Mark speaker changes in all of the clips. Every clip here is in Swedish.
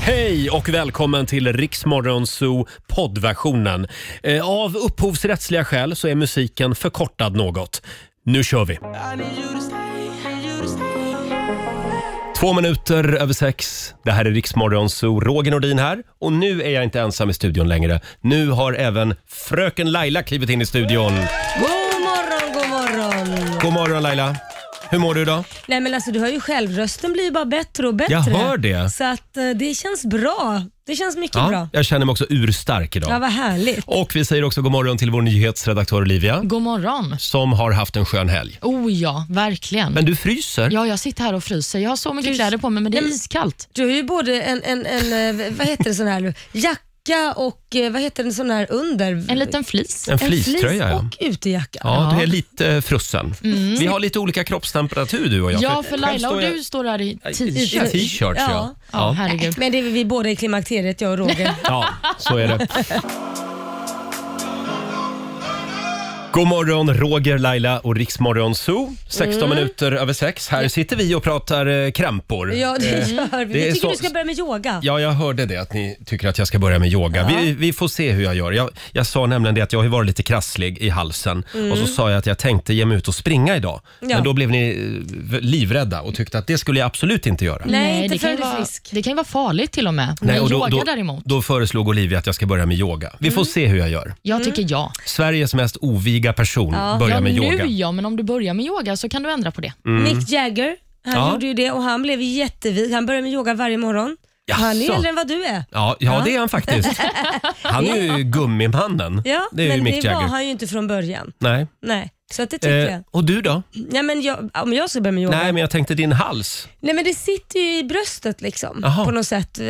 Speaker 1: Hej och välkommen till Riksmorgon Zoo poddversionen. Eh, Av upphovsrättsliga skäl så är musiken förkortad något. Nu kör vi! Två minuter över sex. Det här är Riksmorgon Zoo. Roger Nordin här. Och nu är jag inte ensam i studion längre. Nu har även fröken Laila klivit in i studion.
Speaker 2: God morgon, god morgon.
Speaker 1: God morgon Laila! Hur mår du idag?
Speaker 2: Nej men alltså du hör ju själv, rösten blir ju bara bättre och bättre.
Speaker 1: Jag hör det.
Speaker 2: Så att eh, det känns bra. Det känns mycket bra.
Speaker 1: jag känner mig också urstark
Speaker 2: Ja,
Speaker 1: idag.
Speaker 2: vad härligt.
Speaker 1: Och vi säger också god morgon till vår nyhetsredaktör Olivia.
Speaker 3: God morgon.
Speaker 1: som har haft en skön helg.
Speaker 3: Oh ja, verkligen.
Speaker 1: Men du fryser.
Speaker 3: Ja, jag sitter här och fryser. Jag har så mycket kläder på mig, men det är iskallt.
Speaker 2: Du har ju både en, en, en eh, vad heter det sån här nu? jacka och eh, vad heter den sån här under?
Speaker 3: En liten flis.
Speaker 1: En fleecetröja, ja.
Speaker 2: och utejacka.
Speaker 1: Ja, det är lite eh, frussen. Vi har lite olika kroppstemperatur du och jag.
Speaker 3: Ja, för
Speaker 1: själv
Speaker 3: Laila
Speaker 1: står
Speaker 3: och
Speaker 1: jag-
Speaker 3: du står här i
Speaker 1: I
Speaker 3: t-shirt.
Speaker 1: t-shirts, ja.
Speaker 2: Ja.
Speaker 3: Ja,
Speaker 1: Ja.
Speaker 3: herregud.
Speaker 2: Men det är väl vi båda i klimakteriet, jag och Roger.
Speaker 1: ja, så är det. God morgon, Roger, Laila och Riksmorgon Zoo. 16 minuter över sex. Här sitter vi och pratar eh, krämpor. Eh,
Speaker 2: Ja, det gör vi.
Speaker 1: Det är
Speaker 2: Vi tycker
Speaker 1: så-
Speaker 2: du ska börja med yoga.
Speaker 1: Ja, jag hörde det att ni tycker att jag ska börja med yoga. Vi, vi får se hur jag gör. Jag, jag sa nämligen det att jag har ju varit lite krasslig i halsen och så sa jag att jag tänkte ge mig ut och springa idag.
Speaker 2: Ja.
Speaker 1: Men då blev ni eh, livrädda och tyckte att det skulle jag absolut inte göra.
Speaker 2: Nej, inte
Speaker 3: det kan,
Speaker 2: förrän
Speaker 3: ju
Speaker 2: du är
Speaker 3: vara,
Speaker 2: frisk.
Speaker 3: det kan ju vara farligt till och med. men
Speaker 1: och
Speaker 3: yoga
Speaker 1: då, då,
Speaker 3: däremot.
Speaker 1: då föreslog Olivia att jag ska börja med yoga. Vi får se hur jag gör.
Speaker 3: Jag tycker ja.
Speaker 1: Sveriges mest oviga person börjar
Speaker 3: ja
Speaker 1: med
Speaker 3: nu
Speaker 1: yoga.
Speaker 3: ja, men om du börjar med yoga så kan du ändra på det.
Speaker 2: Mick Jagger, han
Speaker 1: Mm. Ja.
Speaker 2: gjorde ju det och han blev jättevig. Han började med yoga varje morgon. Och Han är
Speaker 1: Jaså?
Speaker 2: äldre än vad du är.
Speaker 1: Ja, ja, det är han faktiskt. Han är ju gummimannen.
Speaker 2: Ja,
Speaker 1: det är ju
Speaker 2: men
Speaker 1: Mick
Speaker 2: det var
Speaker 1: Jagger.
Speaker 2: han ju inte från början.
Speaker 1: Nej.
Speaker 2: Nej, så att det tycker
Speaker 1: Eh,
Speaker 2: jag.
Speaker 1: och du då?
Speaker 2: Nej, men jag. Om jag ska börja med yoga?
Speaker 1: Nej, men jag tänkte din hals.
Speaker 2: Nej, men det sitter ju i bröstet liksom
Speaker 1: Aha.
Speaker 2: på något sätt. Eh,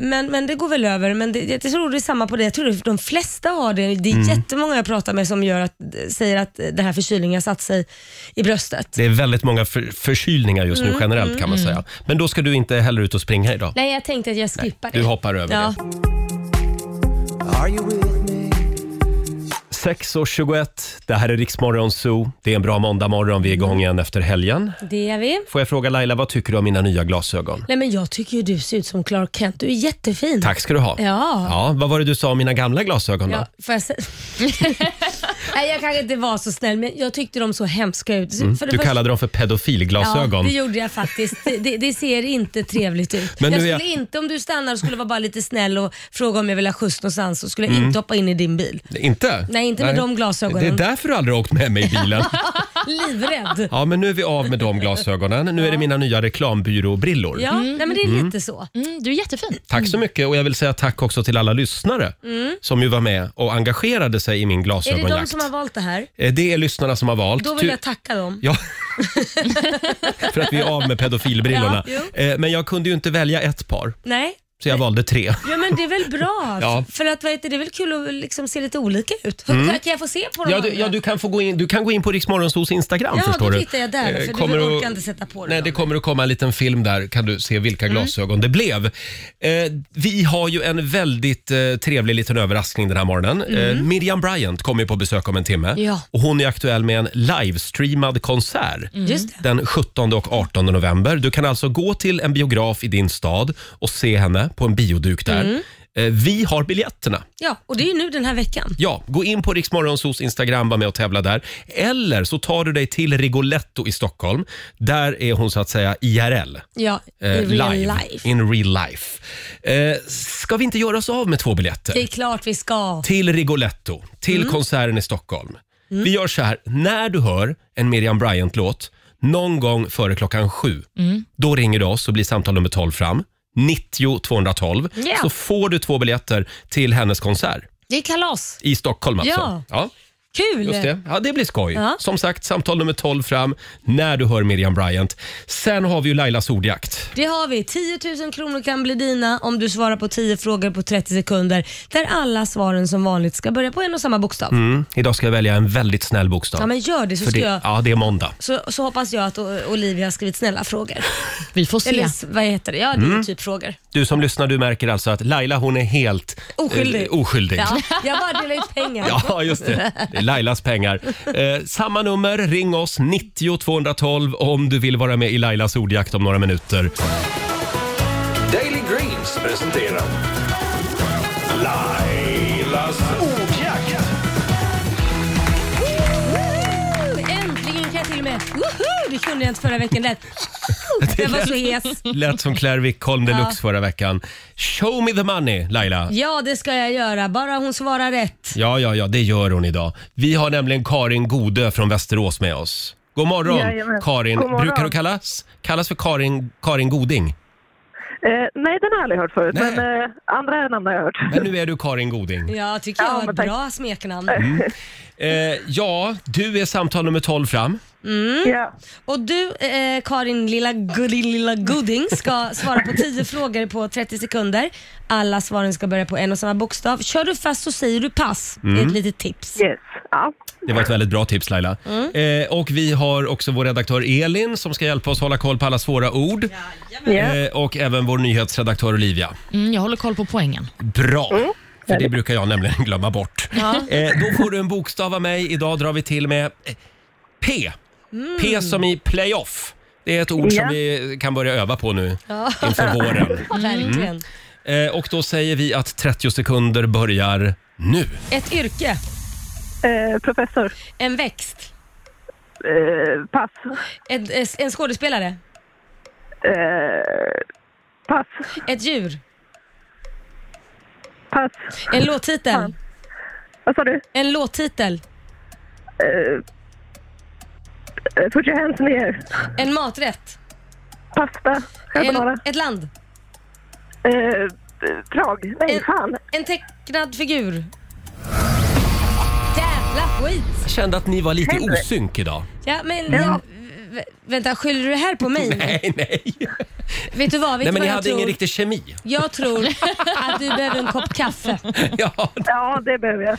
Speaker 2: Men, men det går väl över. Men det, jag tror det är samma på det. Jag tror att de flesta har det. Det är
Speaker 1: Mm.
Speaker 2: jättemånga jag pratar med som gör att, säger att den här förkylningen har satt sig i bröstet.
Speaker 1: Det är väldigt många för, förkylningar just nu generellt kan man säga. Men då ska du inte heller ut och springa idag.
Speaker 2: Mm, Nej, jag tänkte att jag skippar det.
Speaker 1: Du hoppar över
Speaker 2: ja.
Speaker 1: det. 6.21, det här är Riksmorgon Zoo. Det är en bra måndagmorgon, vi är igång igen efter helgen.
Speaker 2: Det är vi.
Speaker 1: Får jag fråga Laila, vad tycker du om mina nya glasögon?
Speaker 2: Nej, men jag tycker ju du ser ut som Clark Kent. Du är jättefin.
Speaker 1: Tack ska du ha.
Speaker 2: Ja.
Speaker 1: ja vad var det du sa om mina gamla glasögon då?
Speaker 2: Ja, får jag se- Nej, jag kanske inte var så snäll, men jag tyckte de såg hemska ut. För det
Speaker 1: Mm. Du
Speaker 2: första-
Speaker 1: kallade dem för pedofilglasögon.
Speaker 2: Ja, det gjorde jag faktiskt. Det, det, det ser inte trevligt ut.
Speaker 1: Men
Speaker 2: jag
Speaker 1: nu är
Speaker 2: skulle
Speaker 1: jag-
Speaker 2: inte, om du stannar och skulle vara bara lite snäll och fråga om jag vill ha skjuts någonstans, så skulle jag
Speaker 1: Mm.
Speaker 2: inte hoppa in i din bil.
Speaker 1: Inte?
Speaker 2: Nej, inte med de glasögonen.
Speaker 1: Det är därför du aldrig har åkt med mig i bilen.
Speaker 2: Livrädd.
Speaker 1: Ja, men nu är vi av med de glasögonen. Nu är det mina nya reklambyråbrillor.
Speaker 2: Ja, nej, men det är lite så.
Speaker 3: Mm, du är jättefin.
Speaker 1: Tack så mycket och jag vill säga tack också till alla lyssnare som ju var med och engagerade sig i min
Speaker 2: Mm. Är det de
Speaker 1: glasögonjakt.
Speaker 2: som har valt det här?
Speaker 1: Eh, Det är lyssnarna som har valt.
Speaker 2: Då vill
Speaker 1: Tu-
Speaker 2: jag tacka dem.
Speaker 1: Ja. För att vi är av med pedofilbrillorna.
Speaker 2: Ja,
Speaker 1: Eh, Men jag kunde ju inte välja ett par,
Speaker 2: Nej,
Speaker 1: så jag valde tre.
Speaker 2: ja, men det är väl bra?
Speaker 1: Ja. Mm.
Speaker 2: För att, vad heter, det? det är väl kul att liksom se lite olika ut. Kan jag få se på dem?
Speaker 1: Ja, du, ja, du, kan, få gå in, du kan gå in på Riksmorgonsols Instagram
Speaker 2: Ja,
Speaker 1: förstår
Speaker 2: då
Speaker 1: du.
Speaker 2: tittar jag där,
Speaker 1: Eh,
Speaker 2: för du
Speaker 1: kommer
Speaker 2: orkar
Speaker 1: att-
Speaker 2: inte sätta på dig
Speaker 1: Nej,
Speaker 2: dem.
Speaker 1: det kommer att komma en liten film där kan du se vilka glasögon det blev. Eh, vi har ju en väldigt eh, trevlig liten överraskning den här morgonen. Eh, Miriam Bryant kommer ju på besök om en timme
Speaker 3: Ja.
Speaker 1: och hon är aktuell med en livestreamad konsert.
Speaker 2: Just det.
Speaker 1: Den 17 och 18 november. Du kan alltså gå till en biograf i din stad och se henne på en bioduk där. Eh, Vi har biljetterna.
Speaker 2: Ja, och det är ju nu den här veckan.
Speaker 1: Ja, gå in på Riksmorgonsos Instagram, var med och tävla där. Eller så tar du dig till Rigoletto i Stockholm. Där är hon så att säga IRL.
Speaker 2: Ja,
Speaker 1: eh,
Speaker 2: i real life.
Speaker 1: In real life. Eh, ska vi inte göra oss av med två biljetter?
Speaker 2: Det Mm. är klart vi ska.
Speaker 1: Till Rigoletto, till konserten i Stockholm.
Speaker 2: Mm.
Speaker 1: Vi gör så här, när du hör en Miriam Bryant-låt någon gång före klockan sju,
Speaker 2: Mm.
Speaker 1: då ringer du oss och blir samtal nummer 12 fram. 90 212.
Speaker 2: Ja.
Speaker 1: Så får du två biljetter till hennes konsert
Speaker 2: Det är kalas.
Speaker 1: i Stockholm alltså.
Speaker 2: Ja.
Speaker 1: Ja.
Speaker 2: Kul!
Speaker 1: Just det. Ja, det blir skoj.
Speaker 2: Ja.
Speaker 1: Som sagt, samtal nummer 12 fram när du hör Miriam Bryant. Sen har vi ju Lailas ordjakt.
Speaker 2: Det har vi. 10 000 kronor kan bli dina om du svarar på 10 frågor på 30 sekunder där alla svaren som vanligt ska börja på en och samma bokstav.
Speaker 1: Mm. Idag ska jag välja en väldigt snäll bokstav.
Speaker 2: Ja, men gör det så,
Speaker 1: För
Speaker 2: ska
Speaker 1: det,
Speaker 2: jag,
Speaker 1: ja, det är måndag.
Speaker 2: så, så hoppas jag att O- Olivia har skrivit snälla frågor.
Speaker 3: Vi får se.
Speaker 2: Eller s- vad heter det? Ja, det är
Speaker 1: Mm.
Speaker 2: typ frågor.
Speaker 1: Du som lyssnar du märker alltså att Laila hon är helt
Speaker 2: Oskyldig.
Speaker 1: eh, oskyldig.
Speaker 2: Ja, jag bara delar ut pengar.
Speaker 1: Ja, just det. Det är Lailas pengar. Eh, samma nummer, ring oss 90 212 om du vill vara med i Lailas ordjakt om några minuter.
Speaker 4: Daily Greens presenterar Lailas ordjakt.
Speaker 2: Äntligen kan jag till och med... Woho! Det kunde jag inte förra veckan. Lätt. Jag var så hes.
Speaker 1: Lät som Claire Wickholm deluxe
Speaker 2: Ja.
Speaker 1: förra veckan. Show me the money, Laila.
Speaker 2: Ja, det ska jag göra. Bara hon svarar rätt.
Speaker 1: Ja, ja, ja, det gör hon idag. Vi har nämligen Karin Godö från Västerås med oss. God morgon,
Speaker 5: Jajamän.
Speaker 1: Karin.
Speaker 5: God morgon.
Speaker 1: Brukar du kallas, kallas för Karin, Karin Goding?
Speaker 5: Eh, nej, den har jag aldrig hört förut,
Speaker 1: Nej.
Speaker 5: men eh, andra namn har jag hört.
Speaker 1: Men nu är du Karin Goding.
Speaker 2: Ja, Mm. tycker
Speaker 5: Ja,
Speaker 2: jag är
Speaker 5: men
Speaker 2: ett
Speaker 5: tack.
Speaker 2: bra smeknamn.
Speaker 1: Eh, ja, du är samtal nummer 12 fram. Mm.
Speaker 5: Ja.
Speaker 2: Och du, eh, Karin lilla, gullig lilla Gooding, ska svara på 10 frågor på 30 sekunder. Alla svaren ska börja på en och samma bokstav. Kör du fast så säger du pass. Det är ett litet tips.
Speaker 5: Yes. Ja.
Speaker 1: Det var ett väldigt bra tips Laila.
Speaker 5: Mm.
Speaker 1: Eh, och vi har också vår redaktör Elin som ska hjälpa oss hålla koll på alla svåra ord.
Speaker 5: Ja.
Speaker 1: Eh, och även vår nyhetsredaktör Olivia.
Speaker 3: Mm, jag håller koll på poängen.
Speaker 1: Bra! För det brukar jag nämligen glömma bort. Eh, då får du en bokstav av mig. Idag drar vi till med eh, P. P som i playoff. Det är ett ord som
Speaker 5: Ja.
Speaker 1: vi kan börja öva på nu inför våren.
Speaker 2: Mm. Verkligen.
Speaker 1: Eh, och då säger vi att 30 sekunder börjar nu.
Speaker 2: Ett yrke,
Speaker 5: Eh, professor.
Speaker 2: en växt,
Speaker 5: Eh, pass.
Speaker 2: en, en skådespelare,
Speaker 5: Eh, pass.
Speaker 2: ett djur,
Speaker 5: Pass.
Speaker 2: en låttitel,
Speaker 5: Vad sa du?
Speaker 2: en låttitel,
Speaker 5: Eh, eh, put your hands in the air.
Speaker 2: en maträtt,
Speaker 5: Pasta. Carbonara.
Speaker 2: en, ett land,
Speaker 5: Eh, Prag. Nej,
Speaker 2: En-
Speaker 5: fan.
Speaker 2: en tecknad figur. Jävla skit!
Speaker 1: Jag kände att ni var lite
Speaker 5: Helvete.
Speaker 1: osynk idag.
Speaker 2: Ja, men,
Speaker 5: Ja.
Speaker 2: Vä- Vänta, skyller du det här på mig?
Speaker 1: Nej, nej.
Speaker 2: Vet du vad?
Speaker 1: Nej,
Speaker 2: Vet du
Speaker 1: men
Speaker 2: vad
Speaker 1: ni
Speaker 2: jag
Speaker 1: hade
Speaker 2: tror?
Speaker 1: ingen riktig kemi.
Speaker 2: Jag tror att du behöver en kopp kaffe.
Speaker 1: Ja,
Speaker 5: Ja, det behöver jag.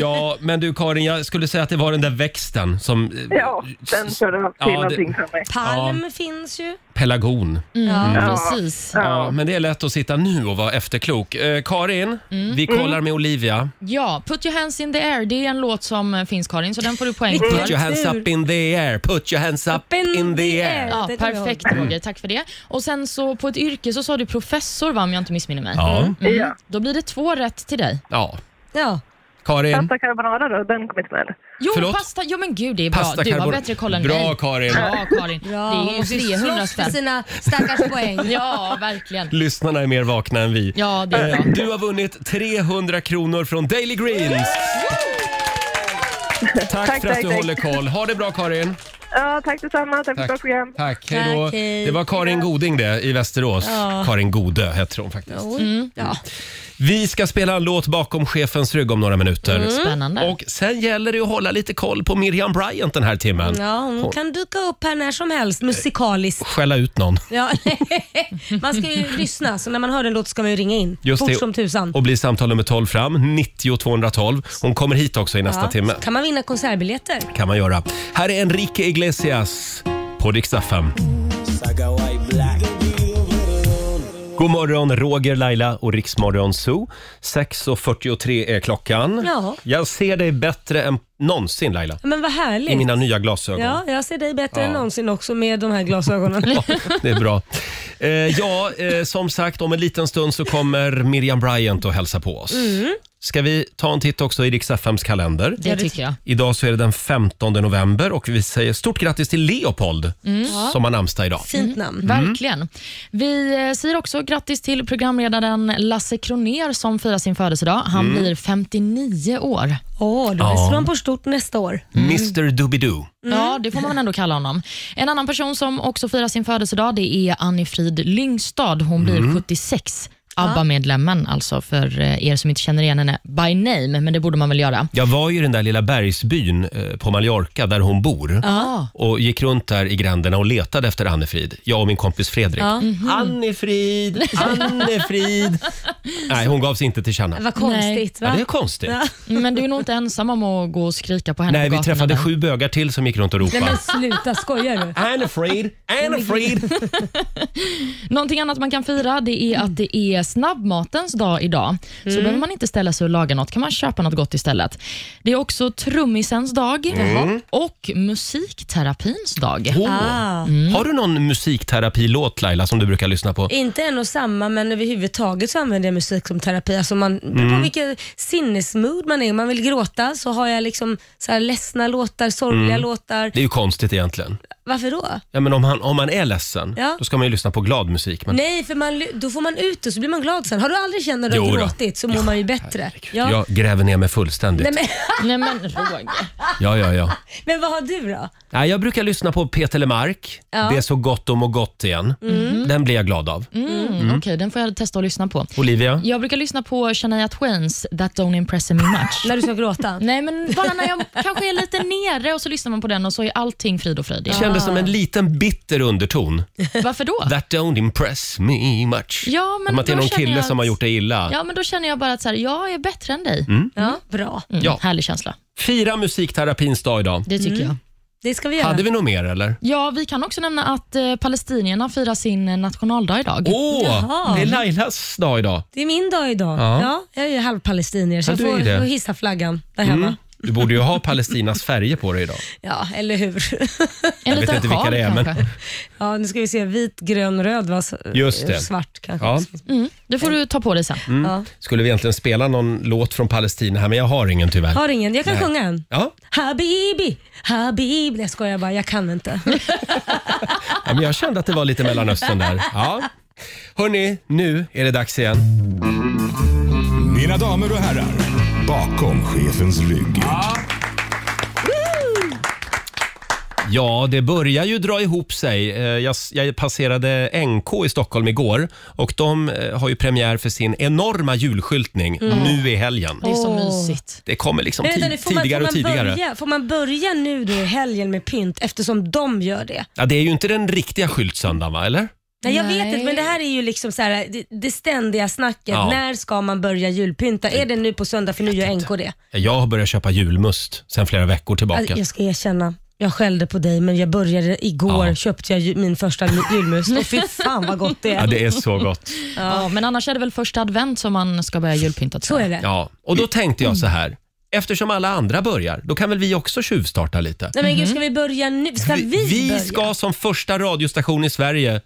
Speaker 1: ja, men du Karin, jag skulle säga att det var den där växten som... eh,
Speaker 5: Ja, den körde till
Speaker 1: Ja, det-
Speaker 5: någonting för mig.
Speaker 2: Palm finns ju.
Speaker 1: Pelargon. Mm.
Speaker 2: Ja.
Speaker 3: Precis.
Speaker 1: Ja, men det är lätt att sitta nu och vara efterklok. Eh, Karin, vi kollar med Olivia.
Speaker 3: Ja, Put your hands in the air, det är en låt som eh, finns Karin, så den får du poäng
Speaker 2: Vilken
Speaker 1: Put
Speaker 3: för.
Speaker 1: your hands
Speaker 2: Tur.
Speaker 1: up in the air, put your hands up in the air.
Speaker 3: Ja,
Speaker 2: Det kommer jag
Speaker 3: perfekt Roger, tack för det. Och sen så på ett yrke så sa du professor va, om jag inte missminner mig.
Speaker 1: Ja,
Speaker 5: Ja.
Speaker 3: Då blir det två rätt till dig.
Speaker 1: ja.
Speaker 2: Ja.
Speaker 1: Karin,
Speaker 5: Pasta carbonara då, den kom inte med.
Speaker 3: Jo,
Speaker 1: Förlåt?
Speaker 3: pasta. Jo men gud, det är bra.
Speaker 1: pasta
Speaker 3: du har
Speaker 1: carbon-
Speaker 3: bättre koll än
Speaker 1: Bra
Speaker 3: mig.
Speaker 1: Karin.
Speaker 3: Bra Karin.
Speaker 2: Bra.
Speaker 3: Det är ju 300
Speaker 2: Slåss för
Speaker 3: spänn.
Speaker 2: sina stackars poäng.
Speaker 3: Ja, verkligen.
Speaker 1: Lyssnarna är mer vakna än vi.
Speaker 3: Ja, det är
Speaker 1: Eh,
Speaker 3: bra.
Speaker 2: Mm.
Speaker 1: Du har vunnit 300 kronor från Daily Greens. Tack,
Speaker 5: Tack,
Speaker 1: för att
Speaker 5: tack,
Speaker 1: du
Speaker 5: tack.
Speaker 1: håller koll. Ha det bra Karin.
Speaker 5: Ja, tack detsamma. Tack för ett bra program.
Speaker 1: Tack, hej då.
Speaker 2: Tack, hej.
Speaker 1: Det var Karin Goding det i Västerås.
Speaker 2: Ja.
Speaker 1: Karin Godö heter hon faktiskt.
Speaker 2: Oj. Ja.
Speaker 1: Vi ska spela en låt bakom chefens rygg om några minuter.
Speaker 2: Mm.
Speaker 3: Spännande.
Speaker 1: Och sen gäller det att hålla lite koll på Miriam Bryant den här timmen.
Speaker 2: ja, hon kan duka upp här när som helst musikaliskt.
Speaker 1: Skälla ut någon.
Speaker 2: Ja, man ska ju lyssna, så när man hör den låt ska man ju ringa in.
Speaker 1: Just
Speaker 2: Fort
Speaker 1: det.
Speaker 2: som tusan.
Speaker 1: Och bli samtal nummer 12 fram, 90 212. Hon kommer hit också i nästa
Speaker 2: Ja,
Speaker 1: timme.
Speaker 2: så kan man vinna konsertbiljetter.
Speaker 1: kan man göra. Här är Enrique Iglesias på Rix FM. God morgon, Roger, Laila och Riksmorgon Zoo. 6.43 är klockan.
Speaker 2: Ja.
Speaker 1: Jag ser dig bättre än någonsin, Laila.
Speaker 2: Men vad härligt.
Speaker 1: I mina nya glasögon.
Speaker 2: Ja, jag ser dig bättre
Speaker 1: Ja.
Speaker 2: än någonsin också med de här glasögonen.
Speaker 1: Det är bra. Eh, ja, eh, som sagt, om en liten stund så kommer Miriam Bryant och hälsa på oss. Ska vi ta en titt också i Rix FMs kalender?
Speaker 3: Det tycker jag.
Speaker 1: Idag så är det den 15 november och vi säger stort grattis till Leopold som har namnsdag idag.
Speaker 2: Fint namn.
Speaker 3: Verkligen. Vi eh, säger också grattis till programledaren Lasse Kroner som firar sin födelsedag. Han
Speaker 1: Mm.
Speaker 3: blir 59 år.
Speaker 2: Åh, då slår man på stort nästa år.
Speaker 1: Mr Doobidoo.
Speaker 3: Ja, det får man ändå kalla honom. En annan person som också firar sin födelsedag det är Annie Frid Lyngstad. Hon blir
Speaker 1: Mm.
Speaker 3: 76. ABBA-medlemmen alltså, för eh, er som inte känner igen henne by name, men det borde man väl göra.
Speaker 1: Jag var ju i den där lilla bergsbyn eh, på Mallorca där hon bor
Speaker 3: Ja.
Speaker 1: och gick runt där i gränderna och letade efter Annefrid. Jag och min kompis Fredrik. Annefrid, Annefrid. Nej, hon gav sig inte till känna.
Speaker 2: Vad konstigt
Speaker 1: Ja,
Speaker 2: va?
Speaker 1: det är konstigt.
Speaker 3: Mm, Men du är nog inte ensam om att gå och skrika på henne
Speaker 1: Nej,
Speaker 3: på
Speaker 1: vi
Speaker 3: gatorna
Speaker 1: träffade
Speaker 3: där.
Speaker 1: sju bögar till som gick runt och
Speaker 2: Nej men
Speaker 1: ropade.
Speaker 2: sluta, skojar du?
Speaker 1: Annefrid, Annefrid.
Speaker 3: Någonting annat man kan fira det är att det är snabbmatens dag idag, så behöver man inte ställa sig och laga något. kan man köpa något gott istället. Det är också trummisens dag
Speaker 1: Mm.
Speaker 3: och musikterapins dag.
Speaker 1: Åh.
Speaker 2: Ah.
Speaker 3: Mm.
Speaker 1: Har du någon musikterapilåt Laila som du brukar lyssna på?
Speaker 2: Inte en och samma, men överhuvudtaget så använder jag musik som terapi. Alltså man, det
Speaker 1: Mm.
Speaker 2: beror på vilken sinnesmood man är. Om man vill gråta så har jag liksom så här ledsna låtar, sorgliga låtar.
Speaker 1: Mm. Det är ju konstigt egentligen.
Speaker 2: Varför då?
Speaker 1: Ja, men om, han, om man är ledsen,
Speaker 2: Ja.
Speaker 1: då ska man ju lyssna på glad musik. Men
Speaker 2: Nej, för man, ly- då får man ut det så blir man glad sen. Har du aldrig känt när du
Speaker 1: Jo
Speaker 2: har
Speaker 1: då.
Speaker 2: gråtit så mår man ju bättre. Ja.
Speaker 1: jag gräver ner mig fullständigt.
Speaker 2: Nej, men,
Speaker 3: Nej men Roger.
Speaker 1: Ja, ja, ja.
Speaker 2: men vad har du då?
Speaker 1: Nej, jag brukar lyssna på Peter Lemark.
Speaker 2: Ja.
Speaker 1: Det är så gott om och gott igen. Den blir jag glad av.
Speaker 3: Mm, Okej, den får jag testa att lyssna på.
Speaker 1: Olivia?
Speaker 3: Jag brukar lyssna på Shania Twains That Don't Impress Me Much.
Speaker 2: När du ska gråta?
Speaker 1: Mm.
Speaker 3: Nej, men bara när jag kanske är lite nere och så lyssnar man på den och så är allting frid och fröjd.
Speaker 1: Det kändes som en liten bitter underton.
Speaker 3: Varför då?
Speaker 1: That don't impress me much.
Speaker 3: Ja, men
Speaker 1: som att det är
Speaker 3: då
Speaker 1: någon
Speaker 3: känner
Speaker 1: kille
Speaker 3: jag
Speaker 1: som
Speaker 3: att-
Speaker 1: har gjort det illa.
Speaker 3: Ja, men då känner jag bara att så här, jag är bättre än dig.
Speaker 2: Ja, bra.
Speaker 3: Mm,
Speaker 1: Ja.
Speaker 3: Härlig känsla.
Speaker 1: Fira musikterapins dag idag.
Speaker 3: Det tycker jag.
Speaker 2: Det ska vi göra.
Speaker 1: Hade vi något mer eller?
Speaker 3: Ja, vi kan också nämna att eh, palestinierna firar sin eh, nationaldag idag.
Speaker 1: Åh,
Speaker 2: Jaha.
Speaker 1: det är Lailas dag idag.
Speaker 2: Det är min dag idag.
Speaker 1: Ja.
Speaker 2: Ja. jag är ju halvpalestinier så
Speaker 1: Ja,
Speaker 2: jag
Speaker 1: du är
Speaker 2: får,
Speaker 1: det. Mm.
Speaker 2: får hissa flaggan där hemma.
Speaker 1: Du borde ju ha Palestinas färger på dig idag.
Speaker 2: Ja, eller hur?
Speaker 3: En
Speaker 1: jag vet inte vilka
Speaker 3: sjal
Speaker 1: det är, men-
Speaker 3: kanske.
Speaker 2: ja, nu ska vi se. Vit, grön, röd va? S-
Speaker 1: Just det.
Speaker 2: Svart kanske.
Speaker 1: Ja.
Speaker 3: Mm, det får du ta på dig sen.
Speaker 2: Ja.
Speaker 1: Skulle vi egentligen spela någon låt från Palestina här, men jag har ingen tyvärr.
Speaker 2: Har ingen. Jag kan sjunga en.
Speaker 1: Ja,
Speaker 2: Habibi, habibi. Jag skojar bara, jag kan inte.
Speaker 1: ja, men jag kände att det var lite Mellanöstern där. Ja. Hörni, nu är det dags igen.
Speaker 4: Mina damer och herrar, bakom chefens rygg.
Speaker 1: Ja, det börjar ju dra ihop sig. Eh, Jag, jag passerade NK i Stockholm igår och de eh, har ju premiär för sin enorma julskyltning nu i helgen.
Speaker 3: Det är så
Speaker 2: Åh.
Speaker 3: mysigt.
Speaker 1: Det kommer liksom
Speaker 2: Men vänta
Speaker 1: ti-
Speaker 2: nu, får man, får,
Speaker 1: tidigare
Speaker 2: man
Speaker 1: och tidigare.
Speaker 2: Börja, får man börja nu då i helgen med pynt eftersom de gör det?
Speaker 1: Ja, det är ju inte den riktiga skyltsöndagen, va? Eller?
Speaker 2: Nej, jag
Speaker 3: Nej.
Speaker 2: vet inte, men det här är ju liksom så här, det, det ständiga snacket.
Speaker 1: Ja.
Speaker 2: När ska man börja julpynta? Är det nu på söndag? För nu gör NK det.
Speaker 1: Jag har börjat köpa julmust sedan flera veckor tillbaka.
Speaker 2: Alltså, jag ska erkänna, jag skällde på dig men jag började igår
Speaker 1: Ja.
Speaker 2: köpte jag ju- min första ju- julmust och fy fan vad gott det
Speaker 1: Ja,
Speaker 2: är.
Speaker 1: det är så gott.
Speaker 3: Ja. men annars är det väl första advent som man ska börja julpynta. tror
Speaker 2: Så
Speaker 3: jag.
Speaker 2: är det.
Speaker 1: Ja, och då tänkte jag så här. Eftersom alla andra börjar, då kan väl vi också tjuvstarta lite?
Speaker 2: Nej men gud, ska vi börja nu? Ska vi, börja?
Speaker 1: Mhm. vi ska som första radiostation i Sverige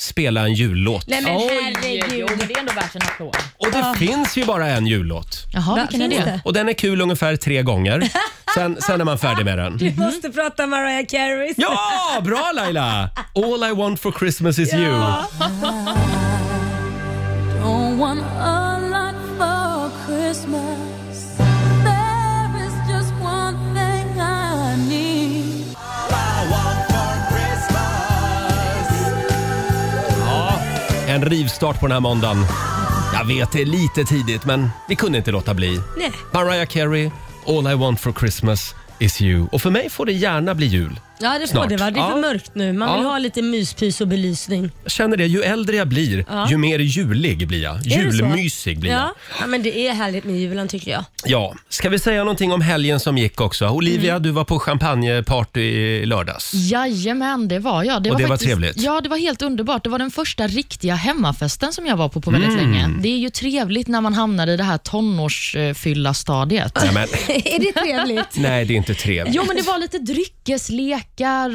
Speaker 1: spela en jullåt.
Speaker 2: Nej men
Speaker 3: Oj,
Speaker 2: herregud.
Speaker 3: jo, men det är ändå värt en applåd.
Speaker 1: Och det finns ju bara en jullåt.
Speaker 3: Jaha,
Speaker 2: Va,
Speaker 3: vilken är
Speaker 2: finns
Speaker 3: det?
Speaker 2: det?
Speaker 1: Och den är kul ungefär tre gånger. Sen, sen är man färdig med den.
Speaker 2: Vi måste prata Mariah Carey.
Speaker 1: Mhm. Ja, bra Laila! All I want for Christmas is you.
Speaker 6: Don't want a lot for Christmas. There is just one thing I need.
Speaker 1: En rivstart på den här måndagen. Jag vet, det är lite tidigt, men vi kunde inte låta bli.
Speaker 2: Nej.
Speaker 1: Mariah Carey, All I want for Christmas is you. Och för mig får det gärna bli jul.
Speaker 2: Ja det får
Speaker 1: Snart.
Speaker 2: det va? Det är för
Speaker 1: Ja.
Speaker 2: mörkt nu. Man vill
Speaker 1: Ja.
Speaker 2: ha lite myspys och belysning.
Speaker 1: Jag känner det, ju äldre jag blir, ju mer julig blir jag.
Speaker 2: Är det så?
Speaker 1: Julmysig blir jag.
Speaker 2: Ja. ja men det är härligt med julen tycker jag.
Speaker 1: Ja, ska vi säga någonting om helgen som gick också? Olivia,
Speaker 2: Mm.
Speaker 1: du var på champagneparty i lördags.
Speaker 3: Jajamän, det var jag.
Speaker 1: Och det var trevligt.
Speaker 3: Ja, det var helt underbart. Det var den första riktiga hemmafesten som jag var på på väldigt
Speaker 1: Mm.
Speaker 3: länge. Det är ju trevligt när man hamnar i det här tonårsfylla-stadiet.
Speaker 1: Nej, men,
Speaker 2: är det trevligt?
Speaker 1: nej, det är inte trevligt.
Speaker 3: Jo, men det var lite dryckeslekar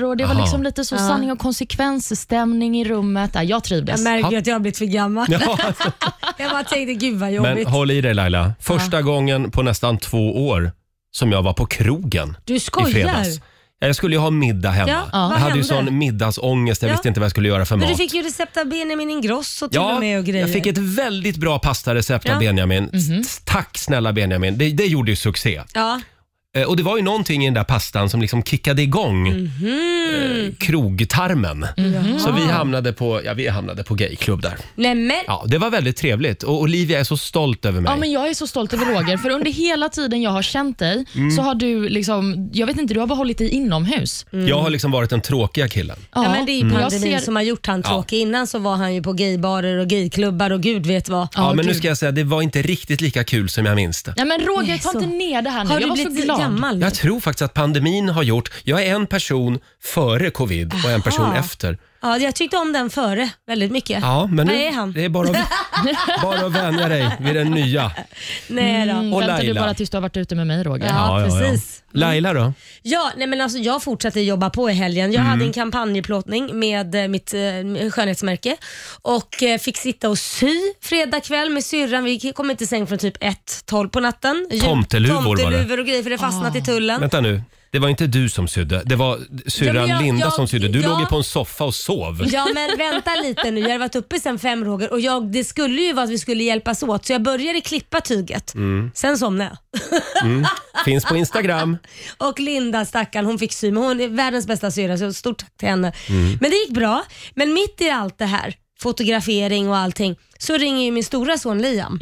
Speaker 3: och
Speaker 1: Aha.
Speaker 3: det var liksom lite så sanning och konsekvensstämning i rummet. Ja, Jag
Speaker 2: Jag
Speaker 3: trivdes.
Speaker 2: märker ju att jag har blivit för gammal.
Speaker 1: Ja,
Speaker 2: Jag bara tänkte gud vad
Speaker 1: men
Speaker 2: jobbigt.
Speaker 1: håll i dig Laila. Första gången på nästan två år som jag var på krogen
Speaker 2: Du
Speaker 1: i
Speaker 2: skojar.
Speaker 1: fredags. Ja, Jag skulle ju ha middag hemma.
Speaker 2: Ja,
Speaker 1: Jag
Speaker 2: vad
Speaker 1: hade ju
Speaker 2: hände?
Speaker 1: sån middagsångest. Jag
Speaker 2: Ja.
Speaker 1: visste inte vad jag skulle göra för
Speaker 2: Men du
Speaker 1: mat.
Speaker 2: fick ju recept av Benjamin Ingrosso till och
Speaker 1: Ja,
Speaker 2: med och grejer.
Speaker 1: jag fick ett väldigt bra pastarecept av
Speaker 2: Ja. Mhm.
Speaker 1: Benjamin. Tack snälla Benjamin. Det, det gjorde ju succé.
Speaker 2: Ja.
Speaker 1: Eh, Och det var ju någonting i den där pastan som liksom kickade igång
Speaker 2: Mhm.
Speaker 1: eh, krogtarmen. Så vi hamnade på, ja, vi hamnade på gayklubb där.
Speaker 2: Nej men
Speaker 1: Ja, det var väldigt trevligt och Olivia är så stolt över mig.
Speaker 3: Ja, men jag är så stolt över Roger, för under hela tiden jag har känt dig
Speaker 1: Mm.
Speaker 3: så har du, liksom, jag vet inte, du har behållit dig inomhus. Mm.
Speaker 1: Jag har liksom varit den tråkiga killen.
Speaker 2: Ja, men det är ju
Speaker 3: jag
Speaker 2: pandemin
Speaker 3: ser,
Speaker 2: som har gjort han tråkig. Innan så var han ju på gaybarer och gayklubbar och gud vet vad.
Speaker 1: Ja,
Speaker 3: Ja,
Speaker 1: men nu
Speaker 3: gud.
Speaker 1: ska jag säga, det var inte riktigt lika kul som jag minns det.
Speaker 3: Nej, men Roger,
Speaker 2: Nej,
Speaker 3: ta
Speaker 2: så-
Speaker 3: inte ner det här nu.
Speaker 2: Har
Speaker 3: jag
Speaker 2: du
Speaker 3: var så
Speaker 2: blivit
Speaker 3: glad.
Speaker 2: gammal?
Speaker 1: Jag tror faktiskt att pandemin har gjort, jag är en person före covid och en person efter.
Speaker 2: Ja, jag tyckte om den före väldigt mycket.
Speaker 1: Ja, men nu,
Speaker 2: Här är han.
Speaker 1: det är bara att, bara att vänja dig vid den nya.
Speaker 2: Nej då.
Speaker 1: Och
Speaker 3: Väntar du
Speaker 1: Laila.
Speaker 3: bara tills du har varit ute med mig Roger?
Speaker 2: Ja, precis.
Speaker 1: Laila då?
Speaker 2: Ja, nej men alltså jag fortsatte jobba på i helgen.
Speaker 1: Mm.
Speaker 2: Jag hade en kampanjplåtning med eh, mitt eh, skönhetsmärke och eh, fick sitta och sy fredag kväll med syrran. Vi kom inte i säng från typ 1, 12 på natten. Djup-
Speaker 1: Tomteluvor var det.
Speaker 2: Tomteluvor och grejer för det fastnat
Speaker 3: Ah.
Speaker 2: i tullen.
Speaker 1: Vänta nu. Det var inte du som sydde, det var
Speaker 2: Ja,
Speaker 1: syrran
Speaker 2: men jag-
Speaker 1: Linda
Speaker 2: jag-
Speaker 1: som sydde. Du
Speaker 2: ja.
Speaker 1: låg ju på en soffa och sov.
Speaker 2: Ja men vänta lite nu, jag har varit uppe sen fem Roger och jag, det skulle ju vara att vi skulle hjälpas åt så jag började klippa tyget. Sen somnade jag.
Speaker 1: Finns på Instagram.
Speaker 2: Och Linda stackarn, hon fick sy, men hon är världens bästa syrra så stort tack till henne. Men det gick bra. Men mitt i allt det här, fotografering och allting, så ringer ju min stora son Liam.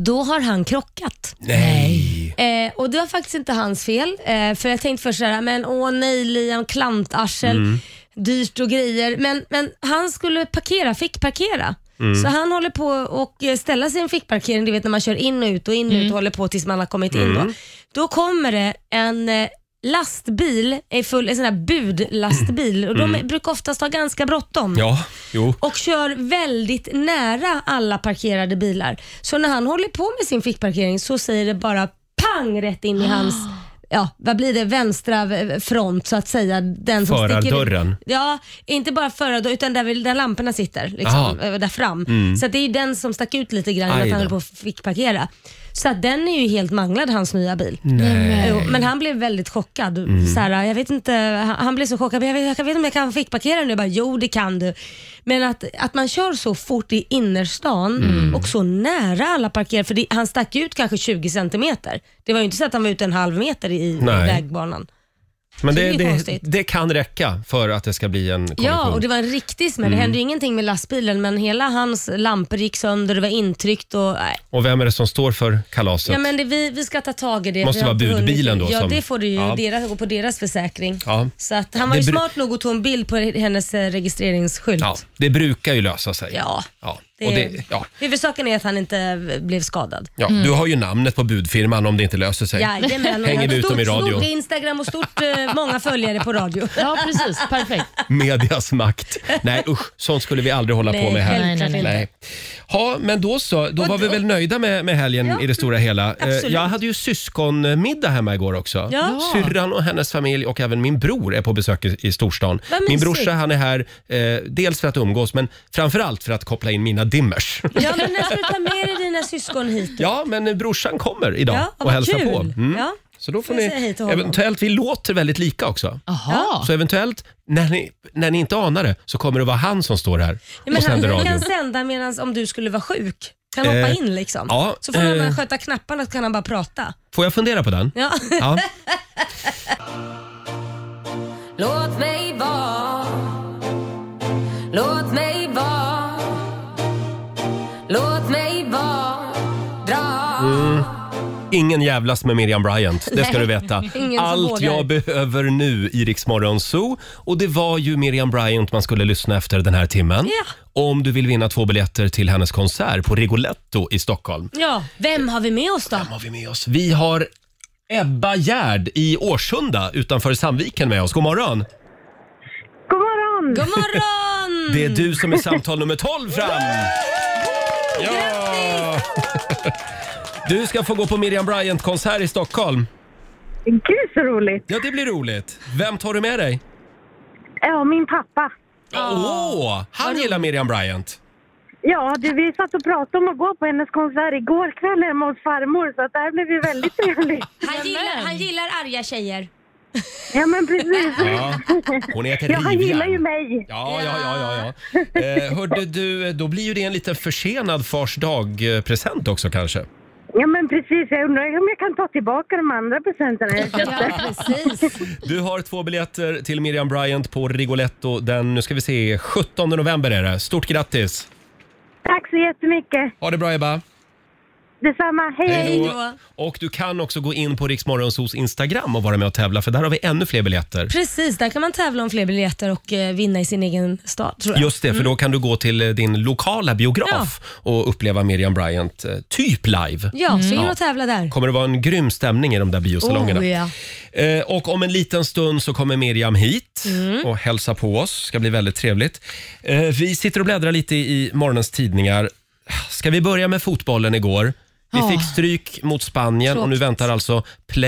Speaker 2: Då har han krockat.
Speaker 1: Nej.
Speaker 2: Eh, och det var faktiskt inte hans fel. Eh, för jag tänkte först såhär, men åh nej Liam, klantarsel, dyrt och grejer. Men, men han skulle parkera, fick parkera. Så han håller på och eh, ställa sig i en fickparkering, du vet när man kör in och ut och in och ut och håller på tills man har kommit in då. Då kommer det en eh, lastbil, en, full, en sån här budlastbil och de brukar oftast ha ganska bråttom
Speaker 1: Ja, jo.
Speaker 2: och kör väldigt nära alla parkerade bilar. Så när han håller på med sin fickparkering så säger det bara pang rätt in i
Speaker 1: Ah.
Speaker 2: hans Ja, vad blir det? Vänstra v- front så att säga. Den som sticker ut.
Speaker 1: Förardörren.
Speaker 2: Ja, inte bara förardörren utan där, väl- där lamporna sitter. Liksom,
Speaker 1: Aha. Mm.
Speaker 2: eh, där fram. Så att det är ju den som stack ut lite grann
Speaker 1: Aj
Speaker 2: att han
Speaker 1: då.
Speaker 2: höll på och fick parkera. Så att den är ju helt manglad, hans nya bil.
Speaker 1: Nej. Mm.
Speaker 2: Jo, men han blev väldigt chockad. Så här, jag vet inte, han, han blev så chockad. men Jag vet, jag vet inte om jag kan fickparkera nu. Jag bara, jo det kan du. Men att, att man kör så fort i innerstan
Speaker 1: Mm.
Speaker 2: och så nära alla parkerare. För det, han stack ut kanske 20 centimeter. Det var ju inte så att han var ute en halv meter i
Speaker 1: Nej.
Speaker 2: vägbanan.
Speaker 1: Men
Speaker 2: det är
Speaker 1: det,
Speaker 2: ju
Speaker 1: det,
Speaker 2: konstigt.
Speaker 1: det kan räcka för att det ska bli en kollision.
Speaker 2: Ja, och det var en riktig smäll.
Speaker 1: Mm.
Speaker 2: Det hände ju ingenting med lastbilen, men hela hans lampor gick sönder, det var intryckt och... nej.
Speaker 1: Och vem är det som står för kalaset?
Speaker 2: Ja, men det, vi, vi ska ta tag i det.
Speaker 1: Måste
Speaker 2: Vi har
Speaker 1: vara
Speaker 2: inte hunnit-
Speaker 1: budbilen då
Speaker 2: Ja,
Speaker 1: som-
Speaker 2: det får du ju
Speaker 1: Ja.
Speaker 2: deras, gå på deras försäkring.
Speaker 1: Ja.
Speaker 2: Så att han var
Speaker 1: Det
Speaker 2: ju
Speaker 1: bru-
Speaker 2: smart nog att ta en bild på hennes eh, registreringsskylt.
Speaker 1: ja, det brukar ju lösa sig.
Speaker 2: Ja.
Speaker 1: ja.
Speaker 2: Det,
Speaker 1: Och det, ja.
Speaker 2: Huvudsaken är att han inte eh, blev skadad.
Speaker 1: Ja, Du har ju namnet på budfirman om det inte löser sig.
Speaker 2: Jajamän, och jag
Speaker 1: Hänger
Speaker 2: hade
Speaker 1: vi ut dem i
Speaker 2: stort,
Speaker 1: radio?
Speaker 2: stort Instagram och stort eh, många följare på radio.
Speaker 3: Ja, precis. Perfekt.
Speaker 1: Medias makt. Nej usch, sånt skulle vi aldrig hålla på med här.
Speaker 3: Nej, nej, nej.
Speaker 1: Nej. Ja, men då så. Då var vi väl nöjda med, med helgen i det stora hela. Eh,
Speaker 2: absolut.
Speaker 1: Jag hade ju syskonmiddag hemma igår också.
Speaker 2: Ja.
Speaker 1: Syrran och hennes familj och även min bror är på besök i, i storstan.
Speaker 2: Vad
Speaker 1: Min
Speaker 2: mysigt.
Speaker 1: brorsa han är här eh, dels för att umgås men framförallt för att koppla in mina dimmers.
Speaker 2: Ja, men när ska du ta med dig dina syskon hit?
Speaker 1: Ja, men eh, brorsan kommer idag
Speaker 2: Ja, vad
Speaker 1: och hälsar
Speaker 2: kul.
Speaker 1: på. Mm.
Speaker 2: Ja.
Speaker 1: Så då får
Speaker 2: Jag säger
Speaker 1: ni,
Speaker 2: hej till honom.
Speaker 1: eventuellt, vi låter väldigt lika också.
Speaker 3: Jaha.
Speaker 1: Så eventuellt, när ni, när ni inte anar det, så kommer det vara han som står här
Speaker 2: Ja, men
Speaker 1: och
Speaker 2: han
Speaker 1: sänder radio.
Speaker 2: kan sända medan om du skulle vara sjuk. Kan
Speaker 1: Eh,
Speaker 2: hoppa in liksom.
Speaker 1: ja,
Speaker 2: så får han
Speaker 1: eh.
Speaker 2: bara sköta knapparna så kan han bara prata.
Speaker 1: Får jag fundera på den?
Speaker 2: Ja.
Speaker 1: Ja.
Speaker 6: Låt mig vara Låt mig vara Låt mig vara Dra
Speaker 1: Mm. Ingen jävlas med Miriam Bryant, det ska du veta.
Speaker 2: ingen som
Speaker 1: Allt
Speaker 2: vågar.
Speaker 1: jag behöver nu i Rix Morgon Zoo. Och det var ju Miriam Bryant man skulle lyssna efter den här timmen. Om du vill vinna två biljetter till hennes konsert på Rigoletto i Stockholm.
Speaker 2: ja. Vem har vi med oss då?
Speaker 1: Vem har vi med oss? Vi har Ebba Gärd i Årsunda utanför Sandviken med oss. God morgon!
Speaker 5: God morgon!
Speaker 1: Mm.
Speaker 2: God morgon!
Speaker 1: Det är du som är samtal nummer 12 fram! Ja! Du ska få gå på Miriam Bryant-konsert i Stockholm.
Speaker 5: Gud så roligt!
Speaker 1: Ja, det blir roligt. Vem tar du med dig?
Speaker 5: Ja, min pappa.
Speaker 1: Åh, han gillar Miriam Bryant.
Speaker 5: Ja, du, vi satt och pratade om att gå på hennes konsert igår kväll hemma hos farmor så att det här blev ju väldigt trevligt.
Speaker 2: Han gillar, han gillar arga tjejer.
Speaker 5: Ja, men precis.
Speaker 1: Ja. Hon är ett
Speaker 5: Ja, han gillar
Speaker 1: rivjärn.
Speaker 5: ju mig.
Speaker 1: Ja, ja, ja, ja. ja. Eh, hörde du, då blir ju det en lite försenad fars dag-present också kanske.
Speaker 5: Ja, men precis. Jag undrar om jag kan ta tillbaka de andra presenterna jag köpte.
Speaker 2: precis.
Speaker 1: Du har två biljetter till Miriam Bryant på Rigoletto den, nu ska vi se, 17 november är det. Stort grattis!
Speaker 5: Tack så jättemycket.
Speaker 1: Ha det bra Ebba!
Speaker 5: Detsamma, hej hej!
Speaker 2: Hej då.
Speaker 1: Och du kan också gå in på Riksmorgonsos Instagram och vara med och tävla för där har vi ännu fler biljetter.
Speaker 2: Precis, där kan man tävla om fler biljetter och eh, vinna i sin egen stad tror jag.
Speaker 1: Just det, för då kan du gå till eh, din lokala biograf och uppleva Miriam Bryant eh, typ live.
Speaker 2: Ja, så
Speaker 1: Mm.
Speaker 2: in och tävla där.
Speaker 1: kommer det vara en grym stämning i de där biosalongerna.
Speaker 2: Oh, ja.
Speaker 1: eh, och om en liten stund så kommer Miriam hit
Speaker 2: Mm.
Speaker 1: och hälsa på oss. ska bli väldigt trevligt. Eh, vi sitter och bläddrar lite i morgonens tidningar. Ska vi börja med fotbollen igår? Vi
Speaker 3: Ja.
Speaker 1: fick stryk mot Spanien och nu
Speaker 2: Tråkigt.
Speaker 1: väntar alltså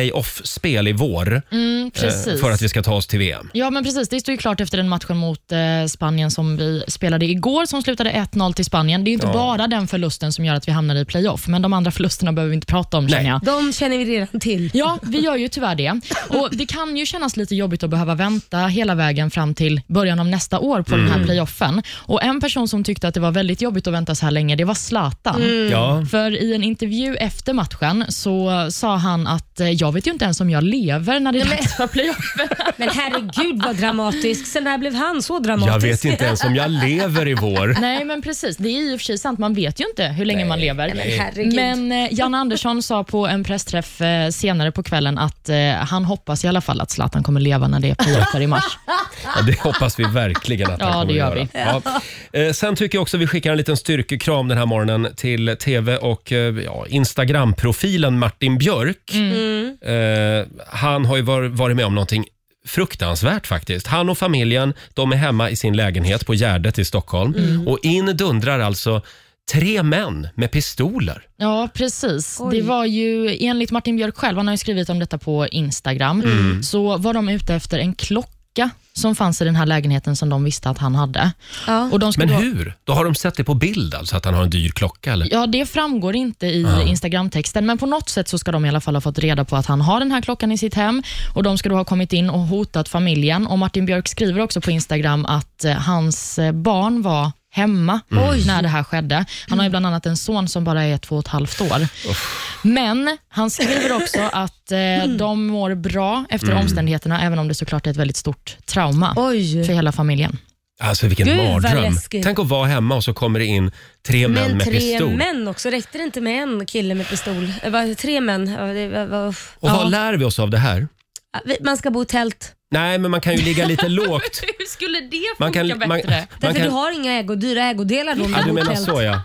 Speaker 1: playoff-spel i vår
Speaker 3: Mm,
Speaker 1: eh,
Speaker 3: precis.
Speaker 1: för att vi ska ta oss till VM.
Speaker 3: Ja, men precis. Det står ju klart efter den matchen mot eh, Spanien som vi spelade igår, som slutade 1-0 till Spanien. Det är ju inte bara den förlusten som gör att vi hamnar i playoff, men de andra förlusterna behöver vi inte prata om, känner jag.
Speaker 2: De känner vi redan till.
Speaker 3: Ja, vi gör ju tyvärr det. Och Det kan ju kännas lite jobbigt att behöva vänta hela vägen fram till början av nästa år på
Speaker 1: Mm.
Speaker 3: den här playoffen. Och En person som tyckte att det var väldigt jobbigt att vänta så här länge, det var Zlatan.
Speaker 1: Ja.
Speaker 3: För i en intervju efter matchen så sa han att eh, jag vet ju inte ens om jag lever när det är dags för playoffen.
Speaker 2: Men herregud vad dramatisk. Sen när blev han så dramatisk?
Speaker 1: Jag vet inte ens om jag lever i vår.
Speaker 3: Nej, men precis. Det är i och för sig sant. Man vet ju inte hur länge man lever.
Speaker 2: Men herregud.
Speaker 3: Men eh, Janne Andersson sa på en pressträff eh, senare på kvällen att eh, han hoppas i alla fall att Zlatan kommer leva när det är playoffar i mars.
Speaker 1: Ja, det hoppas vi verkligen att han
Speaker 3: Ja,
Speaker 1: kommer
Speaker 3: det gör
Speaker 1: att göra. Ja. Eh, Sen tycker jag också vi skickar en liten styrkekram den här morgonen till tv och eh, ja, Instagram-profilen Martin Björk.
Speaker 3: Mm.
Speaker 1: Eh, han har ju var- varit med om någonting fruktansvärt faktiskt. Han och familjen de är hemma i sin lägenhet på Gärdet i Stockholm
Speaker 3: Mm.
Speaker 1: och in dundrar alltså tre män med pistoler.
Speaker 3: Ja, precis.
Speaker 2: Oj.
Speaker 3: Det var ju, enligt Martin Björk själv, han har ju skrivit om detta på Instagram, så var de ute efter en klocka som fanns i den här lägenheten som de visste att han hade.
Speaker 2: Ja.
Speaker 3: Och de
Speaker 1: Men
Speaker 3: skulle ha-
Speaker 1: hur? Då har de sett det på bild alltså, att han har en dyr klocka eller?
Speaker 3: Ja, det framgår inte i Instagram-texten, men på något sätt så ska de i alla fall ha fått reda på att han har den här klockan i sitt hem och de ska då ha kommit in och hotat familjen. Och Martin Björk skriver också på Instagram att eh, hans eh, barn var hemma när det här skedde. Han har ju bland annat en son som bara är två och ett halvt år. Men han skriver också att eh, de mår bra efter omständigheterna, även om det såklart är ett väldigt stort trauma för
Speaker 2: Oj.
Speaker 3: hela familjen.
Speaker 1: Alltså vilken
Speaker 2: Gud, vad
Speaker 1: mardröm.
Speaker 2: läskigt.
Speaker 1: Tänk att vara hemma och så kommer det in tre män
Speaker 2: Men
Speaker 1: med
Speaker 2: tre
Speaker 1: pistol.
Speaker 2: män också. Räckte det inte med en kille med pistol? Eh, vad- Tre män. Ja, det var- var-
Speaker 1: Och vad
Speaker 2: Ja.
Speaker 1: lär vi oss av det här?
Speaker 2: Ja, vi- Man ska bo i tält.
Speaker 1: Nej, men man kan ju ligga lite lågt.
Speaker 3: Hur skulle det
Speaker 1: Man kan, man, man
Speaker 2: Därför
Speaker 1: kan,
Speaker 2: du har inga ägo, dyra ägodelar då om
Speaker 1: ja, du
Speaker 2: bor i
Speaker 1: menar
Speaker 2: tält.
Speaker 1: så ja.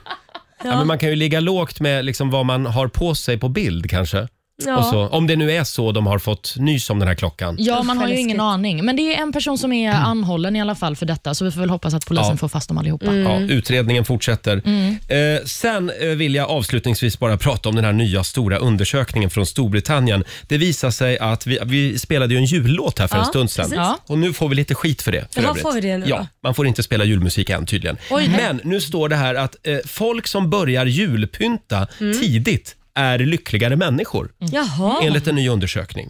Speaker 1: ja. Men man kan ju ligga lågt med liksom vad man har på sig på bild kanske.
Speaker 2: Ja.
Speaker 1: Och så, om det nu är så de har fått nys om den här klockan.
Speaker 3: Ja, man
Speaker 2: Usch,
Speaker 3: har ju
Speaker 2: vad
Speaker 3: ingen
Speaker 2: läskigt. Mm.
Speaker 3: aning. Men det är en person som är anhållen i alla fall för detta, så vi får väl hoppas att polisen
Speaker 1: Ja.
Speaker 3: får fast dem allihopa.
Speaker 2: Mm.
Speaker 1: Ja, utredningen fortsätter. Eh, sen eh, vill jag avslutningsvis bara prata om den här nya stora undersökningen från Storbritannien. Det visar sig att vi, vi spelade ju en jullåt här för en
Speaker 2: Ja,
Speaker 1: stund sedan.
Speaker 2: precis.
Speaker 3: Ja.
Speaker 1: Och nu får vi lite skit för det. För
Speaker 2: Jaha,
Speaker 1: övrigt.
Speaker 2: får vi det nu
Speaker 1: Ja,
Speaker 2: då?
Speaker 1: man får inte spela julmusik än tydligen. Men nu står det här att eh, folk som börjar julpynta
Speaker 2: Mm.
Speaker 1: tidigt är lyckligare människor
Speaker 2: Jaha.
Speaker 1: enligt en ny undersökning.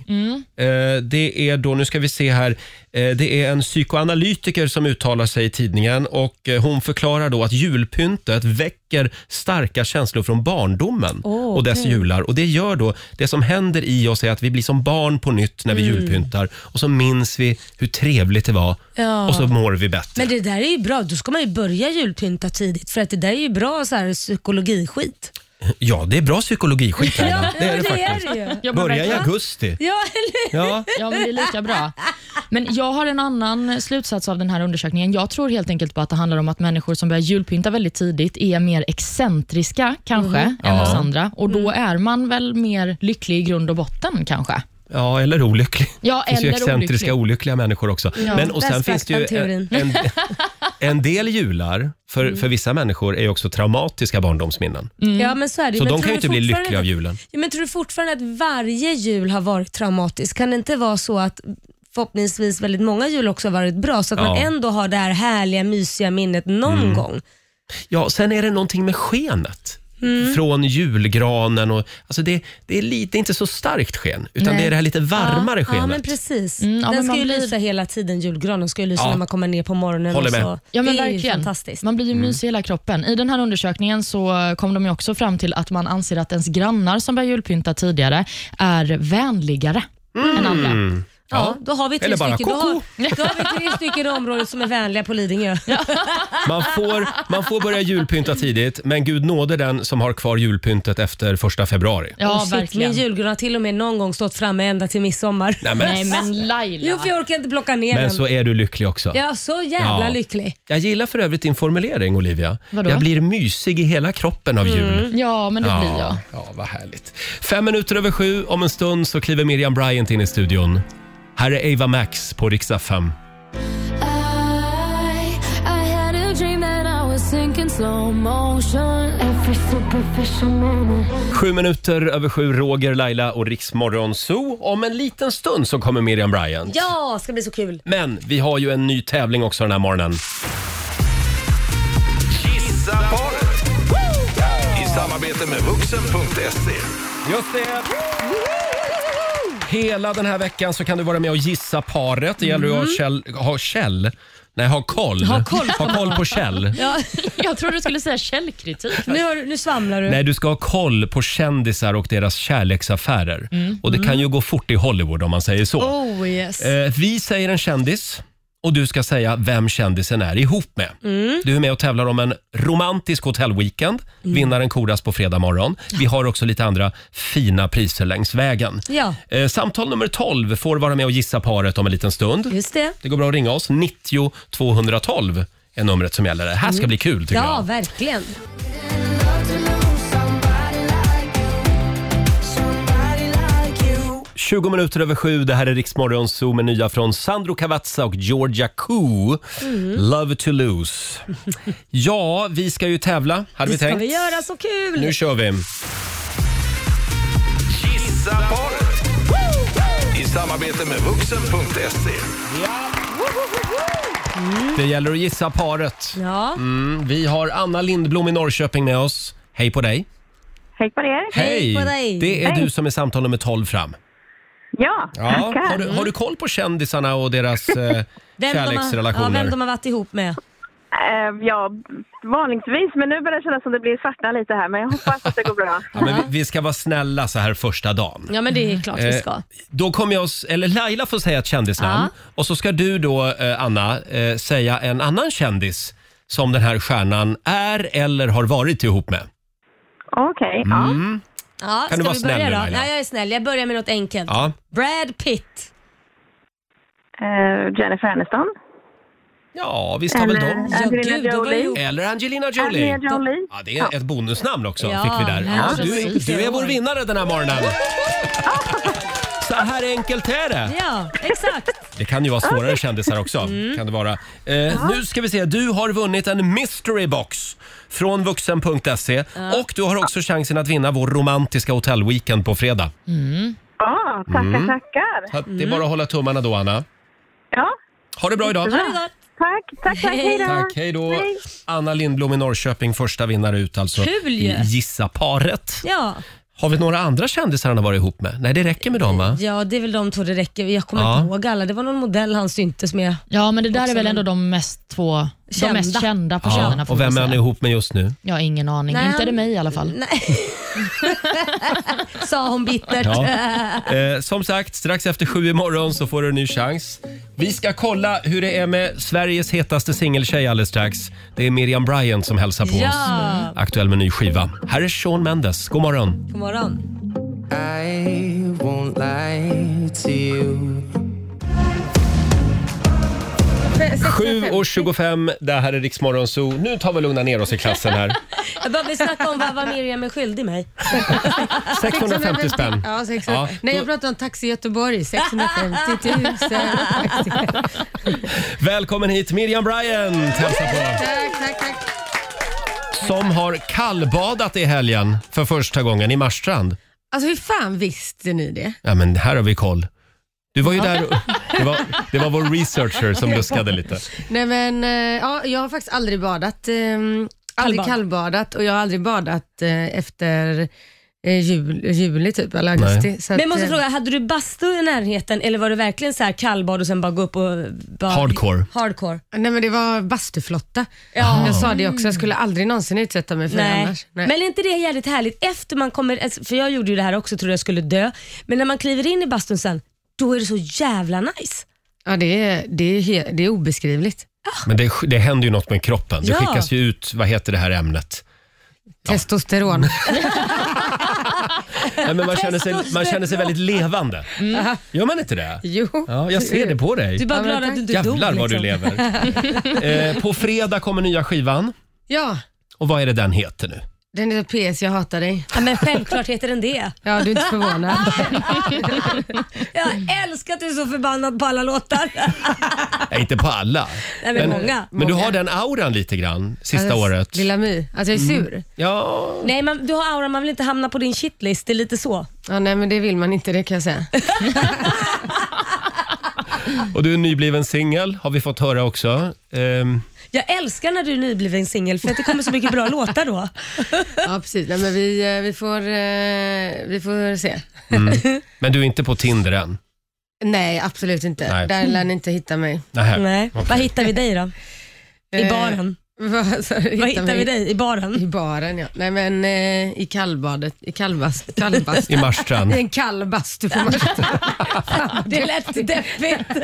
Speaker 1: Eh, det är då, nu ska vi se här, eh, det är en psykoanalytiker som uttalar sig i tidningen och eh, hon förklarar då att julpyntet väcker starka känslor från barndomen
Speaker 2: Åh,
Speaker 1: och dess
Speaker 2: okej.
Speaker 1: jular. Och det gör då, det som händer i oss är att vi blir som barn på nytt när vi
Speaker 2: Mm.
Speaker 1: julpyntar och så minns vi hur trevligt det var
Speaker 2: Ja.
Speaker 1: och så mår vi bättre.
Speaker 2: Men det där är ju bra. Då ska man ju börja julpynta tidigt för att det där är ju bra så här, psykologiskit.
Speaker 1: Ja, det är bra psykologiskit Laila. det är det
Speaker 2: det
Speaker 1: faktiskt.
Speaker 2: är det ju.
Speaker 3: Ja, men
Speaker 1: Börja i
Speaker 3: verkligen.
Speaker 1: augusti.
Speaker 2: Ja, eller
Speaker 1: Ja.
Speaker 3: Ja, men det är lika bra. Men jag har en annan slutsats av den här undersökningen. Jag tror helt enkelt på att det handlar om att människor som börjar julpynta väldigt tidigt är mer excentriska kanske
Speaker 2: Mm.
Speaker 3: än
Speaker 1: Ja.
Speaker 3: oss andra och då är man väl mer lycklig i grund och botten kanske.
Speaker 1: Ja, eller olycklig.
Speaker 3: Ja,
Speaker 1: det finns ju
Speaker 3: eller
Speaker 1: excentriska
Speaker 3: olycklig.
Speaker 1: olyckliga människor också. Men, och sen
Speaker 2: Där sprack
Speaker 1: finns det ju
Speaker 2: den
Speaker 1: en, en, en del jular, för,
Speaker 2: Mm.
Speaker 1: för vissa människor, är ju också traumatiska barndomsminnen.
Speaker 3: Mm.
Speaker 2: Ja, men så är
Speaker 1: Mm.
Speaker 2: det. ju.
Speaker 1: Så
Speaker 2: men
Speaker 1: de
Speaker 2: tror
Speaker 1: kan ju
Speaker 2: du
Speaker 1: inte bli
Speaker 2: fortfarande-
Speaker 1: lyckliga av julen.
Speaker 2: Ja, men tror du fortfarande att varje jul har varit traumatisk? Kan det inte vara så att förhoppningsvis väldigt många jul också har varit bra så att man
Speaker 1: Ja. Mm.
Speaker 2: ändå har det här härliga mysiga minnet någon gång?
Speaker 1: Ja, sen är det någonting med skenet.
Speaker 2: Mm.
Speaker 1: Från julgranen och... Alltså det, det, är lite, det är inte så starkt sken, utan
Speaker 3: Nej.
Speaker 1: det är det här lite varmare
Speaker 2: ja,
Speaker 1: skenet.
Speaker 2: ja, men precis.
Speaker 3: Mm, ja, men
Speaker 2: Den ska
Speaker 3: man
Speaker 2: ju
Speaker 3: blir-
Speaker 2: lysa hela tiden, julgranen ska ju lysa
Speaker 1: Ja.
Speaker 2: när man kommer ner på morgonen.
Speaker 1: Håller
Speaker 2: och
Speaker 1: med.
Speaker 2: så.
Speaker 3: Ja, men
Speaker 2: det är ju
Speaker 3: verkligen.
Speaker 2: fantastiskt. Mm.
Speaker 3: Man blir ju mysig i hela kroppen. I den här undersökningen så kom de ju också fram till att man
Speaker 2: Mm.
Speaker 3: anser att ens grannar som börjar julpynta tidigare är vänligare än andra.
Speaker 1: Ja.
Speaker 2: Ja, då har vi tre
Speaker 1: Eller bara
Speaker 2: stycken. Då har,
Speaker 1: koko.
Speaker 2: då har vi tre stycken i området som är vänliga på Lidingö.
Speaker 1: Man får, man får börja julpynta tidigt, men gud nåde den som har kvar julpyntet efter första februari.
Speaker 3: Ja,
Speaker 2: Och shit,
Speaker 3: verkligen.
Speaker 2: Min julgran har till och med någon gång stått framme ända till midsommar.
Speaker 1: Nej, men,
Speaker 3: Nej, men Laila.
Speaker 2: Jo, för jag orkar inte plocka ner
Speaker 1: men
Speaker 2: den.
Speaker 1: så är du lycklig också.
Speaker 2: Jag är så jävla
Speaker 1: Ja.
Speaker 2: lycklig.
Speaker 1: Jag gillar för övrigt din formulering Olivia.
Speaker 3: Vadå?
Speaker 1: Jag blir mysig i hela kroppen av jul.
Speaker 3: Ja, men det blir jag.
Speaker 1: ja, vad härligt. Fem minuter över sju, om en stund så kliver Miriam Bryant in i studion. Här är Ava Max på riksdag 5.
Speaker 6: I, I had a dream that I was sinking slow motion.
Speaker 1: Sju minuter över sju, Roger, Laila och Riksmorgon Zoo. Om en liten stund så kommer Miriam Bryant.
Speaker 2: Ja, ska bli så kul.
Speaker 1: Men vi har ju en ny tävling också den här morgonen.
Speaker 7: Gissa paret. I samarbete med vuxen.se.
Speaker 1: Just det! Hela den här veckan så kan du vara med och gissa paret. Det gäller ju att ha käll... Ha käll. Nej, ha koll.
Speaker 2: Mm. Ha koll.
Speaker 1: ha koll på käll.
Speaker 2: Ja,
Speaker 3: Jag trodde du skulle säga källkritik.
Speaker 2: nu, har, du- nu svamlar du.
Speaker 1: Nej, du ska ha koll på kändisar och deras kärleksaffärer.
Speaker 2: Mm.
Speaker 1: Och det kan ju gå fort i Hollywood om man säger så.
Speaker 3: Oh yes.
Speaker 1: Eh, vi säger en kändis och du ska säga vem kändisen är ihop med.
Speaker 2: Mm.
Speaker 1: Du är med och tävlar om en romantisk hotellweekend. Vinnaren koras på fredag morgon. Vi har också lite andra fina priser längs vägen.
Speaker 2: Ja.
Speaker 1: Eh, samtal nummer 12 får vara med och gissa paret om en liten stund.
Speaker 2: Just det.
Speaker 1: Det går bra att ringa oss. 90 212 är numret som gäller. Det här ska bli kul tycker
Speaker 2: Mm. Ja,
Speaker 1: jag.
Speaker 2: verkligen.
Speaker 6: Love to lose somebody like you. Somebody like you.
Speaker 1: 20 minuter över sju. Det här är Riksmorgon Zoo med nya från Sandro Cavazza och Georgia Koo.
Speaker 2: Mhm.
Speaker 1: Love to lose. Ja, vi ska ju tävla, hade vi
Speaker 2: Det ska
Speaker 1: tänkt.
Speaker 2: vi göra. Så kul!
Speaker 1: Nu kör vi.
Speaker 7: Gissa paret. I samarbete med vuxen.se.
Speaker 1: Det gäller att gissa paret.
Speaker 2: Ja.
Speaker 1: Mm, vi har Anna Lindblom i Norrköping med oss. Hej på dig.
Speaker 5: Hej på er.
Speaker 2: Hej på dig.
Speaker 1: Det är
Speaker 5: Hej.
Speaker 1: du som är samtal nummer 12 fram.
Speaker 5: Ja,
Speaker 1: Ja.
Speaker 5: tackar. Mm.
Speaker 1: Har, du, har du koll på kändisarna och deras eh,
Speaker 2: Mm. Vem de har- Ja,
Speaker 1: kärleksrelationer?
Speaker 2: vem de har varit ihop med.
Speaker 5: Eh, ja, vanligtvis, men nu börjar det kännas som det blir svartna lite här, men jag hoppas att det går bra.
Speaker 1: ja, men vi, vi ska vara snälla så här första dagen.
Speaker 2: Ja, men det är klart vi
Speaker 1: Eh,
Speaker 2: ska.
Speaker 1: Då kommer jag, s- eller Laila får säga ett kändisnamn och så ska du då, eh, Anna, eh, säga en annan kändis som den här stjärnan är eller har varit ihop med.
Speaker 5: Okej, ja.
Speaker 2: Ja,
Speaker 1: Kan du
Speaker 2: ska
Speaker 1: vara
Speaker 2: vi
Speaker 1: snäll
Speaker 2: börja
Speaker 1: nu,
Speaker 2: då?
Speaker 1: Laila?
Speaker 2: Nej, jag är snäll. Jag börjar med något enkelt.
Speaker 1: Ja.
Speaker 2: Brad Pitt.
Speaker 5: Eh, Jennifer Aniston.
Speaker 1: Ja, visst har väl de.
Speaker 2: Ja,
Speaker 5: Angelina
Speaker 2: gud, då var
Speaker 5: Jolie.
Speaker 2: ju-
Speaker 1: Eller Angelina Jolie.
Speaker 5: Angelina Jolie.
Speaker 1: Ja, det är ett bonusnamn också
Speaker 2: Ja,
Speaker 1: fick vi där. Ja,
Speaker 2: ja,
Speaker 1: du,
Speaker 2: precis.
Speaker 1: du är vår vinnare den här morgonen. Så här enkelt är det.
Speaker 2: Ja, exakt.
Speaker 1: Det kan ju vara svårare kändisar också.
Speaker 2: Mm.
Speaker 1: Kan det vara. Eh, Nu ska vi se. Du har vunnit en mystery box från vuxen.se och du har också chansen att vinna vår romantiska hotellweekend på fredag.
Speaker 5: Ja, tackar, tackar.
Speaker 1: Så att Det är
Speaker 2: Mm.
Speaker 1: bara att hålla tummarna då, Anna.
Speaker 5: Ja,
Speaker 1: Ha det bra idag.
Speaker 5: Jättebra.
Speaker 2: Ha det gott.
Speaker 5: tack, tack, tack. Hej då.
Speaker 1: Tack, hej då.
Speaker 5: Hej.
Speaker 1: Anna Lindblom i Norrköping, första vinnare ut alltså.
Speaker 2: Kul ju.
Speaker 1: i Gissa-paret.
Speaker 2: Ja.
Speaker 1: Har vi några andra kändisar han har varit ihop med? Nej, det räcker med dem va?
Speaker 2: ja, det är väl de två det räcker. Jag kommer
Speaker 1: Ja.
Speaker 2: inte ihåg alla. Det var någon modell han syntes med.
Speaker 3: Ja, men det där är väl
Speaker 2: Också
Speaker 3: ändå de mest två
Speaker 2: Kända.
Speaker 3: De mest kända personerna.
Speaker 1: Ja,
Speaker 3: får
Speaker 1: och
Speaker 3: man
Speaker 1: vem är
Speaker 3: säga.
Speaker 1: han ihop med just nu?
Speaker 3: Jag har ingen aning.
Speaker 2: Nej,
Speaker 3: Inte är det
Speaker 2: han-
Speaker 3: mig i alla fall.
Speaker 2: Sa hon bittert.
Speaker 1: Ja. Eh, som sagt, strax efter sju imorgon så får du en ny chans. Vi ska kolla hur det är med Sveriges hetaste singeltjej alldeles strax. Det är Miriam Bryant som hälsar på
Speaker 2: Ja.
Speaker 1: oss. Aktuell med ny skiva. Här är Shawn Mendes. God morgon.
Speaker 2: God morgon.
Speaker 8: I won't lie to you.
Speaker 1: 7 och 25, det här är Riksmorgon Zoo. Nu tar vi och lugnar ner oss i klassen här.
Speaker 2: Jag bara vill snacka om vad, vad Miriam är skyldig mig.
Speaker 1: 650 spänn.
Speaker 9: Ja, 600.
Speaker 1: Ja,
Speaker 9: Nej,
Speaker 1: då-
Speaker 9: jag pratar om Taxi Göteborg. 650 000. taxi.
Speaker 1: Välkommen hit Miriam Bryant hälsar på.
Speaker 9: Tack, tack, tack.
Speaker 1: Som har kallbadat i helgen för första gången i Marstrand.
Speaker 9: Alltså hur fan visste ni det?
Speaker 1: Ja, men här har vi koll. Du var ju där och, det, var, det var vår researcher som luskade lite.
Speaker 9: Nej men, eh, ja, jag har faktiskt aldrig badat. Eh, aldrig
Speaker 2: Kallbad.
Speaker 9: kallbadat och jag har aldrig badat eh, efter eh, jul, juli typ, eller augusti. Så
Speaker 2: Men jag måste
Speaker 9: eh,
Speaker 2: fråga, hade du bastu i närheten eller var du verkligen så här kallbad och sen bara gå upp och... Bara...
Speaker 1: Hardcore.
Speaker 2: Hardcore.
Speaker 9: Nej men det var bastuflotta. Jag sa det också, jag skulle aldrig någonsin utsätta mig för det
Speaker 2: Mm. Nej.
Speaker 9: annars. Nej.
Speaker 2: Men är inte det eh, jävligt härligt? Efter man kommer, alltså, för jag gjorde ju det här också, trodde jag skulle dö. Men när man kliver in i bastun sen, då är det så jävla nice.
Speaker 9: Ja, det är, det är, he- det är obeskrivligt.
Speaker 1: Men det, det händer ju något med kroppen. Det
Speaker 2: Ja.
Speaker 1: skickas ju ut, vad heter det här ämnet?
Speaker 9: Testosteron.
Speaker 1: Nej, men man, känner sig, man känner sig väldigt levande. Gör man inte det?
Speaker 9: jo.
Speaker 1: Ja, jag ser det på dig.
Speaker 2: Mm. Du är bara
Speaker 9: Ja, men
Speaker 2: glad att
Speaker 9: tack.
Speaker 2: du inte dog. liksom.
Speaker 1: Jävlar vad du lever. Eh, på fredag kommer nya skivan.
Speaker 9: Ja,
Speaker 1: Och vad är det den heter nu?
Speaker 9: den är PS, jag hatar dig.
Speaker 2: Ja, men självklart heter den det.
Speaker 9: Ja, du är inte förvånad.
Speaker 2: Jag älskar att du är så förbannad på alla låtar.
Speaker 1: Nej, inte på alla.
Speaker 2: Nej, men många.
Speaker 1: men du har den auran lite grann sista
Speaker 9: Alltså,
Speaker 1: året. Mm.
Speaker 9: Lilla My. Alltså jag är sur.
Speaker 1: Ja,
Speaker 2: Nej, men du har aura, man vill inte hamna på din shitlist. Det är lite så.
Speaker 9: Ja, nej, men det vill man inte, det kan jag säga.
Speaker 1: och du är nybliven singel har vi fått höra också. Ehm,
Speaker 2: Jag älskar när du är nybliven singel för att det kommer så mycket bra låtar då.
Speaker 9: Ja, precis. Nej, men vi, eh, vi, får, eh, vi får se.
Speaker 1: men du är inte på Tinder än?
Speaker 9: Nej, absolut inte.
Speaker 1: Nej.
Speaker 9: Där lär ni inte hitta mig.
Speaker 1: Nähä.
Speaker 2: Nej.
Speaker 1: Okej.
Speaker 2: Vad hittar vi dig då? I
Speaker 9: Eh,
Speaker 2: baren.
Speaker 9: Vad sa du?
Speaker 2: Vad hittar
Speaker 9: mig?
Speaker 2: vi dig? I baren?
Speaker 9: I baren, ja. Nej, men eh, i kallbadet. I kallbast. kallbast.
Speaker 1: I Marstrand.
Speaker 9: I en kallbastu på Marstrand.
Speaker 2: Det lät deppigt.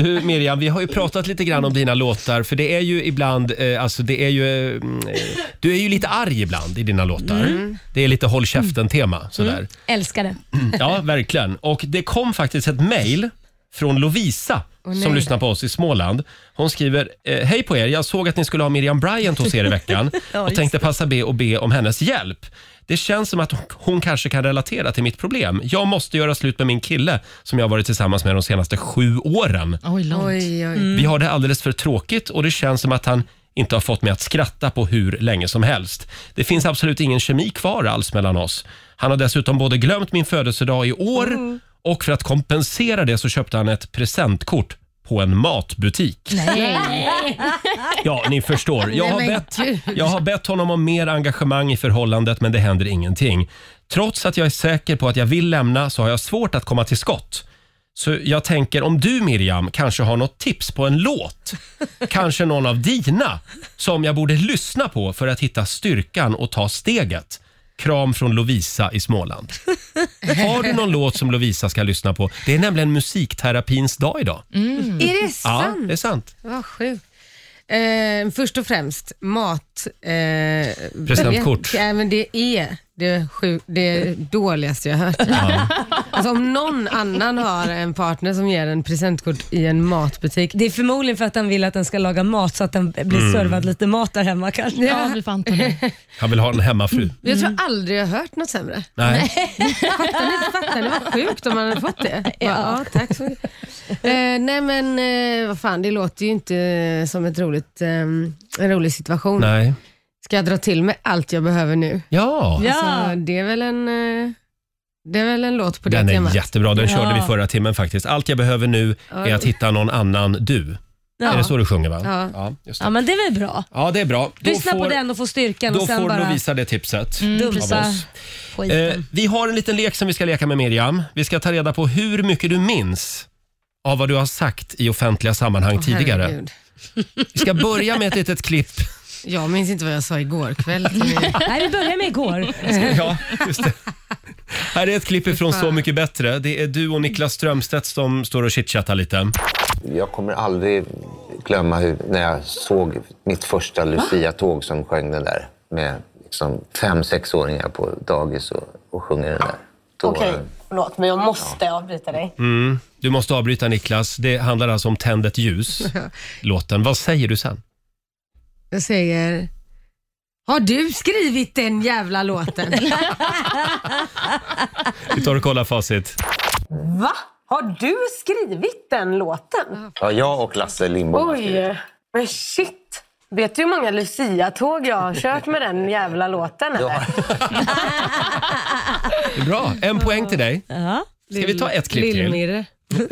Speaker 1: Du Miriam, vi har ju pratat lite grann om dina låtar för det är ju ibland, eh, alltså det är ju, eh, mm, eh, du är ju lite arg ibland i dina låtar. Det är lite håll käften-tema sådär.
Speaker 2: Älskar det.
Speaker 1: Ja, verkligen. Och det kom faktiskt ett mejl från Lovisa som lyssnar på oss i Småland. Hon skriver, eh, hej på er, jag såg att ni skulle ha Miriam Bryant hos er i veckan och tänkte passa be och be om hennes hjälp. Det känns som att hon kanske kan relatera till mitt problem. Jag måste göra slut med min kille som jag har varit tillsammans med de senaste sju åren.
Speaker 3: Oj, långt.
Speaker 9: Oj, oj.
Speaker 2: Mm.
Speaker 1: Vi har det alldeles för tråkigt och det känns som att han inte har fått mig att skratta på hur länge som helst. Det finns absolut ingen kemi kvar alls mellan oss. Han har dessutom både glömt min födelsedag i år och för att kompensera det så köpte han ett presentkort på en matbutik.
Speaker 3: Nej.
Speaker 1: Ja, ni förstår. Jag har,
Speaker 9: Nej, men
Speaker 1: bett,
Speaker 9: gud.
Speaker 1: jag har bett honom om mer engagemang i förhållandet men det händer ingenting. Trots att jag är säker på att jag vill lämna så har jag svårt att komma till skott. Så jag tänker om du Miriam kanske har något tips på en låt? Kanske någon av dina som jag borde lyssna på för att hitta styrkan och ta steget? Kram från Lovisa i Småland. Har du någon låt som Lovisa ska lyssna på? Det är nämligen musikterapins dag idag.
Speaker 9: Är det
Speaker 1: Ja,
Speaker 9: sant?
Speaker 1: det är sant.
Speaker 9: Vad sjukt. Eh, först och främst, mat. Eh,
Speaker 1: Presentkort.
Speaker 9: Ja, men det är det, sju, det dåligaste jag har hört. Alltså, om någon annan har en partner som ger en presentkort i en matbutik.
Speaker 2: Det är förmodligen för att han vill att den ska laga mat så att den blir servad lite mat där hemma kanske.
Speaker 3: Ja, vi får anta det.
Speaker 1: Han vill ha en hemmafru.
Speaker 9: Jag tror aldrig jag har hört något sämre.
Speaker 1: Nej.
Speaker 9: Fattar ni? Fattar ni vad sjukt om man hade fått det? Bara, ja, tack så mycket. Eh, nej men eh, vad fan, det låter ju inte som ett roligt, eh, en rolig situation.
Speaker 1: Nej.
Speaker 9: Ska jag dra till med allt jag behöver nu?
Speaker 1: Ja.
Speaker 2: Ja.
Speaker 9: Alltså, det, är väl en, eh, det är väl en låt på det
Speaker 1: Den
Speaker 9: temat.
Speaker 1: är jättebra. Den
Speaker 2: Ja.
Speaker 1: körde vi förra timmen faktiskt. Allt jag behöver nu är att hitta någon annan du.
Speaker 2: Ja.
Speaker 1: Är det så du sjunger va?
Speaker 9: Ja.
Speaker 1: just
Speaker 2: Ja,
Speaker 1: det.
Speaker 2: men det är väl bra.
Speaker 1: ja det är bra. Då
Speaker 2: Lyssna
Speaker 1: får,
Speaker 2: på den och få styrkan
Speaker 1: Då
Speaker 2: och sen
Speaker 1: får
Speaker 2: bara
Speaker 1: Lovisa det tipset.
Speaker 2: dumsa
Speaker 1: av oss.
Speaker 2: skiten.
Speaker 1: Eh, vi har en liten lek som vi ska leka med Miriam. Vi ska ta reda på hur mycket du minns av vad du har sagt i offentliga sammanhang
Speaker 9: Åh,
Speaker 1: tidigare.
Speaker 9: herregud.
Speaker 1: Vi ska börja med ett litet klipp.
Speaker 9: Jag minns inte vad jag sa igår kväll.
Speaker 2: Nej, vi började med igår.
Speaker 1: Ja, just det. Här är ett klipp ifrån Så mycket bättre. Det är du och Niklas Strömstedt som står och chitchattar lite.
Speaker 10: Jag kommer aldrig glömma hur, när jag såg mitt första Lucia-tåg som sjöng den där med liksom fem, sexåringar på dagis och, och sjunger den där. Då,
Speaker 5: förlåt, men jag måste avbryta dig.
Speaker 1: Du måste avbryta Niklas. Det handlar alltså om Tänd ett ljus, låten. Vad säger du sen?
Speaker 9: Jag säger, har du skrivit den jävla låten?
Speaker 1: Vi tar och kollar facit.
Speaker 5: Va? Har du skrivit den låten?
Speaker 10: Ja, jag och Lasse Lindbom.
Speaker 5: Oj, men shit. Vet du hur många Lucia-tåg jag har kört med den jävla låten? Eller?
Speaker 1: Det är bra. En poäng till dig. Ska vi ta ett klipp till?
Speaker 9: Lillmirre.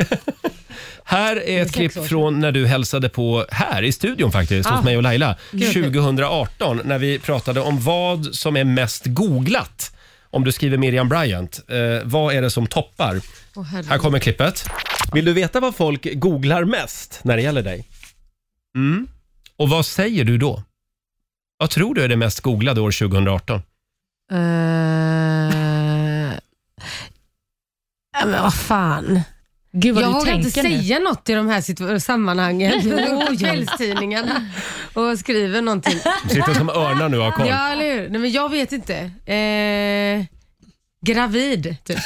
Speaker 1: Här är ett klipp från när du hälsade på här i studion faktiskt,
Speaker 9: Ah.
Speaker 1: hos mig och Laila. 2018 när vi pratade om vad som är mest googlat. Om du skriver Miriam Bryant, eh, vad är det som toppar?
Speaker 9: herregud.
Speaker 1: här kommer klippet. Vill du veta vad folk googlar mest när det gäller dig? Mm. Och vad säger du då? Vad tror du är det mest googlade år 2018?
Speaker 9: Eh, ja, men vad fan.
Speaker 3: Gud, vad
Speaker 9: jag
Speaker 3: du
Speaker 9: vågar inte
Speaker 3: tänker nu. Oh,
Speaker 9: säga något i de här situ- sammanhangen. Jag går på kvällstidningarna och skriver någonting.
Speaker 1: De sitter som örnar nu och har koll.
Speaker 9: Ja, eller hur? Nej, men jag vet inte. Eh, gravid, typ.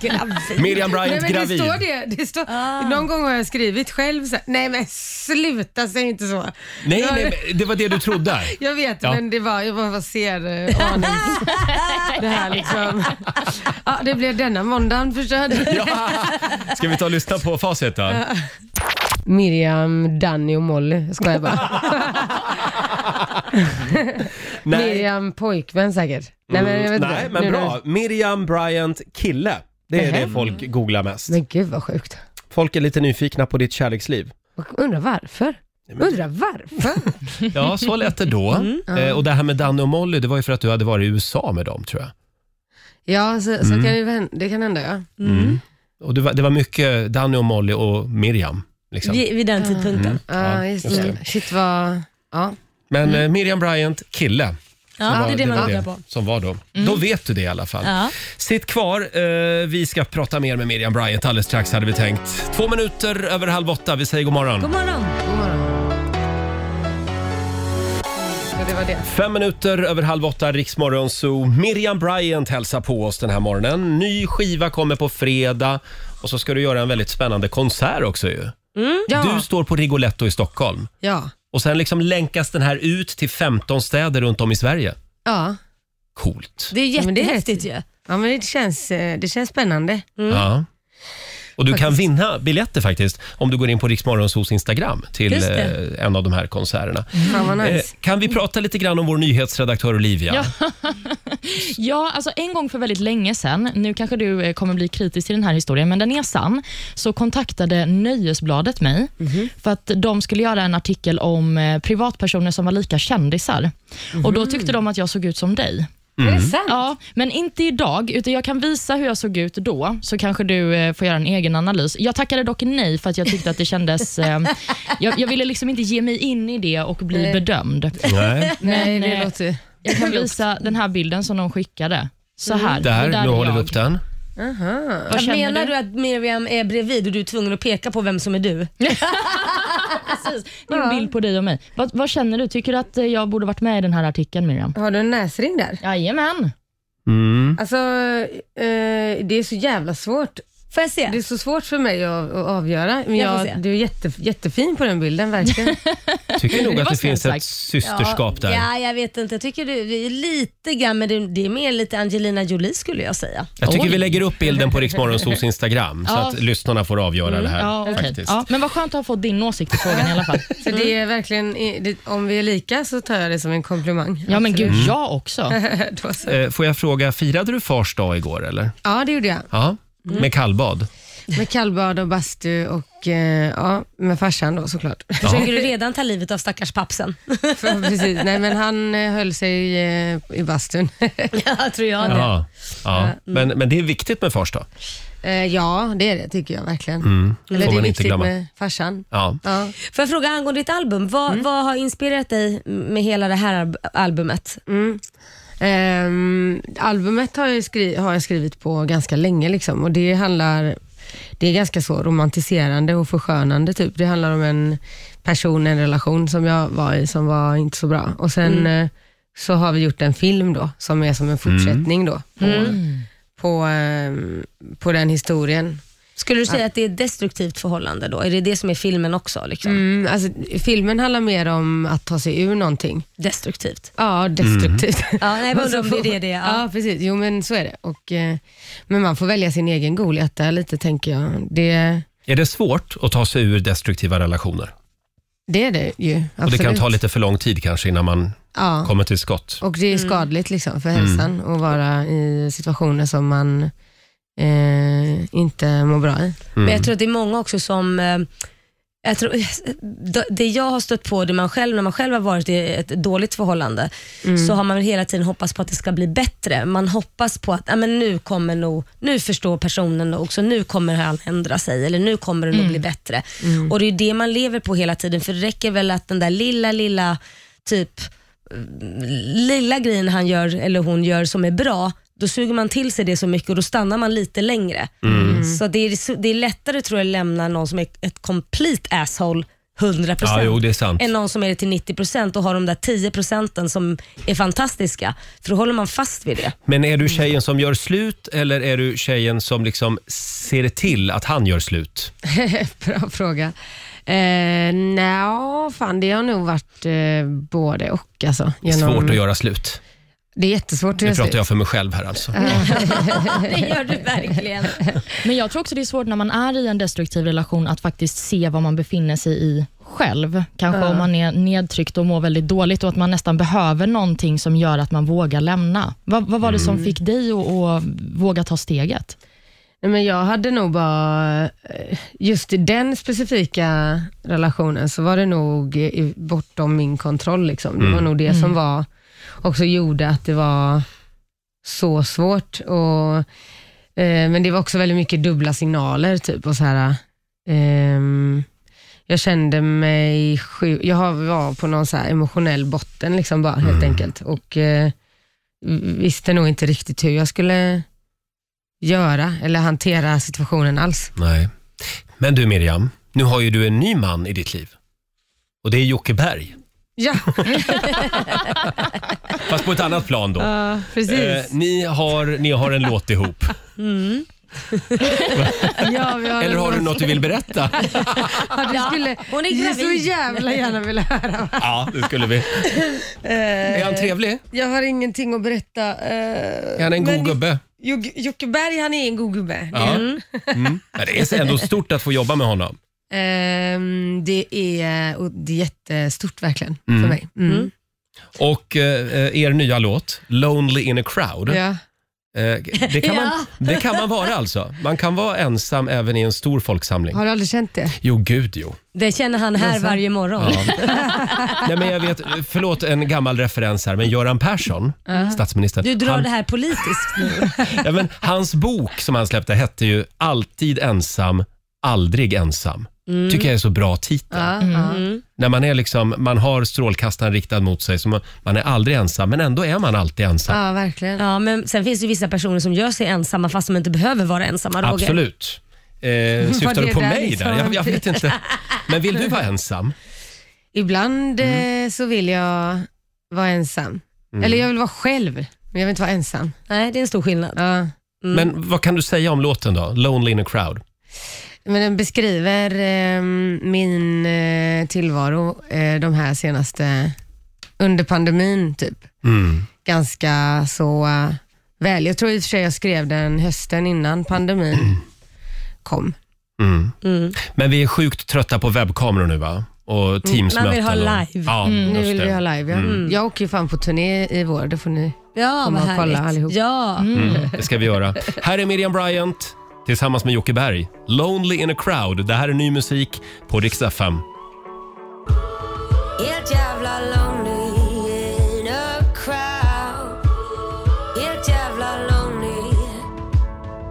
Speaker 9: gravid.
Speaker 1: Miriam Bryant
Speaker 9: Nej, men
Speaker 1: gravid.
Speaker 9: Det står det. det står,
Speaker 3: Ah.
Speaker 9: Någon gång har jag skrivit själv så här, Nej men sluta, säg inte så.
Speaker 1: Nej,
Speaker 9: jag,
Speaker 1: nej, men det var det du trodde.
Speaker 9: Jag vet,
Speaker 1: Ja.
Speaker 9: men det var, jag bara ser eh, anings. det här liksom. Ja, det blev denna måndagen förstörd.
Speaker 1: Ska vi ta och lyssna på facit då?
Speaker 9: Miriam, Danny och Molly. Jag skojar bara. Miriam pojkvän säkert. Nej men, jag vet
Speaker 1: Mm, nej,
Speaker 9: inte.
Speaker 1: men
Speaker 9: Nu
Speaker 1: bra. Miriam Bryant kille. Det är
Speaker 9: Mhm.
Speaker 1: det folk googlar mest.
Speaker 9: Men gud vad sjukt.
Speaker 1: Folk är lite nyfikna på ditt kärleksliv.
Speaker 9: när- Undrar varför? Undrar varför?
Speaker 1: Ja, så lät det då.
Speaker 9: Mm.
Speaker 1: Eh, och det här med Danne och Molly, det var ju för att du hade varit i USA med dem tror jag.
Speaker 9: Ja, så, så
Speaker 1: Mm.
Speaker 9: kan det, ju hända- det kan hända ja.
Speaker 1: Mm. Och det var, det var mycket Danne och Molly och Miriam. Liksom.
Speaker 2: den
Speaker 1: tidpunkten.
Speaker 9: Ja,
Speaker 1: Mm. Ja,
Speaker 9: just,
Speaker 1: just
Speaker 9: det.
Speaker 1: det.
Speaker 9: Shit vad... Ja.
Speaker 1: Men eh, Miriam Bryant, kille.
Speaker 9: Mm. Ja,
Speaker 1: Så
Speaker 9: det är det man
Speaker 1: var
Speaker 9: googlar på. Mm.
Speaker 1: Som var då. Då vet du det i alla fall.
Speaker 9: Ja.
Speaker 1: Sitt kvar. Eh, vi ska prata mer med Miriam Bryant alldeles strax hade vi tänkt. Två minuter över halv åtta. Vi säger god morgon.
Speaker 2: God morgon.
Speaker 9: God morgon. Så det var det.
Speaker 1: Fem minuter över halv åtta, Riksmorgon Zoo. Miriam Bryant hälsar på oss den här morgonen. Ny skiva kommer på fredag och så ska du göra en väldigt spännande konsert också ju.
Speaker 9: Ja.
Speaker 1: Du står på Rigoletto i Stockholm
Speaker 9: ja.
Speaker 1: och sen liksom länkas den här ut till 15 städer runt om i Sverige.
Speaker 9: Ja.
Speaker 1: Coolt.
Speaker 2: Det är
Speaker 9: Ja, men det är
Speaker 2: jättehäftigt ju.
Speaker 9: Ja, men det känns, eh, det känns spännande.
Speaker 1: Ja. Och du kan
Speaker 9: Faktiskt.
Speaker 1: vinna biljetter faktiskt om du går in på Riksmorgonsos Instagram till
Speaker 9: Just det.
Speaker 1: eh, en av de här konserterna.
Speaker 9: Fan vad nice.
Speaker 1: Eh, Kan vi prata lite grann om vår nyhetsredaktör Olivia?
Speaker 3: Ja, alltså en gång för väldigt länge sedan, nu kanske du eh, kommer bli kritisk till den här historien, men den är sann, så kontaktade Nöjesbladet mig
Speaker 6: Mhm.
Speaker 3: för att de skulle göra en artikel om eh, privatpersoner som var lika kändisar. Och Då tyckte de att jag såg ut som dig.
Speaker 6: Mm. Mhm. Är det sant?
Speaker 3: Ja, men inte idag, utan jag kan visa hur jag såg ut då, så kanske du eh, får göra en egen analys. Jag tackade dock nej för att jag tyckte att det kändes... Eh, jag, jag ville liksom inte ge mig in i det och bli
Speaker 9: Nej.
Speaker 3: bedömd.
Speaker 1: Nej.
Speaker 9: Nej, det
Speaker 3: eh,
Speaker 9: låter Mm. ju...
Speaker 3: jag kan visa den här bilden som de skickade. Så här.
Speaker 1: Där,
Speaker 3: Det
Speaker 1: nu
Speaker 3: är
Speaker 1: håller vi
Speaker 3: jag.
Speaker 1: upp den.
Speaker 9: Aha.
Speaker 3: Vad
Speaker 2: Jag
Speaker 3: känner
Speaker 2: menar
Speaker 3: du?
Speaker 2: du att Miriam är bredvid och du är tvungen att peka på vem som är du?
Speaker 3: Precis. Det är en bild på dig och mig. Vad, vad känner du? Tycker du att eh, jag borde varit med i den här artikeln Miriam?
Speaker 9: Har du en näsring där?
Speaker 3: Jajamän.
Speaker 9: Alltså, eh, det är så jävla svårt.
Speaker 2: Får jag se?
Speaker 9: Det är så svårt för mig att, att avgöra. Men
Speaker 2: Jag får
Speaker 9: jag,
Speaker 2: se.
Speaker 9: du är jätte, jättefin på den bilden, verkligen.
Speaker 1: Tycker nog
Speaker 9: Det
Speaker 1: att
Speaker 9: var
Speaker 1: det finns
Speaker 9: snällt
Speaker 1: ett
Speaker 9: sagt.
Speaker 1: systerskap
Speaker 2: ja,
Speaker 1: där.
Speaker 2: Ja, jag vet inte. Jag tycker du det är lite grann, men det det är mer lite Angelina Jolie skulle jag säga.
Speaker 1: Jag tycker vi lägger upp bilden på Riksmorgonsos Instagram så
Speaker 2: Ja.
Speaker 1: att lyssnarna får avgöra
Speaker 2: Mm.
Speaker 1: det här.
Speaker 3: Ja, okej.
Speaker 1: faktiskt.
Speaker 3: ja, men vad skönt att ha fått din åsikt i frågan i alla fall.
Speaker 9: Så det är verkligen, det, om vi är lika så tar jag det som en komplimang.
Speaker 3: Ja, men gud,
Speaker 1: Mm.
Speaker 3: jag också.
Speaker 9: Då så.
Speaker 1: Eh, Får jag fråga, firade du fars dag igår eller?
Speaker 9: Ja, det gjorde jag.
Speaker 1: Ja,
Speaker 9: Mm.
Speaker 1: med kallbad.
Speaker 9: Med kallbad och bastu och eh, ja, med farsan då såklart.
Speaker 2: Försöker du redan ta livet av stackars pappsen?
Speaker 9: För, precis. Nej, men han eh, höll sig eh, i bastun.
Speaker 2: ja, tror jag
Speaker 1: Ja, ja. Men, men det är viktigt med fars dag.
Speaker 9: Eh, ja, det är det tycker jag verkligen.
Speaker 1: Mm.
Speaker 9: Eller
Speaker 1: Får
Speaker 9: det
Speaker 1: man
Speaker 9: är
Speaker 1: inte
Speaker 9: viktigt
Speaker 1: glömma.
Speaker 9: med farsan.
Speaker 1: Ja.
Speaker 9: Ja.
Speaker 2: Får jag fråga angående ditt album? Vad, vad har inspirerat dig med hela det här alb- albumet?
Speaker 9: Mm. Ehm, albumet har jag, skri- har jag skrivit på ganska länge liksom, och det handlar det är ganska så romantiserande och förskönande. Typ. Det handlar om en person, en relation som jag var i som var inte så bra. Och Sen
Speaker 6: Mm.
Speaker 9: eh, så har vi gjort en film då, som är som en fortsättning då, på,
Speaker 2: Mm.
Speaker 9: på, ehm, på den historien.
Speaker 2: Skulle du säga att det är ett destruktivt förhållande då? Är det det som är filmen också? Liksom?
Speaker 9: Mm, alltså, filmen handlar mer om att ta sig ur någonting.
Speaker 2: Destruktivt.
Speaker 9: Ja, destruktivt.
Speaker 2: Mm. Ja, nej, jag bara undrar om det är det det är.
Speaker 9: Ja. precis. Jo, men så är det. Och, eh, men man får välja sin egen godhjärta lite, tänker jag. Det,
Speaker 1: Är det svårt att ta sig ur destruktiva relationer?
Speaker 9: det är det ju. Absolut.
Speaker 1: Och det kan ta lite för lång tid kanske innan man
Speaker 9: Ja.
Speaker 1: kommer till skott.
Speaker 9: Och det är skadligt liksom, för hälsan
Speaker 1: Mm.
Speaker 9: att vara i situationer som man eh, inte mår bra i.
Speaker 2: Men jag tror att det är många också som eh, jag tror, det jag har stött på, det man själv, när man själv har varit i ett dåligt förhållande,
Speaker 9: Mm.
Speaker 2: så har man väl hela tiden hoppats på att det ska bli bättre. Man hoppas på att ja, men nu kommer nog, nu förstår personen nog, så nu kommer han ändra sig, eller nu kommer det nog
Speaker 9: Mm.
Speaker 2: bli bättre.
Speaker 9: Mm.
Speaker 2: Och det är ju det man lever på hela tiden, för det räcker väl att den där lilla, eh, lilla typ lilla grejen han gör eller hon gör som är bra då suger man till sig det så mycket och då stannar man lite längre.
Speaker 1: Mm.
Speaker 2: Så det är, det är lättare tror jag att lämna någon som är ett complete asshole 100%
Speaker 1: Ja, jo, det är sant.
Speaker 2: än någon som är det till 90% och har de där 10% som är fantastiska. För då håller man fast vid det.
Speaker 1: Men är
Speaker 9: Mm.
Speaker 1: du tjejen som gör slut eller är du tjejen som liksom ser till att han gör slut?
Speaker 9: Bra fråga. Eh, Nja, fan det har nog varit eh, både och alltså.
Speaker 1: Det är svårt att göra slut.
Speaker 9: Det är jättesvårt att
Speaker 1: Nu
Speaker 9: göra
Speaker 1: pratar
Speaker 9: slut.
Speaker 1: jag för mig själv här alltså.
Speaker 2: det gör du verkligen.
Speaker 3: Men jag tror också det är svårt när man är i en destruktiv relation att faktiskt se vad man befinner sig i själv. Kanske
Speaker 9: Ja.
Speaker 3: om man är nedtryckt och mår väldigt dåligt och att man nästan behöver någonting som gör att man vågar lämna. Vad, vad var det som
Speaker 9: Mm.
Speaker 3: fick dig att, att våga ta steget?
Speaker 9: Nej, men jag hade nog bara, eh, just i den specifika relationen så var det nog i- bortom min kontroll. Liksom. Det
Speaker 11: Mm.
Speaker 9: var nog det
Speaker 11: Mm.
Speaker 9: som var, också gjorde att det var så svårt. Och, eh, men det var också väldigt mycket dubbla signaler. Typ, och så här, ehm, jag kände mig sjuk. Jag har- var på någon så här emotionell botten liksom bara, helt enkelt. Och eh, visste nog inte riktigt hur jag skulle göra eller hantera situationen alls.
Speaker 1: Nej. Men du Miriam, nu har ju du en ny man i ditt liv. Och det är Jocke Berg.
Speaker 9: Ja.
Speaker 1: Fast på ett annat plan då. Eh,
Speaker 9: Ja, precis.
Speaker 1: ni, har, ni har en låt ihop.
Speaker 2: Mm.
Speaker 9: ja, vi
Speaker 1: Eller har du något du vill berätta?
Speaker 9: Ja, du skulle
Speaker 2: hon är
Speaker 9: du så
Speaker 2: gravid.
Speaker 9: jävla gärna vilja höra.
Speaker 1: Ja, det skulle vi.
Speaker 9: Är
Speaker 1: han trevlig?
Speaker 9: Eh, Jag har ingenting att berätta. eh,
Speaker 1: Är han en god gubbe?
Speaker 9: Jocke Jocke Berg, han är en god gubbe.
Speaker 1: Ja. Mm. Men det är ändå stort att få jobba med honom.
Speaker 9: Ehm, det, är, och det är jättestort verkligen
Speaker 1: Mm.
Speaker 9: för mig. Mm.
Speaker 1: Mm. Och eh, er nya låt, Lonely in a crowd.
Speaker 9: Ja.
Speaker 1: Eh, Det kan, man,
Speaker 9: Ja.
Speaker 1: det kan man vara alltså. Man kan vara ensam även i en stor folksamling.
Speaker 9: Har du aldrig känt det?
Speaker 1: Jo, gud jo.
Speaker 2: Det känner han här
Speaker 9: Jaså?
Speaker 2: varje morgon.
Speaker 1: Nej, men jag vet, förlåt en gammal referens här, men Göran Persson,
Speaker 2: Ja.
Speaker 1: statsministern.
Speaker 2: Du drar
Speaker 1: han,
Speaker 2: det här politiskt nu.
Speaker 1: ja, men, hans bok som han släppte hette ju Alltid ensam, aldrig ensam.
Speaker 2: Mm.
Speaker 1: Tycker jag är så bra titel.
Speaker 9: Ja, ja.
Speaker 1: När man är liksom, man har strålkastaren riktad mot sig, så man, man är aldrig ensam, men ändå är man alltid ensam.
Speaker 9: Ja, verkligen.
Speaker 2: Ja, men sen finns det ju vissa personer som gör sig ensamma fast de inte behöver vara ensamma, Roger.
Speaker 1: Absolut. Eh,
Speaker 2: Var
Speaker 1: syftar du
Speaker 2: det
Speaker 1: på
Speaker 2: där
Speaker 1: mig
Speaker 2: liksom
Speaker 1: där? Jag,
Speaker 2: en-
Speaker 1: jag vet inte. Men vill du vara ensam?
Speaker 9: Ibland eh, så vill jag vara ensam.
Speaker 1: Mm.
Speaker 9: Eller jag vill vara själv, men jag vill inte vara ensam.
Speaker 2: Nej, det är en stor skillnad.
Speaker 9: Ja.
Speaker 1: Men vad kan du säga om låten då? Lonely in a crowd.
Speaker 9: Men den beskriver eh, min eh, tillvaro eh, de här senaste, under pandemin typ.
Speaker 1: Mm.
Speaker 9: Ganska så eh, väl. Jag tror i och för sig jag skrev den hösten innan pandemin kom.
Speaker 1: Mm. Men vi är sjukt trötta på webbkameror nu va? Och teamsmöten.
Speaker 9: Mm. Man vill ha
Speaker 1: och-
Speaker 9: live. Mm,
Speaker 1: Ja, just
Speaker 9: Nu vill
Speaker 1: det.
Speaker 9: vi ha live, ja.
Speaker 1: Mm.
Speaker 9: Jag åker ju fan på turné i vår, det får ni
Speaker 2: Ja,
Speaker 9: komma
Speaker 2: vad
Speaker 9: och
Speaker 2: härligt.
Speaker 9: kolla allihop.
Speaker 2: Ja.
Speaker 1: Mm, det ska vi göra. Här är Miriam Bryant tillsammans med Jocke Berg. Lonely in a crowd. Det här är ny musik på Rix FM.
Speaker 6: Helt jävla lonely in a crowd Helt jävla lonely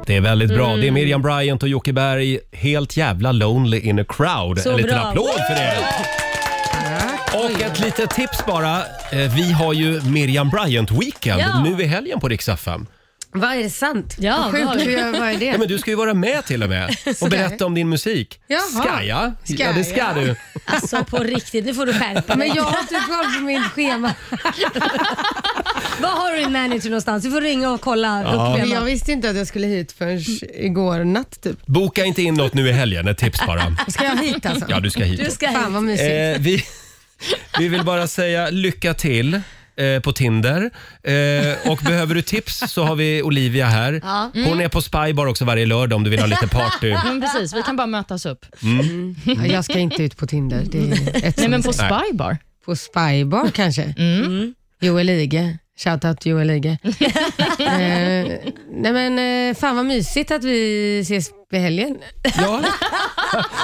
Speaker 1: Det är väldigt bra.
Speaker 6: Mm.
Speaker 1: Det är Miriam Bryant och Jocke Berg. Helt jävla lonely in a crowd.
Speaker 6: Så
Speaker 1: en liten
Speaker 6: bra.
Speaker 1: applåd för det. Och ett litet tips bara. Eh, Vi har ju Miriam Bryant-weekend
Speaker 9: Ja.
Speaker 1: nu i helgen på Rix FM.
Speaker 9: Vad är det sant?
Speaker 2: Ja,
Speaker 9: vad sjukt.
Speaker 2: vad-
Speaker 9: Hur gör- Vad är det?
Speaker 1: Ja, men du ska ju vara med till och med och
Speaker 9: Ska
Speaker 1: berätta om din musik.
Speaker 9: Jaha.
Speaker 1: Ska jag?
Speaker 9: Ska
Speaker 1: ja, det ska
Speaker 9: jag?
Speaker 1: du.
Speaker 2: Alltså på riktigt, nu får du skärpa dig.
Speaker 9: Men jag har inte koll på mitt schema.
Speaker 2: Var har du din manager någonstans? Du får ringa och kolla.
Speaker 1: Ja.
Speaker 9: Men Jag visste inte att jag skulle hit förrän igår natt typ.
Speaker 1: Boka inte in något nu i helgen, ett tips bara.
Speaker 9: Ska jag hit alltså?
Speaker 1: Ja, du ska hit. Du
Speaker 9: ska Fan vad mysigt.
Speaker 1: Eh, vi, vi vill bara säga lycka till eh, på Tinder. Eh, och behöver du tips så har vi Olivia här.
Speaker 3: Ja.
Speaker 1: Hon
Speaker 3: Mm.
Speaker 1: är på Spybar också varje lördag om du vill ha lite party.
Speaker 3: Men precis, vi kan bara mötas upp.
Speaker 1: Mm.
Speaker 9: Ja, jag ska inte ut på Tinder. Det är ett
Speaker 3: Nej, men på
Speaker 9: som-
Speaker 3: Spybar.
Speaker 9: På Spybar kanske? Joel Ige. Shoutout Joel Ige. eh, nej men eh, fan vad mysigt att vi ses i helgen.
Speaker 1: Ja.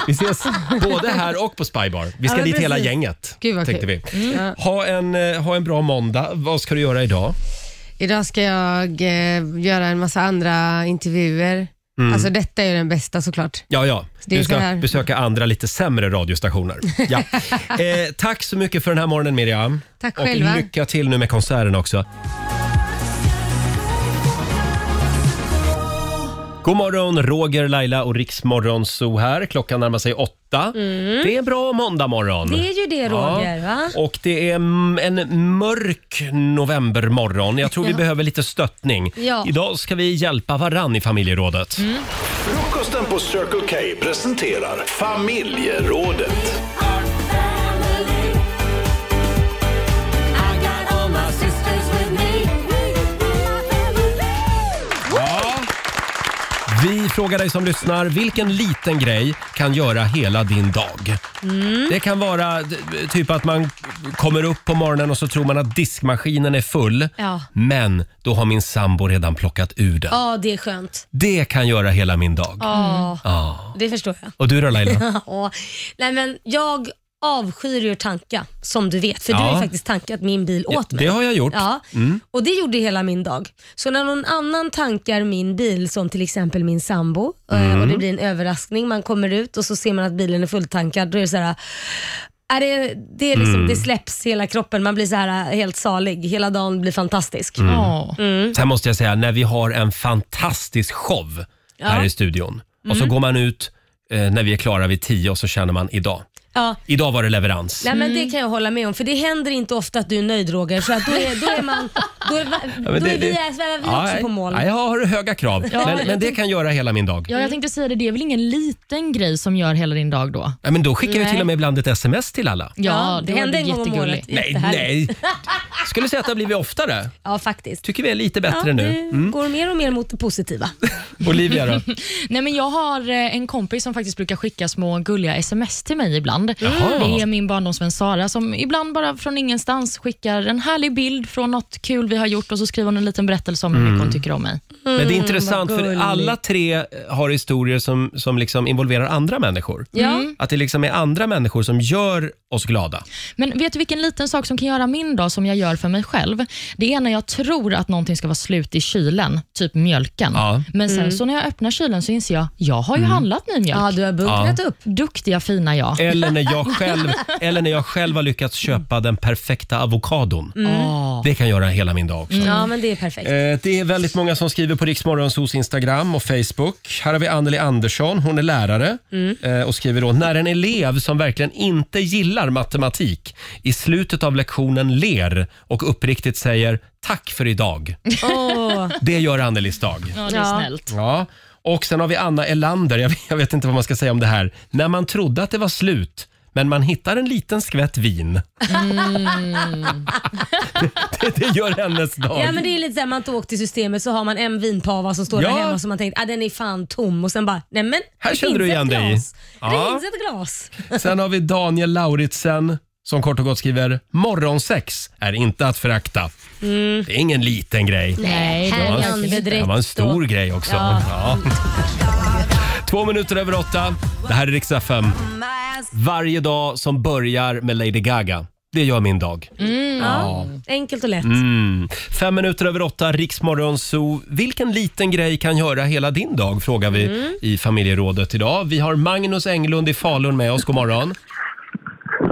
Speaker 1: Vi ses både här och på Spybar. Vi ska
Speaker 9: Ja, men
Speaker 1: dit hela
Speaker 9: precis.
Speaker 1: gänget.
Speaker 9: Gud, vad
Speaker 1: tänkte
Speaker 9: kul.
Speaker 1: vi.
Speaker 9: Mm. Ja.
Speaker 1: Ha, en, eh, ha en bra måndag. Vad ska du göra idag?
Speaker 9: Idag ska jag eh, göra en massa andra intervjuer.
Speaker 1: Mm.
Speaker 9: Alltså detta är ju den bästa såklart.
Speaker 1: Ja, ja.
Speaker 9: Det är
Speaker 1: Du
Speaker 9: så
Speaker 1: ska
Speaker 9: här.
Speaker 1: besöka andra lite sämre radiostationer. Ja. Eh, tack så mycket för den här morgonen Miriam.
Speaker 9: Tack
Speaker 1: Och
Speaker 9: själva.
Speaker 1: lycka till nu med konserten också. God morgon, Roger, Laila och Riksmorgon Zoo här. Klockan närmar sig åtta.
Speaker 2: Mm.
Speaker 1: Det är bra måndag morgon.
Speaker 2: Det är ju det, Roger, va?
Speaker 1: Och det är mm, en mörk novembermorgon. Jag tror vi
Speaker 2: Ja.
Speaker 1: behöver lite stöttning.
Speaker 7: Ja.
Speaker 1: Idag ska vi hjälpa varann i familjerådet.
Speaker 7: Frukosten på Circle K presenterar Familjerådet.
Speaker 1: Vi frågar dig som lyssnar, vilken liten grej kan göra hela din dag?
Speaker 2: Mm.
Speaker 1: Det kan vara d- typ att man kommer upp på morgonen och så tror man att diskmaskinen är full.
Speaker 2: Ja.
Speaker 1: Men då har min sambo redan plockat ur den.
Speaker 2: Ja, det är skönt.
Speaker 1: Det kan göra hela min dag.
Speaker 2: Ja,
Speaker 1: Mm. Ja.
Speaker 2: det förstår jag.
Speaker 1: Och du då Laila?
Speaker 2: ja. Nej, men jag avskyr ju att tanka, som du vet. För du
Speaker 1: Ja.
Speaker 2: har ju faktiskt tankat min bil åt mig.
Speaker 1: det har jag gjort.
Speaker 2: Ja.
Speaker 1: Mm.
Speaker 2: Och det gjorde hela min dag. Så när någon annan tankar min bil, som till exempel min sambo, eh,
Speaker 6: Mm.
Speaker 2: och det blir en överraskning, man kommer ut och så ser man att bilen är fulltankad, då är det så här... Är det, det, är liksom,
Speaker 1: Mm.
Speaker 2: det släpps hela kroppen, man blir så här eh, helt salig. Hela dagen blir fantastisk.
Speaker 1: Mm.
Speaker 2: Mm.
Speaker 1: Sen måste jag säga, när vi har en fantastisk show här
Speaker 2: Ja.
Speaker 1: i studion och så
Speaker 2: Mm.
Speaker 1: går man ut eh, när vi är klara vid tio och så känner man idag.
Speaker 2: Ja.
Speaker 1: Idag var det leverans.
Speaker 2: Nej, men Det kan jag hålla med om, för det händer inte ofta att du är nöjd Roger. Så att då, är, då är man... Då är, va-
Speaker 1: Ja, men
Speaker 2: då
Speaker 1: det-
Speaker 2: är vi,
Speaker 1: det-
Speaker 2: är vi
Speaker 1: Ja,
Speaker 2: också på mål.
Speaker 1: Ja, jag har höga krav,
Speaker 3: Ja,
Speaker 1: men,
Speaker 3: jag
Speaker 1: men det
Speaker 3: tänkte-
Speaker 1: kan göra hela min dag.
Speaker 3: Ja, jag tänkte säga det. Det är väl ingen liten grej som gör hela din dag då?
Speaker 1: Ja, men då skickar vi
Speaker 3: Nej.
Speaker 1: till och med ibland ett sms till alla.
Speaker 3: Ja, det,
Speaker 2: händer
Speaker 3: händer
Speaker 2: en gång om
Speaker 3: jättegulligt.
Speaker 2: året.
Speaker 1: Nej, nej. Skulle säga att det har blivit oftare.
Speaker 2: Ja, faktiskt.
Speaker 1: Tycker vi är lite bättre
Speaker 2: ja,
Speaker 1: nu.
Speaker 2: du
Speaker 1: Mm.
Speaker 2: går mer och mer mot det Mm, positiva.
Speaker 1: Olivia då?
Speaker 3: Nej, men jag har eh, en kompis som faktiskt brukar skicka små gulliga sms till mig ibland.
Speaker 1: Jaha.
Speaker 3: Det är min barndomsvän Sara som ibland bara från ingenstans skickar en härlig bild från något kul vi har gjort och så skriver hon en liten berättelse om hur mycket hon tycker om mig.
Speaker 1: Men det är intressant för alla tre har historier som, som liksom involverar andra människor.
Speaker 3: Ja.
Speaker 1: Att det liksom är andra människor som gör oss glada.
Speaker 3: Men vet du vilken liten sak som kan göra min dag som jag gör för mig själv? Det är när jag tror att någonting ska vara slut i kylen, typ mjölken. Men sen
Speaker 2: Mm.
Speaker 3: så när jag öppnar kylen så inser jag, jag har ju
Speaker 1: Mm.
Speaker 3: handlat ny mjölk.
Speaker 2: Ja, du har
Speaker 1: bunkrat Ja.
Speaker 2: upp.
Speaker 3: Duktiga fina jag.
Speaker 1: Eller när jag själv, eller när jag själv har lyckats köpa den perfekta avokadon.
Speaker 2: Mm.
Speaker 1: Det kan göra hela min dag också.
Speaker 2: Ja, men det är perfekt.
Speaker 1: Mm. Eh, Det är väldigt många som skriver på Riksmorgonsos Instagram och Facebook. Här har vi Anneli Andersson, hon är lärare
Speaker 2: Mm.
Speaker 1: eh, och skriver då “När en elev som verkligen inte gillar matematik i slutet av lektionen ler och uppriktigt säger “Tack för idag”.
Speaker 2: Åh.
Speaker 1: Det gör Annelies dag.
Speaker 3: Ja, det är
Speaker 2: Ja.
Speaker 3: snällt.
Speaker 1: Ja. Och sen har vi Anna Elander, jag, jag vet inte vad man ska säga om det här. “När man trodde att det var slut, men man hittar en liten skvätt vin”. Det, det gör hennes dag.
Speaker 2: Mm. Ja men det är lite såhär, man inte åkt till systemet så har man en vinpava som står
Speaker 1: Ja.
Speaker 2: där hemma som man tänkt, ah, den är fan tom och sen bara, nej men
Speaker 1: Här
Speaker 2: det
Speaker 1: känner
Speaker 2: finns
Speaker 1: du igen
Speaker 2: ett
Speaker 1: dig.
Speaker 2: glas.
Speaker 1: Ja.
Speaker 2: Det finns ett glas.
Speaker 1: Sen har vi Daniel Lauritsen som kort och gott skriver “Morgonsex är inte att förakta”.
Speaker 2: Mm.
Speaker 1: Det är ingen liten grej.
Speaker 2: Nej,
Speaker 1: det var,
Speaker 2: herran,
Speaker 1: en, det
Speaker 2: direkt
Speaker 1: var en stor
Speaker 2: då.
Speaker 1: grej också. Ja.
Speaker 2: Ja.
Speaker 1: Två minuter över åtta. Det här är riksdag 5.
Speaker 2: Mm.
Speaker 1: Varje dag som börjar med Lady Gaga. Det gör min dag.
Speaker 2: Mm.
Speaker 1: Ja.
Speaker 2: Ja. Enkelt och lätt.
Speaker 1: Mm. Fem minuter över åtta, Riksmorgon Zoo. Vilken liten grej kan göra hela din dag? Frågar vi
Speaker 2: Mm.
Speaker 1: i familjerådet idag. Vi har Magnus Englund i Falun med oss. God morgon.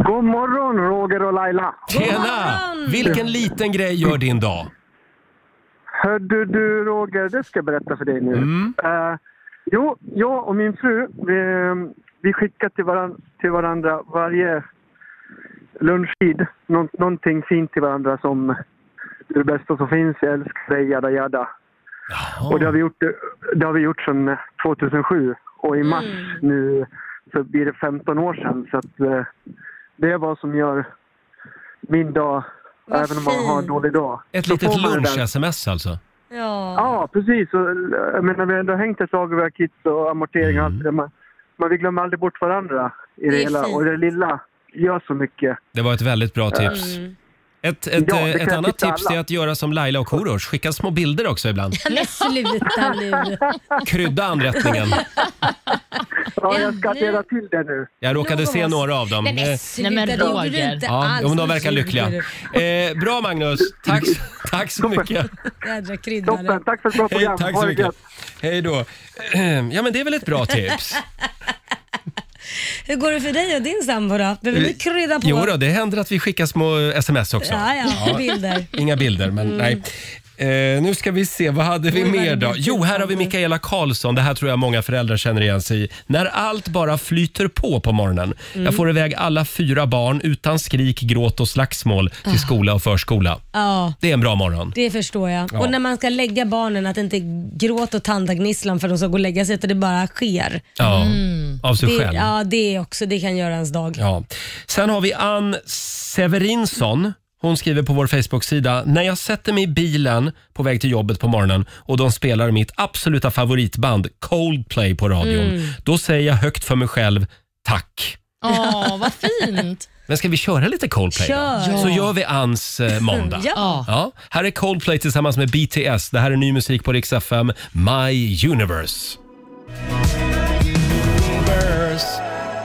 Speaker 11: God morgon Roger och Laila!
Speaker 1: Tjena! Vilken liten grej gör din dag?
Speaker 11: Hörde du Roger, det ska jag berätta för dig nu. Eh, jo, jag och min fru, vi, vi skickar till, varan, till varandra varje lunchtid nå, någonting fint till varandra som "Du är det bästa som finns, jag älskar dig, jada jada. Och det har vi gjort, det har vi gjort sedan 2007 och i mars nu så blir det 15 år sedan. Så att, eh, det är vad som gör min dag, även om man har en dålig dag.
Speaker 1: Ett
Speaker 11: Så får
Speaker 1: litet
Speaker 11: man den.
Speaker 1: lunch-sms alltså?
Speaker 2: Ja.
Speaker 11: Ja, precis. Och, eh, jag menar, vi har ändå hängt ett tag och vi har kids och amortering och allt
Speaker 1: Mm.
Speaker 11: det där. Men, men vi glömmer aldrig bort varandra i det,
Speaker 1: Det är
Speaker 11: hela.
Speaker 1: fint.
Speaker 11: Och det lilla gör så mycket.
Speaker 1: Det var ett väldigt bra tips.
Speaker 11: Mm.
Speaker 1: Ett, ett,
Speaker 11: Ja, det
Speaker 1: eh,
Speaker 11: kan
Speaker 1: ett
Speaker 11: jag
Speaker 1: annat
Speaker 11: tipsa
Speaker 1: tips
Speaker 11: alla.
Speaker 1: är att göra som Laila och Korosh, skicka små bilder också ibland.
Speaker 2: Men sluta nu.
Speaker 1: Krydda anrättningen.
Speaker 11: Ja, jag ska dela till det nu.
Speaker 1: Jag råkade se några av dem.
Speaker 11: Nej, men
Speaker 1: Eh,
Speaker 11: sluta, Nej, men det gjorde du Roger. inte
Speaker 1: Ja,
Speaker 11: alls.
Speaker 1: jo, men de verkar
Speaker 11: Nu
Speaker 1: lyckliga.
Speaker 11: ljuger
Speaker 1: Eh, bra Magnus, tack, tack så mycket.
Speaker 2: Jädra kryddare.
Speaker 11: Toppen, tack för ett bra
Speaker 1: Hej,
Speaker 11: program.
Speaker 1: tack
Speaker 11: Ha
Speaker 1: så
Speaker 11: det
Speaker 1: mycket.
Speaker 11: gött.
Speaker 1: Hej då. Ja men det är väl ett bra tips?
Speaker 2: Hur går det för dig och din sambo då? Behöver ni krydda på?
Speaker 1: Jo då, det händer att vi skickar små eh, sms också.
Speaker 2: Ja, ja, bilder.
Speaker 1: Inga bilder, men nej. Eh, nu ska vi se, vad hade vi
Speaker 2: Mm.
Speaker 1: mer då? Jo, här har vi Mikaela Karlsson. Det här tror jag många föräldrar känner igen sig i. När allt bara flyter på på morgonen.
Speaker 2: Mm.
Speaker 1: Jag får iväg alla fyra barn utan skrik, gråt och slagsmål till
Speaker 2: Ah.
Speaker 1: skola och förskola.
Speaker 2: Ja,
Speaker 1: Det är en bra morgon.
Speaker 2: det förstår jag.
Speaker 1: Ja.
Speaker 2: Och när man ska lägga barnen, att inte gråta och tandagnisslan för att de ska gå och lägga sig, utan det bara sker.
Speaker 1: Ja, av sig
Speaker 2: Mm. det,
Speaker 1: själv.
Speaker 2: Ja, det också. Det kan göra ens dag.
Speaker 1: Ja. Sen har vi Ann Severinsson. Hon skriver på vår Facebook-sida. När jag sätter mig i bilen på väg till jobbet på morgonen och de spelar mitt absoluta favoritband Coldplay på radion.
Speaker 3: Mm.
Speaker 1: Då säger jag högt för mig själv, tack.
Speaker 3: Åh, vad fint.
Speaker 1: Men ska vi köra lite Coldplay
Speaker 3: Kör.
Speaker 1: då? Så gör vi Anns eh, måndag.
Speaker 3: Ja.
Speaker 1: Här är Coldplay tillsammans med BTS. Det här är ny musik på Rix FM, My Universe.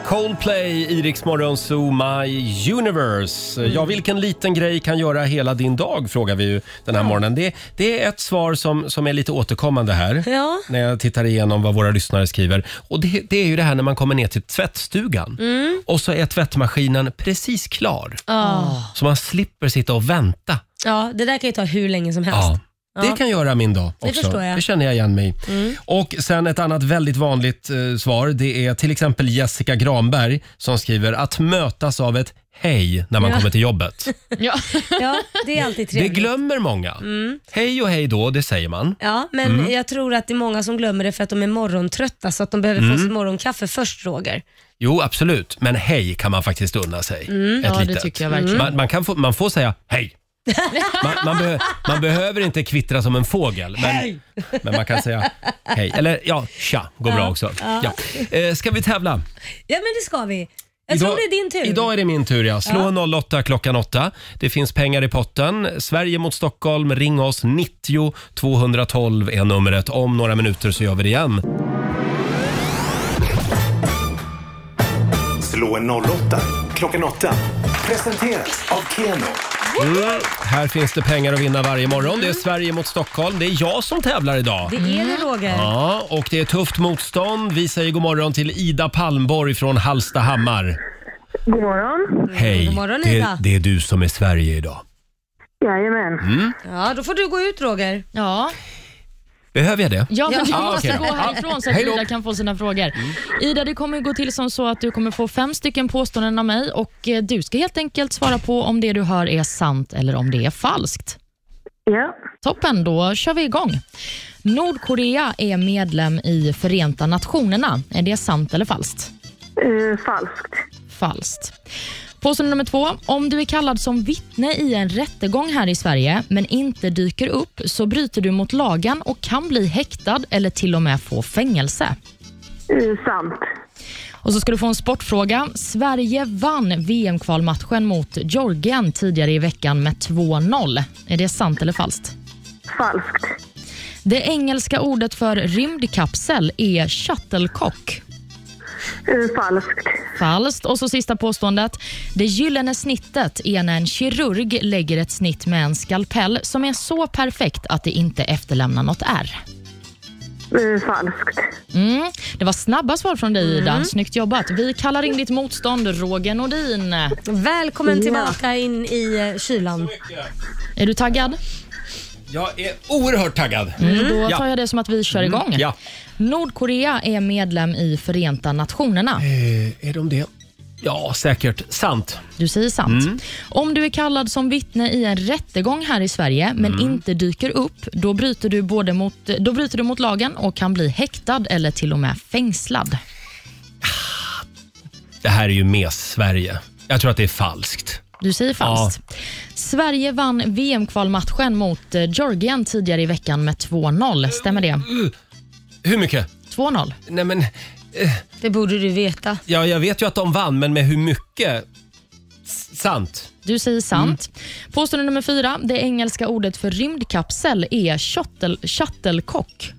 Speaker 1: Coldplay i Rix Morgon Zoo, My Universe.
Speaker 3: Mm.
Speaker 1: Ja, vilken liten grej kan göra hela din dag, frågar vi ju den här morgonen. Det, det är ett svar som, som är lite återkommande här,
Speaker 2: Ja.
Speaker 1: när jag tittar igenom vad våra lyssnare skriver. Och det, det är ju det här när man kommer ner till tvättstugan
Speaker 2: Mm. Ah.
Speaker 1: och så är tvättmaskinen precis klar.
Speaker 2: Ja.
Speaker 1: Så man slipper sitta och vänta.
Speaker 2: ja, det där kan ju ta hur länge som helst.
Speaker 1: Ja. Det kan göra min dag också.
Speaker 2: Det förstår jag.
Speaker 1: Det känner jag igen mig i.
Speaker 2: Mm.
Speaker 1: Och sen ett annat väldigt vanligt eh, svar. Det är till exempel Jessica Granberg som skriver att mötas av ett hej när man
Speaker 2: Ja.
Speaker 1: kommer till jobbet.
Speaker 3: Ja.
Speaker 2: ja, det är alltid
Speaker 1: Det
Speaker 2: trevligt.
Speaker 1: glömmer många.
Speaker 2: Mm.
Speaker 1: Hej och hej då, det säger man.
Speaker 2: Ja, men
Speaker 1: Mm.
Speaker 2: jag tror att det är många som glömmer det för att de är morgontrötta så att de behöver
Speaker 1: Mm.
Speaker 2: få sitt morgonkaffe först, Roger.
Speaker 1: Jo, absolut. Men hej kan man faktiskt unna sig.
Speaker 2: Mm.
Speaker 1: Ett
Speaker 2: Ja, det
Speaker 1: litet.
Speaker 2: tycker jag verkligen.
Speaker 1: Man, man, kan få, man får säga hej. Man, man, be, man behöver inte kvittra som en fågel. Men,
Speaker 6: Hej!
Speaker 1: men man kan säga hej. Eller ja, tja går
Speaker 2: Ja,
Speaker 1: bra också.
Speaker 2: ja.
Speaker 1: Ja. Eh, ska vi tävla?
Speaker 2: Ja, men det ska vi. Jag tror det är din tur.
Speaker 1: Idag är det min tur ja. Slå
Speaker 2: Ja.
Speaker 1: 08 klockan 8. Det finns pengar i potten. Sverige mot Stockholm. Ring oss. 90 212 är numret. Om några minuter så gör vi det igen.
Speaker 7: Slå en 08 klockan 8. Presenteras av Keno.
Speaker 1: Mm. Här finns det pengar att vinna varje morgon. Det är Sverige mot Stockholm. Det är jag som tävlar idag.
Speaker 2: Mm. Det är det, Roger.
Speaker 1: Ja, och det är tufft motstånd. Vi säger god morgon till Ida Palmborg från Hallstahammar.
Speaker 5: God morgon.
Speaker 1: Hej!
Speaker 2: Mm, God morgon,
Speaker 1: det,
Speaker 2: Ida.
Speaker 1: det är du som är Sverige idag.
Speaker 5: Jajamän.
Speaker 1: Mm.
Speaker 2: Ja, då får du gå ut, Roger.
Speaker 3: Ja.
Speaker 1: Behöver jag det?
Speaker 3: Ja, men du
Speaker 1: Ah,
Speaker 3: måste
Speaker 1: okej.
Speaker 3: gå härifrån så att
Speaker 1: Hej då. Mm.
Speaker 3: Ida kan få sina frågor. Ida, det kommer gå till som så att du kommer få fem stycken påståenden av mig och eh, du ska helt enkelt svara på om det du hör är sant eller om det är falskt.
Speaker 5: Ja.
Speaker 3: Toppen, då kör vi igång. Nordkorea är medlem i Förenta Nationerna. Är det sant eller falskt?
Speaker 5: Eh, falskt.
Speaker 3: Falskt. Påstående nummer två. Om du är kallad som vittne i en rättegång här i Sverige men inte dyker upp så bryter du mot lagen och kan bli häktad eller till och med få fängelse.
Speaker 5: Eh, sant.
Speaker 3: Och så ska du få en sportfråga. Sverige vann VM-kvalmatchen mot Georgien tidigare i veckan med 2-0. Är det sant eller falskt?
Speaker 5: Falskt.
Speaker 3: Det engelska ordet för rymdkapsel är shuttlecock.
Speaker 5: Eh, falskt.
Speaker 3: Falskt. Och så sista påståendet. Det gyllene snittet är när en kirurg lägger ett snitt med en skalpell som är så perfekt att det inte efterlämnar något ärr.
Speaker 5: Eh, falskt.
Speaker 3: Mm. Det var snabba svar från dig,
Speaker 1: Mm.
Speaker 3: Ida. Snyggt jobbat. Vi kallar in ditt motstånd, Roger Nordin.
Speaker 2: Välkommen tillbaka in i eh, kylan.
Speaker 3: Är du taggad?
Speaker 1: Jag är oerhört taggad.
Speaker 3: Mm. Då tar
Speaker 1: Ja. Mm.
Speaker 3: jag det som att vi kör igång.
Speaker 1: Ja.
Speaker 3: Nordkorea är medlem i Förenta Nationerna.
Speaker 1: Eh, är de det? Ja, säkert. Sant.
Speaker 3: Du säger sant. Om du är kallad som vittne i en rättegång här i Sverige men
Speaker 1: Mm.
Speaker 3: inte dyker upp, då bryter, du både mot, då bryter du mot lagen och kan bli häktad eller till och med fängslad.
Speaker 1: Det här är ju med Sverige. Jag tror att det är falskt.
Speaker 3: Du säger falskt. Sverige vann VM-kvalmatchen mot eh, Georgien tidigare i veckan med 2-0. Stämmer det?
Speaker 1: Hur mycket?
Speaker 3: 2-0.
Speaker 1: Nej, men...
Speaker 2: Det borde du veta.
Speaker 1: Ja, jag vet ju att de vann, men med hur mycket? S- sant.
Speaker 3: Du säger sant. Påstående nummer fyra. Det engelska ordet för rymdkapsel är shuttle, shuttlecock.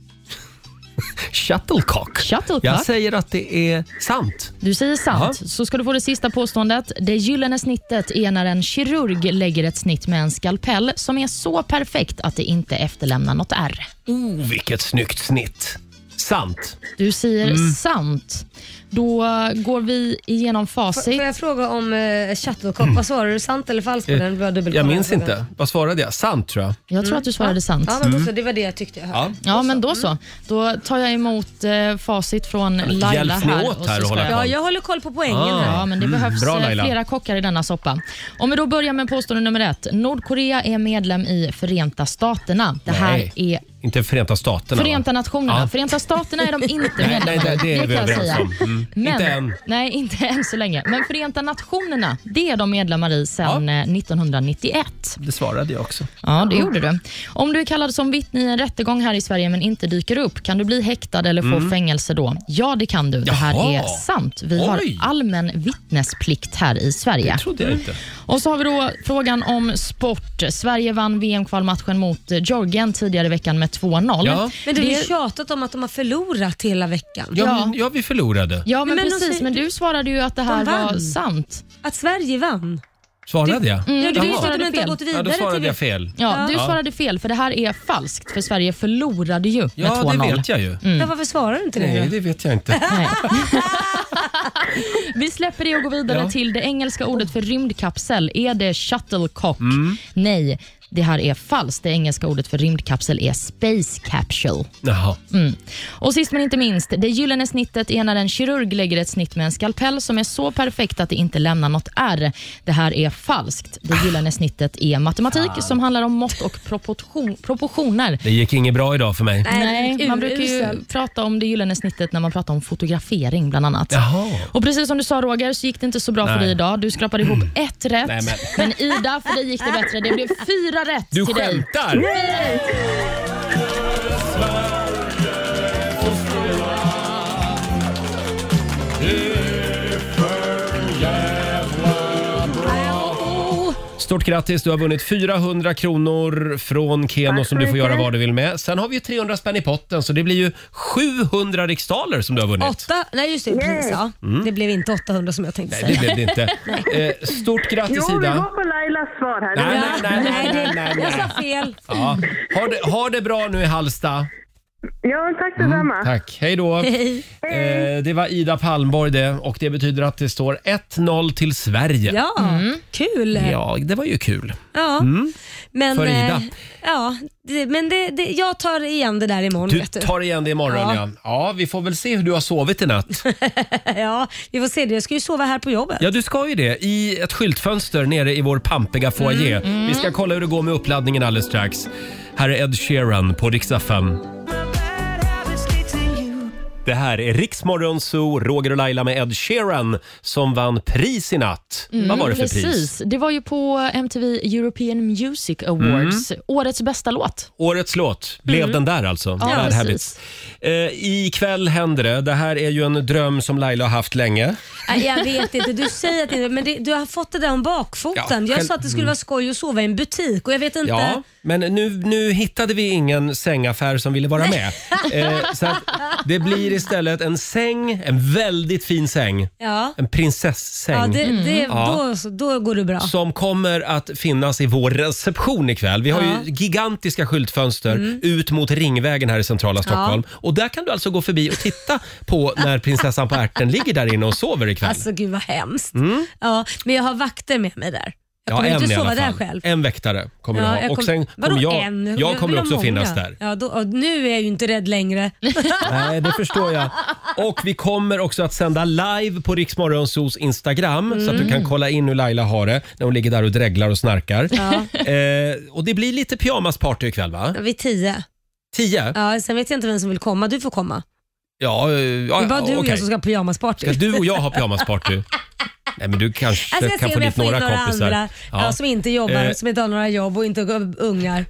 Speaker 1: Shuttlecock.
Speaker 3: Shuttlecock.
Speaker 1: Jag säger att det är sant.
Speaker 3: Du säger sant.
Speaker 1: Jaha.
Speaker 3: Så ska du få det sista påståendet. Det gyllene snittet är när en kirurg lägger ett snitt med en skalpell som är så perfekt att det inte efterlämnar något ärr.
Speaker 1: Oh, vilket snyggt snitt. Sant.
Speaker 3: Du säger
Speaker 1: Mm.
Speaker 3: sant. Då går vi igenom facit.
Speaker 2: Får jag fråga om eh, chattokop? Vad svarade du? Sant eller falskt? på
Speaker 1: Eh,
Speaker 2: den? Bra dubbelkolla
Speaker 1: Jag minns
Speaker 2: frågan.
Speaker 1: inte. Vad svarade jag? Sant tror jag.
Speaker 3: Jag tror att du svarade sant.
Speaker 2: Mm. Ja, men då Mm. så,
Speaker 1: Mm.
Speaker 2: det var det jag tyckte jag hörde.
Speaker 1: Ja.
Speaker 3: Ja, men då så. Då tar jag emot eh, facit från
Speaker 1: men
Speaker 3: Laila
Speaker 1: hjälp mig
Speaker 3: här.
Speaker 1: åt här
Speaker 3: så
Speaker 1: och
Speaker 3: ska
Speaker 1: hålla koll. Ja,
Speaker 2: jag håller koll på poängen
Speaker 1: Ah. här.
Speaker 3: Ja, men det
Speaker 1: Mm,
Speaker 3: behövs
Speaker 1: bra,
Speaker 3: eh,
Speaker 1: Laila.
Speaker 3: flera kockar i denna soppa. Om vi då börjar med påstående nummer ett. Nordkorea är medlem i Förenta Staterna. Det här
Speaker 1: Nej.
Speaker 3: är
Speaker 1: Inte Förenta Staterna. va?
Speaker 3: Förenta Nationerna.
Speaker 1: Ja.
Speaker 3: Förenta Staterna är de inte
Speaker 1: Nej,
Speaker 3: medlemmar
Speaker 1: nej, det, det är vi
Speaker 3: kan jag
Speaker 1: överens
Speaker 3: säga.
Speaker 1: om. Mm.
Speaker 3: Men,
Speaker 1: Inte än.
Speaker 3: Nej, inte än så länge. Men Förenta Nationerna, det är de medlemmar i sedan eh, 1991.
Speaker 1: Det svarade jag också.
Speaker 3: Ja, det gjorde du. Om du är kallad som vittne i en rättegång här i Sverige men inte dyker upp, kan du bli häktad eller få
Speaker 6: Mm.
Speaker 3: fängelse då? Ja, det kan du. Det här
Speaker 6: Jaha.
Speaker 3: är sant. Vi har
Speaker 6: Oj.
Speaker 3: allmän vittnesplikt här i Sverige.
Speaker 6: Det trodde jag inte.
Speaker 3: Och så har vi då frågan om sport. Sverige vann VM-kvalmatchen mot eh, Georgien tidigare i veckan med 2-0.
Speaker 2: Men du har ju
Speaker 3: Det-
Speaker 2: tjatat om att de har förlorat hela veckan.
Speaker 3: Ja, Ja. men-
Speaker 1: Ja, vi förlorade.
Speaker 3: Ja, men,
Speaker 2: Men de
Speaker 3: precis.
Speaker 2: säger-
Speaker 3: Men du svarade ju att det
Speaker 2: De
Speaker 3: här var
Speaker 2: vann.
Speaker 3: sant.
Speaker 2: Att Sverige vann?
Speaker 1: Svarade jag?
Speaker 3: Mm,
Speaker 2: Ja, du
Speaker 1: Jaha.
Speaker 2: visste att de inte har gått
Speaker 1: Ja,
Speaker 2: vidare
Speaker 1: då svarade
Speaker 2: till
Speaker 1: jag fel.
Speaker 3: Ja, du
Speaker 1: Ja.
Speaker 3: svarade fel, för det här är falskt. För Sverige förlorade ju med
Speaker 1: Ja,
Speaker 3: 2-0.
Speaker 1: det vet jag ju.
Speaker 3: Mm.
Speaker 2: Ja, varför svarar du inte det?
Speaker 1: Nej,
Speaker 2: då?
Speaker 1: det vet jag inte.
Speaker 3: Nej. Vi släpper det och går vidare
Speaker 1: Ja.
Speaker 3: till det engelska ordet för rymdkapsel. Är det shuttlecock?
Speaker 1: Mm.
Speaker 3: Nej, det här är falskt. Det engelska ordet för rymdkapsel är space capsule.
Speaker 1: Jaha.
Speaker 3: Mm. Och sist men inte minst, det gyllene snittet är när en kirurg lägger ett snitt med en skalpell som är så perfekt att det inte lämnar något ärr. Det här är falskt. Det gyllene snittet är matematik
Speaker 1: Fan.
Speaker 3: som handlar om mått och proportion, proportioner.
Speaker 1: Det gick inget bra idag för mig.
Speaker 3: Nej, man brukar ju
Speaker 2: urusel.
Speaker 3: prata om det gyllene snittet när man pratar om fotografering bland annat.
Speaker 1: Jaha.
Speaker 3: Och precis som du sa Roger så gick det inte så bra
Speaker 1: Nej.
Speaker 3: för dig idag. Du skrapade ihop ett rätt.
Speaker 1: Nej,
Speaker 3: men.
Speaker 1: men-
Speaker 3: Ida, för dig gick det bättre. Det blev fyra rätt
Speaker 1: Du
Speaker 3: till dig.
Speaker 1: skämtar?
Speaker 3: Nej!
Speaker 1: Stort grattis, du har vunnit 400 kronor från Keno
Speaker 6: Tack
Speaker 1: som
Speaker 6: så
Speaker 1: du får göra
Speaker 6: mycket.
Speaker 1: vad du vill med. Sen har vi ju 300 spänn i potten så det blir ju 700 riksdaler som du har vunnit.
Speaker 2: Åtta? Nej, just det. Precis, ja.
Speaker 1: Mm.
Speaker 2: Det blev inte 800 som jag tänkte
Speaker 1: Nej,
Speaker 2: säga.
Speaker 1: det blev det inte. Eh, stort grattis
Speaker 5: Jo, vi
Speaker 1: Ida.
Speaker 5: går på Lailas svar här.
Speaker 1: Nej,
Speaker 5: Det-
Speaker 1: nej, nej, nej, nej, nej, nej.
Speaker 2: Jag sa fel.
Speaker 1: Ja. Ha, det, ha det bra nu i Halsta.
Speaker 5: Ja, tack detsamma.
Speaker 1: Mm, Tack. Hej då.
Speaker 5: Hej.
Speaker 1: Eh, det var Ida Palmborg det och det betyder att det står 1-0 till Sverige.
Speaker 2: Ja,
Speaker 3: Mm.
Speaker 2: kul.
Speaker 1: Ja, det var ju kul.
Speaker 2: Ja.
Speaker 1: Mm.
Speaker 2: Men,
Speaker 1: För Ida.
Speaker 2: eh, Ja, det, men det, det, jag tar igen det där imorgon.
Speaker 1: Du
Speaker 2: vet
Speaker 1: tar igen det imorgon ja.
Speaker 2: Ja.
Speaker 1: ja. Ja, vi får väl se hur du har sovit i natt.
Speaker 2: ja, vi får se. det. Jag ska ju sova här på jobbet.
Speaker 1: Ja, du ska ju det. I ett skyltfönster nere i vår pampiga foyer.
Speaker 2: Mm, mm.
Speaker 1: Vi ska kolla hur det går med uppladdningen alldeles strax. Här är Ed Sheeran på riksdag 5. Det här är Riksmorgon Zoo, Roger och Laila med Ed Sheeran som vann pris i natt.
Speaker 3: Mm,
Speaker 1: Vad var det för
Speaker 3: precis.
Speaker 1: pris?
Speaker 3: Det var ju på MTV European Music Awards.
Speaker 1: Mm.
Speaker 3: Årets bästa låt.
Speaker 1: Årets låt blev
Speaker 3: Mm.
Speaker 1: den där alltså.
Speaker 3: Ja,
Speaker 1: Bad
Speaker 3: precis.
Speaker 1: Habits. Eh, ikväll händer det. Det här är ju en dröm som Laila har haft länge.
Speaker 2: Nej, jag vet inte. Du säger att det, men det, du har fått det där om bakfoten.
Speaker 1: Ja,
Speaker 2: jag
Speaker 1: själv-
Speaker 2: sa att det skulle
Speaker 1: mm.
Speaker 2: vara skoj att sova i en butik och jag vet inte.
Speaker 1: Ja, men nu, nu hittade vi ingen sängaffär som ville vara med. Eh, så att det blir istället en säng, en väldigt fin säng.
Speaker 2: Ja.
Speaker 1: En prinsessäng.
Speaker 2: Ja, det, det,
Speaker 1: Mm. Ja.
Speaker 2: då, så- då går det bra.
Speaker 1: Som kommer att finnas i vår reception ikväll. Vi har
Speaker 2: Ja.
Speaker 1: ju gigantiska skyltfönster
Speaker 2: Mm.
Speaker 1: ut mot Ringvägen här i centrala Stockholm. Och där kan du alltså gå förbi och titta på när prinsessan på ärten ligger där inne och sover ikväll.
Speaker 2: Alltså gud vad hemskt.
Speaker 1: Mm.
Speaker 2: Ja, men jag har vakter med mig där. Jag
Speaker 1: Ja,
Speaker 2: kommer
Speaker 1: en
Speaker 2: inte
Speaker 1: i alla
Speaker 2: sova där
Speaker 1: fall.
Speaker 2: själv.
Speaker 1: En väktare kommer
Speaker 2: Ja,
Speaker 1: du ha.
Speaker 2: jag
Speaker 1: Och
Speaker 2: kom-
Speaker 1: sen kommer
Speaker 2: vadå
Speaker 1: jag,
Speaker 2: en?
Speaker 1: jag
Speaker 2: vill
Speaker 1: kommer
Speaker 2: ha
Speaker 1: också
Speaker 2: många.
Speaker 1: finnas där.
Speaker 2: Ja, då, och nu är jag ju inte rädd längre.
Speaker 1: Nej, det förstår jag. Och vi kommer också att sända live på Riksmorgonsos Instagram så att du
Speaker 2: Mm.
Speaker 1: kan kolla in hur Laila har det när hon ligger där och dreglar och snarkar.
Speaker 2: Ja.
Speaker 1: Eh, och det blir lite pyjamasparty ikväll va?
Speaker 2: Vid tio.
Speaker 1: Tio?
Speaker 2: Ja, sen vet jag inte vem som vill komma. Du får komma.
Speaker 1: Ja, eh,
Speaker 2: Det
Speaker 1: ja
Speaker 2: är bara du och
Speaker 1: okej.
Speaker 2: jag som ska ha pyjamasparty.
Speaker 1: Ska du och jag ha pyjamasparty? Nej, men du kanske
Speaker 2: Alltså, Jag ska
Speaker 1: kan
Speaker 2: se
Speaker 1: få
Speaker 2: om
Speaker 1: dit
Speaker 2: jag får in
Speaker 1: några
Speaker 2: några
Speaker 1: kompisar.
Speaker 2: andra ja. som inte jobbar,
Speaker 1: Eh,
Speaker 2: som inte har några jobb och inte har ungar.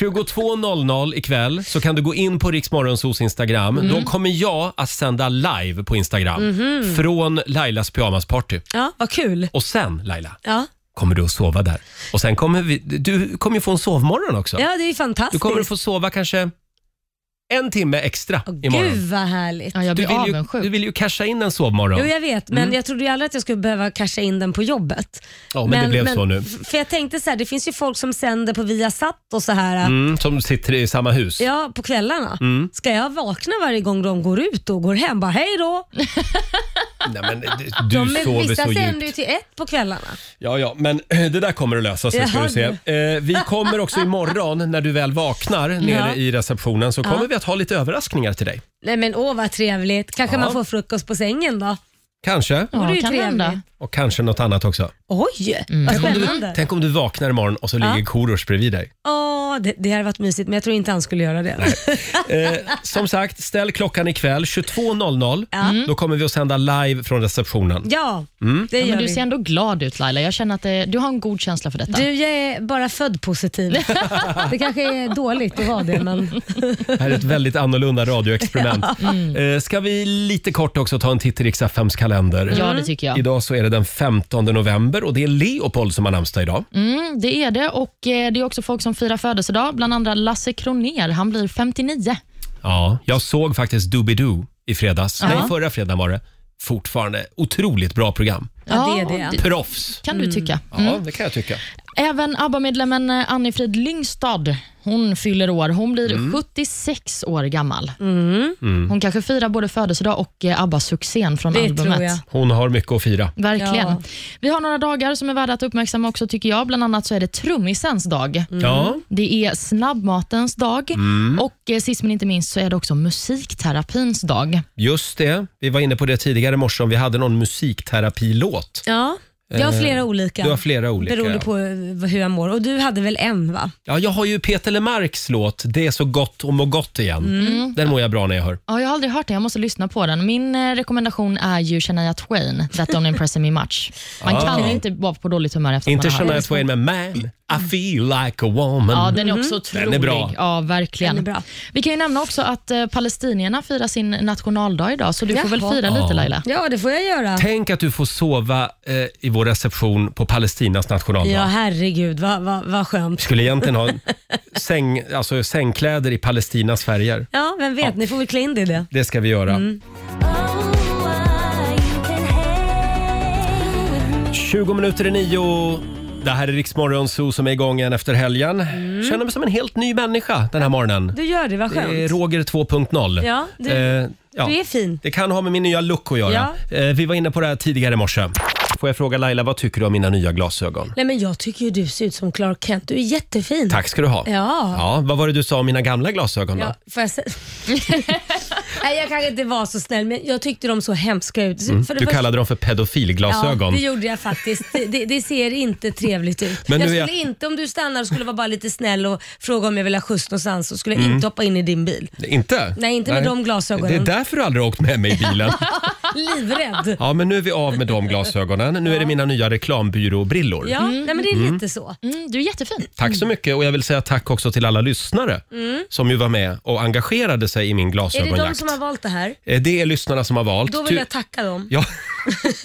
Speaker 1: 22.00 ikväll så kan du gå in på Riksmorgonsos Instagram.
Speaker 2: Mm.
Speaker 1: Då kommer jag att sända live på Instagram
Speaker 2: Mhm.
Speaker 1: från Lailas pyjamasparty.
Speaker 2: Ja, vad kul.
Speaker 1: Och sen Laila,
Speaker 2: Ja.
Speaker 1: kommer du att sova där. Och sen kommer vi, du kommer ju få en sovmorgon också.
Speaker 2: ja, det är ju fantastiskt.
Speaker 1: du kommer att få sova kanske en timme extra imorgon.
Speaker 2: Gud vad härligt.
Speaker 3: Ja, jag
Speaker 1: du, vill ju, du vill ju casha in en sovmorgon.
Speaker 2: Jo, jag vet, men
Speaker 1: Mm.
Speaker 2: jag trodde ju aldrig att jag skulle behöva casha in den på jobbet.
Speaker 1: Ja, men det blev så nu.
Speaker 2: f- För jag tänkte så här, det finns ju folk som sänder på Viasat och så här.
Speaker 1: Mm, som sitter i samma hus.
Speaker 2: Ja, på kvällarna.
Speaker 1: Mm.
Speaker 2: Ska jag vakna varje gång de går ut och går hem? Bara hej då.
Speaker 1: Nej, men, du
Speaker 2: de är-
Speaker 1: sover
Speaker 2: vissa
Speaker 1: så
Speaker 2: sänder
Speaker 1: djupt.
Speaker 2: ju till ett på kvällarna.
Speaker 1: Ja, ja, men det där kommer att lösa sig ska
Speaker 2: Ja,
Speaker 1: du se. Eh, vi kommer också imorgon när du väl vaknar nere
Speaker 2: Ja.
Speaker 1: i receptionen så kommer
Speaker 2: Ja.
Speaker 1: vi att ha lite överraskningar till dig.
Speaker 2: Nej men åh vad trevligt. Kanske
Speaker 1: Ja.
Speaker 2: man får frukost på sängen då.
Speaker 1: Kanske.
Speaker 2: Ja, det är ju kan trevligt. hända.
Speaker 1: Och kanske något annat också.
Speaker 2: Oj, vad
Speaker 1: Tänk om, du,
Speaker 2: spännande.
Speaker 1: tänk om du vaknar imorgon och så
Speaker 2: Ja.
Speaker 1: ligger Korosh bredvid dig.
Speaker 2: Åh, det, det hade varit mysigt men jag tror inte han skulle göra det.
Speaker 1: Eh, som sagt, ställ klockan ikväll 22.00.
Speaker 2: Ja. Mm.
Speaker 1: Då kommer vi att sända live från receptionen.
Speaker 2: Ja,
Speaker 1: Mm.
Speaker 2: det gör
Speaker 3: men du
Speaker 2: vi.
Speaker 3: ser ändå glad ut Laila. Jag känner att eh, du har en god känsla för detta.
Speaker 2: Du, jag är bara född positiv. det kanske är dåligt att vara det men...
Speaker 1: Det här är ett väldigt annorlunda radioexperiment.
Speaker 2: Ja. Mm.
Speaker 1: Eh, Ska vi lite kort också ta en titt i riks kalender?
Speaker 3: Ja, det tycker jag.
Speaker 1: Idag så är det den 15 november och det är Leopold som har namnsdag idag.
Speaker 3: Mm, det är det och eh, det är också folk som firar födelsedag, bland andra Lasse Kroner. Han blir 59.
Speaker 1: Ja, jag såg faktiskt Doobidoo i fredags.
Speaker 3: Ja.
Speaker 1: Nej, förra fredagen var det. Fortfarande otroligt bra program.
Speaker 3: Ja, det är det. det-
Speaker 1: Proffs.
Speaker 3: Kan du tycka.
Speaker 1: Ja, det kan jag tycka.
Speaker 3: Även ABBA-medlemmen eh, Annie-Frid Lyngstad hon fyller år. Hon blir
Speaker 1: Mm.
Speaker 3: 76 år gammal.
Speaker 1: Mm.
Speaker 3: Hon kanske firar både födelsedag och eh, ABBA-succén från
Speaker 1: Det
Speaker 3: albumet.
Speaker 1: tror jag. Hon har mycket att
Speaker 3: Mm.
Speaker 1: fira.
Speaker 3: Verkligen.
Speaker 1: Ja.
Speaker 3: Vi har några dagar som är värda att uppmärksamma också tycker jag. Bland annat så är det trummisens dag.
Speaker 1: Ja.
Speaker 3: Det är snabbmatens dag
Speaker 1: Mm.
Speaker 3: och eh, sist men inte minst så är det också musikterapins dag.
Speaker 1: Just det. Vi var inne på det tidigare i morse om vi hade någon musikterapilåt.
Speaker 2: Ja, jag har
Speaker 1: Eh,
Speaker 2: flera olika.
Speaker 1: du har flera olika,
Speaker 2: Beroende
Speaker 1: ja.
Speaker 2: på eh, hur jag mår. Och du hade väl en va?
Speaker 1: Ja, jag har ju Peter Lemarks låt Det är så gott och må gott igen.
Speaker 3: Mm.
Speaker 1: Den mår jag bra när jag hör.
Speaker 3: Ja, jag har aldrig hört den, jag måste lyssna på den. Min eh, rekommendation är ju Shania Twain, That Don't Impress Me Much. Man
Speaker 1: Ah.
Speaker 3: kan inte vara på dåligt humör efter att
Speaker 1: Inte
Speaker 3: man har hört
Speaker 1: Shania
Speaker 3: den.
Speaker 1: Twain med Man, I feel like a woman.
Speaker 3: Ja, den är också otrolig.
Speaker 1: Mm. Den är bra.
Speaker 3: Ja, verkligen. Vi kan ju nämna också att eh, palestinierna firar sin nationaldag idag, så du får väl
Speaker 2: Jaha.
Speaker 3: fira lite Laila.
Speaker 2: Ja, det får jag göra.
Speaker 1: Tänk att du får sova eh, i vår reception på Palestinas nationaldag.
Speaker 2: Ja, herregud vad, vad, vad skönt.
Speaker 1: Vi skulle egentligen ha en säng, alltså sängkläder i Palestinas färger.
Speaker 2: Ja, vem vet, ni får väl klä in det i det.
Speaker 1: Det ska vi göra.
Speaker 2: Mm.
Speaker 1: 20 minuter i nio. Det här är Riksmorgon Zoo som är igång igen efter helgen. Känner mig som en helt ny människa den här morgonen.
Speaker 2: Du gör Mm. det, vad skönt.
Speaker 1: Det är Roger 2.0.
Speaker 2: Ja, du- du är fin.
Speaker 1: Eh, Det kan ha med min nya look att göra. Eh, vi var inne på det här tidigare i morse. Får jag fråga Laila, vad tycker du om mina nya glasögon?
Speaker 2: Nej men jag tycker ju du ser ut som Clark Kent. Du är jättefin.
Speaker 1: Tack ska du ha.
Speaker 2: Ja.
Speaker 1: ja vad var det du sa om mina gamla glasögon då?
Speaker 2: Ja, får jag säga? Nej, jag kanske inte var så snäll, men jag tyckte de så hemska ut.
Speaker 1: Mm.
Speaker 2: För det
Speaker 1: Du
Speaker 2: första-
Speaker 1: kallade dem för pedofilglasögon.
Speaker 2: Ja, det gjorde jag faktiskt. Det, det, det ser inte trevligt ut.
Speaker 1: Men
Speaker 2: jag
Speaker 1: nu är
Speaker 2: skulle
Speaker 1: jag-
Speaker 2: inte, om du stannar och skulle vara bara lite snäll och fråga om jag vill ha skjuts någonstans, så skulle jag
Speaker 1: Mm.
Speaker 2: inte hoppa in i din bil.
Speaker 1: Inte?
Speaker 2: Nej, inte med de glasögonen.
Speaker 1: Det är därför du aldrig har åkt med mig i bilen.
Speaker 2: Livrädd.
Speaker 1: Ja, men nu är vi av med de glasögonen. Nu är det mina nya reklambyråbrillor.
Speaker 2: Ja, nej, men det är
Speaker 1: Mm.
Speaker 2: lite så.
Speaker 3: du är jättefin.
Speaker 1: Tack så mycket och jag vill säga tack också till alla lyssnare
Speaker 2: Mm.
Speaker 1: som ju var med och engagerade sig i min
Speaker 2: Är det de
Speaker 1: glasögonjakt.
Speaker 2: som har valt det här?
Speaker 1: Eh, Det är lyssnarna som har valt.
Speaker 2: Då vill jag tacka dem.
Speaker 1: Ja.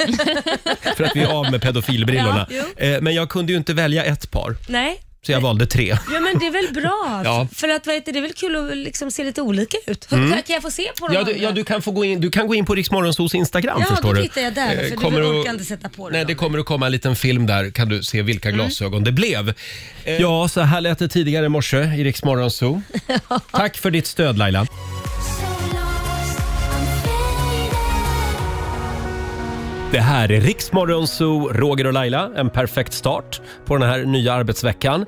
Speaker 1: För att vi är av med pedofilbrillorna.
Speaker 2: Ja,
Speaker 1: Eh, Men jag kunde ju inte välja ett par,
Speaker 2: Nej.
Speaker 1: så jag valde tre.
Speaker 2: Ja men det är väl bra?
Speaker 1: Ja.
Speaker 2: För att vad heter, det? det är väl kul att liksom se lite olika ut.
Speaker 1: Mm.
Speaker 2: Kan jag få se på dem
Speaker 1: Ja, du,
Speaker 2: andra?
Speaker 1: ja, du, kan få gå in, du kan gå in på Riksmorgonsos Instagram
Speaker 2: Ja,
Speaker 1: förstår
Speaker 2: då
Speaker 1: du.
Speaker 2: tittar jag där.
Speaker 1: Eh,
Speaker 2: För
Speaker 1: kommer
Speaker 2: du
Speaker 1: att-
Speaker 2: orkar inte sätta på dig.
Speaker 1: Nej, det kommer att komma en liten film där kan du se vilka glasögon det blev. Eh, Ja, så här lät det tidigare i morse i Rix Morgon Zoo. Tack för ditt stöd Laila. Det här är Rix Morgon Zoo, Roger och Laila. En perfekt start på den här nya arbetsveckan.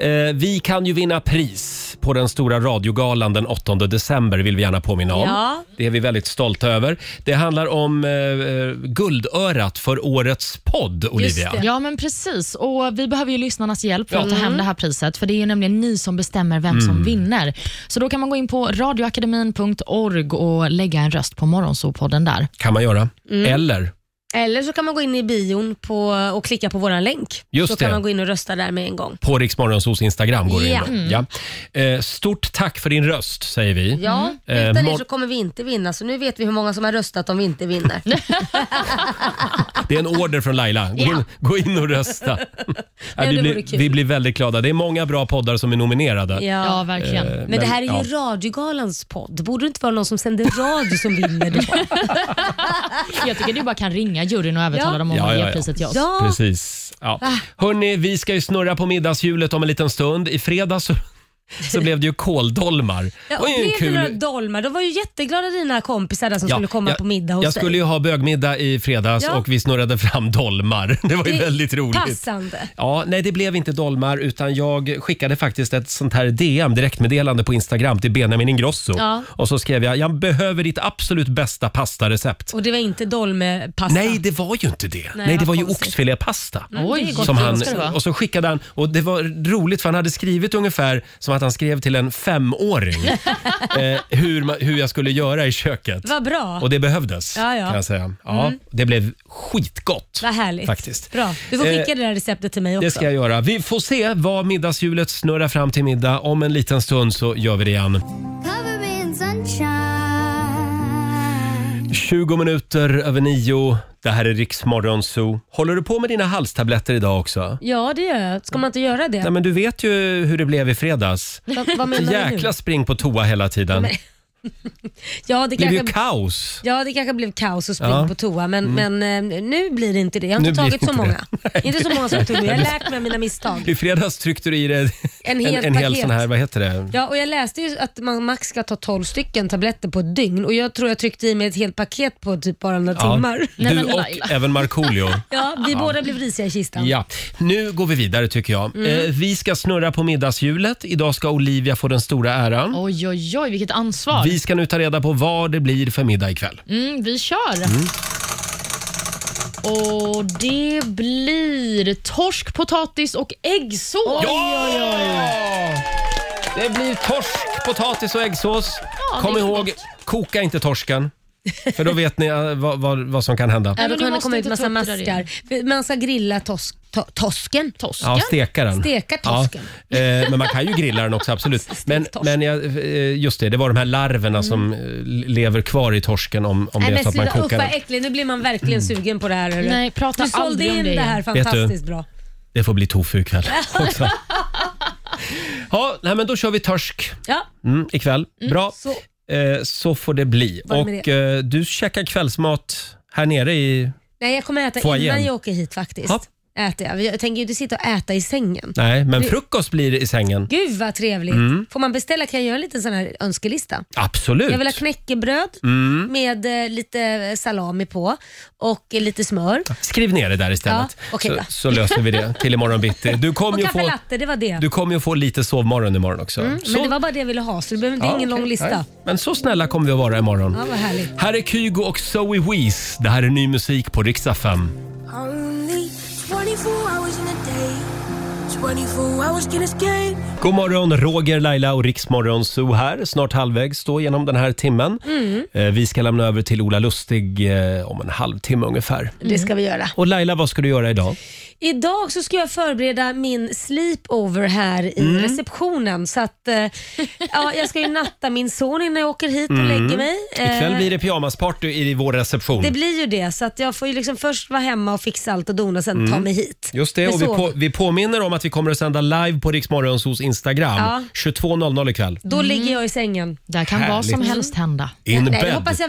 Speaker 1: Eh, vi kan ju vinna pris på den stora radiogalan den 8 december vill vi gärna påminna om.
Speaker 6: Ja.
Speaker 1: Det är vi väldigt stolta över. Det handlar om eh, eh, guldörat för årets podd, Olivia.
Speaker 3: Ja, men precis. Och Vi behöver ju lyssnarnas hjälp för att ta
Speaker 1: Ja.
Speaker 3: hem det här priset, för det är ju nämligen ni som bestämmer vem
Speaker 1: Mm.
Speaker 3: som vinner. Så då kan man gå in på radioakademin.org och lägga en röst på Morgonzoo-podden där.
Speaker 1: kan man göra. Eller
Speaker 2: Eller så kan man gå in i bion på, och klicka på våran länk.
Speaker 1: Just
Speaker 2: så kan
Speaker 1: det.
Speaker 2: man gå in och rösta där med en gång.
Speaker 1: På Riksmorgonsos Instagram går det
Speaker 2: Ja. Mm.
Speaker 1: in. då. Ja. Eh, Stort tack för din röst säger vi.
Speaker 2: Ja,
Speaker 1: Eh,
Speaker 2: utan er
Speaker 1: mor-
Speaker 2: så kommer vi inte vinna, så nu vet vi hur många som har röstat om vi inte vinner.
Speaker 1: Det är en order från Laila. Gå, in,
Speaker 2: Ja.
Speaker 1: gå in och rösta. Ja,
Speaker 2: det
Speaker 1: vi,
Speaker 2: vore
Speaker 1: blir,
Speaker 2: kul.
Speaker 1: vi blir väldigt glada. Det är många bra poddar som är nominerade.
Speaker 2: Ja, verkligen.
Speaker 1: Eh,
Speaker 2: men, det här är ju
Speaker 1: ja.
Speaker 2: Radiogalans podd. Det borde inte vara någon som sänder radio som vinner då.
Speaker 3: Jag tycker du bara kan ringa juryn och övertala dem om att ge priset till oss.
Speaker 1: Precis. Ja.
Speaker 2: Ah.
Speaker 1: Hörni, vi ska ju snurra på middagshjulet om en liten stund. I fredags så, så blev det ju kåldolmar.
Speaker 2: Ja,
Speaker 1: Det var
Speaker 2: och
Speaker 1: ju en
Speaker 2: blev det några dolmar? De var ju jätteglada dina kompisar där som
Speaker 1: Ja,
Speaker 2: skulle komma på middag hos
Speaker 1: Jag
Speaker 2: dig.
Speaker 1: skulle ju ha bögmiddag i fredags
Speaker 2: Ja.
Speaker 1: och vi snurrade fram dolmar. Det var ju
Speaker 2: Det är
Speaker 1: väldigt roligt.
Speaker 2: Passande.
Speaker 1: Ja, nej det blev inte dolmar utan jag skickade faktiskt ett sånt här DM, direktmeddelande på Instagram till Benjamin Ingrosso.
Speaker 2: Ja.
Speaker 1: Och så skrev jag, jag behöver ditt absolut bästa pastarecept.
Speaker 2: Och det var inte dolmepasta.
Speaker 1: Nej, det var ju inte det. Nej,
Speaker 2: Nej,
Speaker 1: det
Speaker 2: vad
Speaker 1: var ju
Speaker 2: konstigt.
Speaker 1: oxfilépasta.
Speaker 2: Mm, det är gott.
Speaker 1: som
Speaker 2: Det
Speaker 1: han,
Speaker 2: ska det vara.
Speaker 1: och så skickade han, och det var roligt för han hade skrivit ungefär som att han skrev till en femåring eh, hur, ma- hur jag skulle göra i köket.
Speaker 2: Vad bra.
Speaker 1: Och det behövdes
Speaker 2: Ja, ja.
Speaker 1: kan jag säga. Ja,
Speaker 2: Mm.
Speaker 1: Det blev skitgott.
Speaker 2: Vad härligt.
Speaker 1: Faktiskt.
Speaker 2: Bra. Du får skicka
Speaker 1: Eh,
Speaker 2: det där receptet till mig också.
Speaker 1: Det ska jag göra. Vi får se vad middagshjulet snurrar fram till middag. Om en liten stund så gör vi det igen. 20 minuter över nio. Det här är Riksmorgon Zoo. Håller du på med dina halstabletter idag också?
Speaker 2: Ja, det gör jag. Ska man inte göra det?
Speaker 1: Nej, men du vet ju hur det blev i fredags.
Speaker 2: Va- vad menar du nu?
Speaker 1: Jäkla spring på toa hela tiden.
Speaker 2: Men- ja, det
Speaker 1: Det blev ju
Speaker 2: kanske...
Speaker 1: kaos.
Speaker 2: Ja, det kanske blev kaos och spring
Speaker 1: Ja.
Speaker 2: på toa, men,
Speaker 1: Mm.
Speaker 2: men eh, nu blir det inte det. Jag har
Speaker 1: Nu
Speaker 2: inte
Speaker 1: blir
Speaker 2: tagit
Speaker 1: det
Speaker 2: så
Speaker 1: inte
Speaker 2: många. inte så många som tog mig. Jag har lärt mig av mina misstag.
Speaker 1: I fredags tryckte du i dig en,
Speaker 2: En
Speaker 1: en,
Speaker 2: hel
Speaker 1: hel
Speaker 2: paket.
Speaker 1: sån här, vad heter det?
Speaker 2: Ja, och jag läste ju att man max ska ta 12 stycken tabletter på ett dygn och jag tror jag tryckte i mig ett helt paket på typ bara några timmar.
Speaker 1: Du och även Markoolio.
Speaker 2: Ja, vi
Speaker 1: Ja.
Speaker 2: båda blev risiga i kistan.
Speaker 1: Ja, nu går vi vidare tycker jag.
Speaker 2: Mm.
Speaker 1: Eh, vi ska snurra på middagshjulet. Idag ska Olivia få den stora äran.
Speaker 3: Oj, oj, oj, vilket ansvar.
Speaker 1: Vi ska nu ta reda på vad det blir för middag ikväll.
Speaker 3: Mm, vi kör. Och det blir torsk, potatis och äggsås.
Speaker 1: Ja! Det blir torsk, potatis och äggsås.
Speaker 3: det
Speaker 1: Kom
Speaker 3: är
Speaker 1: ihåg, koka inte torsken. För då vet ni eh, vad, vad, vad som kan hända.
Speaker 2: Ja,
Speaker 3: men
Speaker 2: då
Speaker 3: du
Speaker 2: kan det
Speaker 3: måste
Speaker 2: komma ut
Speaker 3: inte
Speaker 2: massa
Speaker 3: ta upp det där igen.
Speaker 2: maskar. För Man ska grilla tos to tosken. tosken.
Speaker 1: Ja, steka den.
Speaker 2: Steka tosken.
Speaker 1: Ja, eh, men man kan ju grilla den också, absolut. Men, men jag, eh, just det, det var de här larverna som eh, lever kvar i torsken om, om det
Speaker 2: Mm. Nej,
Speaker 1: är så
Speaker 2: men
Speaker 1: att man
Speaker 2: sluta, usch
Speaker 1: kokar den.
Speaker 2: vad äckligt. Nu blir man verkligen sugen på det här. hörru.
Speaker 3: Nej, prata
Speaker 2: du sålde
Speaker 3: aldrig om
Speaker 2: in
Speaker 3: det
Speaker 2: det, här
Speaker 1: igen. Vet du?
Speaker 2: fantastiskt bra.
Speaker 1: Det får bli tofu ikväll också. ja, nej, men då kör vi torsk
Speaker 2: Ja,
Speaker 1: mm, ikväll.
Speaker 2: Mm,
Speaker 1: Bra.
Speaker 2: så.
Speaker 1: Eh, så får det bli.
Speaker 2: Var det med
Speaker 1: Och eh, du käkar kvällsmat här nere i...
Speaker 2: nej jag kommer äta
Speaker 1: Få
Speaker 2: innan
Speaker 1: igen.
Speaker 2: jag åker hit faktiskt.
Speaker 1: Ja.
Speaker 2: Äter jag. jag tänker ju inte sitta och äta i sängen.
Speaker 1: Nej, men
Speaker 2: Det-
Speaker 1: frukost blir det i sängen.
Speaker 2: Gud vad trevligt.
Speaker 1: Mm.
Speaker 2: Får man beställa kan jag göra en liten sån här önskelista?
Speaker 1: Absolut.
Speaker 2: Jag vill ha knäckebröd
Speaker 1: Mm.
Speaker 2: med eh, lite salami på och eh, lite smör.
Speaker 1: Skriv ner det där istället.
Speaker 2: Ja, okej, bra.
Speaker 1: så, så löser vi det till imorgon bitti. Du kommer
Speaker 2: Och
Speaker 1: ju
Speaker 2: kaffe
Speaker 1: få,
Speaker 2: latte, det var det.
Speaker 1: du kommer ju få lite sovmorgon imorgon också.
Speaker 2: Mm,
Speaker 1: Så-
Speaker 2: men det var bara det jag ville ha, så det, behöver, det är
Speaker 1: Ja,
Speaker 2: ingen
Speaker 1: okej.
Speaker 2: lång lista.
Speaker 1: Nej. Mm. Men så snälla kommer vi att vara imorgon.
Speaker 2: Ja, vad härligt.
Speaker 1: Här är Kygo och Zoe Wees. Det här är ny musik på riksdag 5.
Speaker 6: Only 24 hours in a day. 24 hours can escape.
Speaker 1: God morgon, Roger, Laila och Riksmorgon Zoo här. Snart halvvägs då genom den här timmen.
Speaker 2: Mm.
Speaker 1: Eh, Vi ska lämna över till Ola Lustig eh, om en halvtimme ungefär.
Speaker 2: Det ska vi göra.
Speaker 1: Och Laila, vad ska du göra idag?
Speaker 2: Idag så ska jag förbereda min sleepover här i
Speaker 1: Mm.
Speaker 2: receptionen. Så att, eh, ja, jag ska ju natta min son innan jag åker hit och
Speaker 1: Mm.
Speaker 2: lägger mig. Eh,
Speaker 1: Ikväll blir det pyjamasparty i vår reception.
Speaker 2: det blir ju det, så att jag får ju liksom först vara hemma och fixa allt och dona, sen ta
Speaker 1: Mm.
Speaker 2: mig hit.
Speaker 1: Just det,
Speaker 2: Med
Speaker 1: och vi,
Speaker 2: sov.
Speaker 1: på, vi påminner om att vi kommer att sända live på Riksmorgon Zoos Instagram
Speaker 2: Ja.
Speaker 1: 22.00 ikväll.
Speaker 2: Då ligger jag i sängen.
Speaker 3: Där kan vad som
Speaker 1: Härligt.
Speaker 3: helst hända.
Speaker 1: Mm. In
Speaker 2: Nej, det
Speaker 1: bed.
Speaker 2: hoppas jag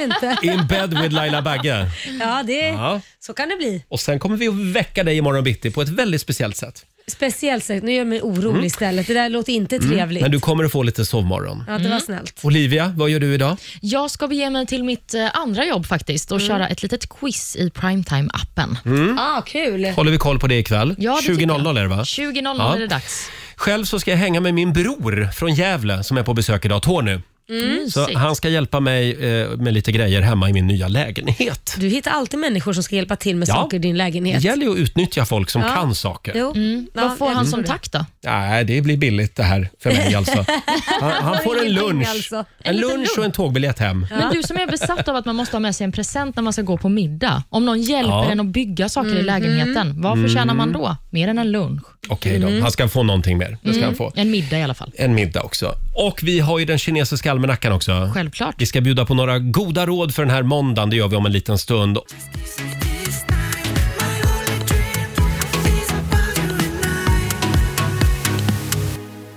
Speaker 2: inte.
Speaker 1: In bed with Laila Bagge.
Speaker 2: Ja, det,
Speaker 1: Ja.
Speaker 2: så kan det bli.
Speaker 1: Och sen kommer vi att väcka dig imorgon bitti på ett väldigt speciellt sätt.
Speaker 2: Speciellt sett, nu gör jag mig orolig
Speaker 1: Mm.
Speaker 2: istället. Det där låter inte
Speaker 1: Mm.
Speaker 2: trevligt.
Speaker 1: Men du Mm. kommer att få lite sovmorgon.
Speaker 2: Ja, det var snällt.
Speaker 1: Olivia, vad gör du idag?
Speaker 3: Jag ska bege mig till mitt eh, andra jobb faktiskt och köra ett litet quiz i Primetime-appen.
Speaker 1: Mm.
Speaker 2: Ah, kul.
Speaker 1: Håller vi koll på det ikväll?
Speaker 3: Ja, det tycker
Speaker 1: 20.00 är det va?
Speaker 3: 20.00 är det dags.
Speaker 1: Själv så ska jag hänga med min bror från Gävle som är på besök idag, Tony.
Speaker 2: Mm.
Speaker 1: Så han ska hjälpa mig eh, med lite grejer hemma i min nya lägenhet.
Speaker 2: Du hittar alltid människor som ska hjälpa till med
Speaker 1: Ja.
Speaker 2: saker i din
Speaker 1: Det
Speaker 2: lägenhet.
Speaker 1: gäller ju att utnyttja folk som
Speaker 2: Ja.
Speaker 1: kan saker.
Speaker 2: Jo.
Speaker 3: Mm. Vad får
Speaker 2: jag
Speaker 3: han
Speaker 2: tror
Speaker 3: som
Speaker 2: det.
Speaker 3: tack då?
Speaker 1: Nej, det blir billigt det här för mig alltså. Han, han får en
Speaker 3: Ingenting
Speaker 1: lunch.
Speaker 3: alltså. En
Speaker 1: En
Speaker 3: liten
Speaker 1: lunch
Speaker 3: lunch.
Speaker 1: och en tågbiljett hem.
Speaker 3: Men du som är besatt av att man måste ha med sig en present när man ska gå på middag. Om någon hjälper
Speaker 1: Ja.
Speaker 3: en att bygga saker i
Speaker 1: Mhm.
Speaker 3: lägenheten, vad förtjänar man
Speaker 1: Mm.
Speaker 3: då? Mer än en lunch.
Speaker 1: Okej då,
Speaker 3: Mm.
Speaker 1: han ska få någonting mer. Det ska
Speaker 3: Mm.
Speaker 1: han få.
Speaker 3: En middag i alla fall.
Speaker 1: En middag också. Och vi har ju den kinesiska almanackan också.
Speaker 3: Självklart.
Speaker 1: Vi ska bjuda på några goda råd för den här måndagen. Det gör vi om en liten stund.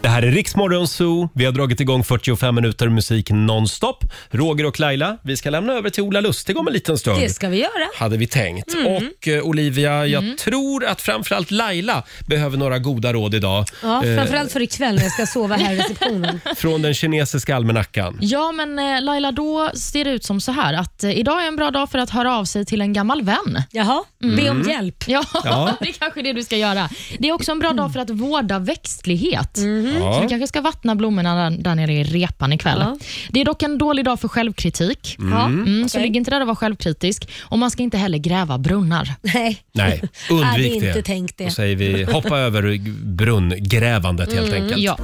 Speaker 1: Det här är Riksmorgon Zoo. Vi har dragit igång 45 minuter musik nonstop. Roger och Laila, vi ska lämna över till Ola Lustig om en liten stund.
Speaker 2: Det ska vi göra.
Speaker 1: hade vi tänkt.
Speaker 2: Mm.
Speaker 1: Och eh, Olivia, jag tror att framförallt Laila behöver några goda råd idag.
Speaker 2: Ja,
Speaker 1: Eh,
Speaker 2: framförallt för ikväll när jag ska sova här i receptionen.
Speaker 1: Från den kinesiska almanackan.
Speaker 3: Ja, men eh, Laila, då ser det ut som så här att eh, idag är en bra dag för att höra av sig till en gammal vän.
Speaker 2: Jaha, be om
Speaker 3: Mm.
Speaker 2: hjälp.
Speaker 3: Ja,
Speaker 2: Ja.
Speaker 3: det är kanske är det du ska göra. Det är också en bra dag för att vårda växtlighet. Så
Speaker 6: Ja.
Speaker 3: du kanske ska vattna blommorna där, där nere i repan ikväll.
Speaker 6: Ja.
Speaker 3: Det är dock en dålig dag för självkritik.
Speaker 6: Mm. Ja,
Speaker 3: Mm, så
Speaker 6: okej.
Speaker 3: ligg inte där och var självkritisk. Och man ska inte heller gräva brunnar.
Speaker 2: Nej,
Speaker 1: Nej, undvik
Speaker 3: Hade inte
Speaker 1: det.
Speaker 3: tänkt det.
Speaker 1: Då säger vi hoppa över brunngrävandet helt
Speaker 3: Mm,
Speaker 1: enkelt.
Speaker 3: Ja.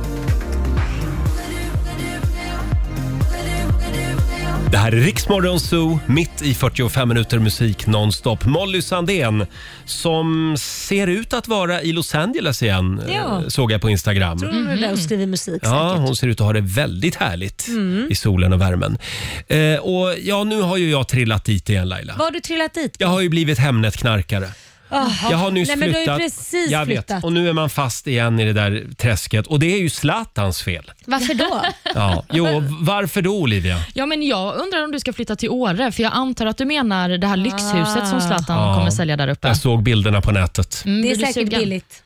Speaker 1: Det här är Riksmorgon Zoo, mitt i 45 minuter musik nonstop. Molly Sandén, som ser ut att vara i Los Angeles igen, eh,
Speaker 2: Ja.
Speaker 1: såg jag på Instagram.
Speaker 3: Mm.
Speaker 2: tror hon är där och skriver musik
Speaker 1: Ja,
Speaker 2: säkert.
Speaker 1: hon ser ut att ha det väldigt härligt
Speaker 2: Mm.
Speaker 1: i solen och värmen. Eh, och ja, nu har ju jag trillat dit igen Laila.
Speaker 2: Vad har du trillat dit?
Speaker 1: Jag har ju blivit Hemnet-knarkare.
Speaker 2: Jaha.
Speaker 1: Jag har nyss
Speaker 2: Nej, men
Speaker 1: flyttat.
Speaker 2: Du har ju precis
Speaker 1: jag
Speaker 2: flyttat.
Speaker 1: vet. Och nu är man fast igen i det där träsket. Och det är ju Zlatans fel.
Speaker 3: Varför då?
Speaker 1: Ja. Jo, varför då Olivia?
Speaker 3: Ja, men jag undrar om du ska flytta till Åre, för jag antar att du menar det här lyxhuset som Zlatan
Speaker 1: Ja.
Speaker 3: kommer sälja där uppe.
Speaker 1: Jag såg bilderna på nätet.
Speaker 3: Mm,
Speaker 2: Det är
Speaker 3: blir
Speaker 2: säkert
Speaker 3: du sugen?
Speaker 2: billigt.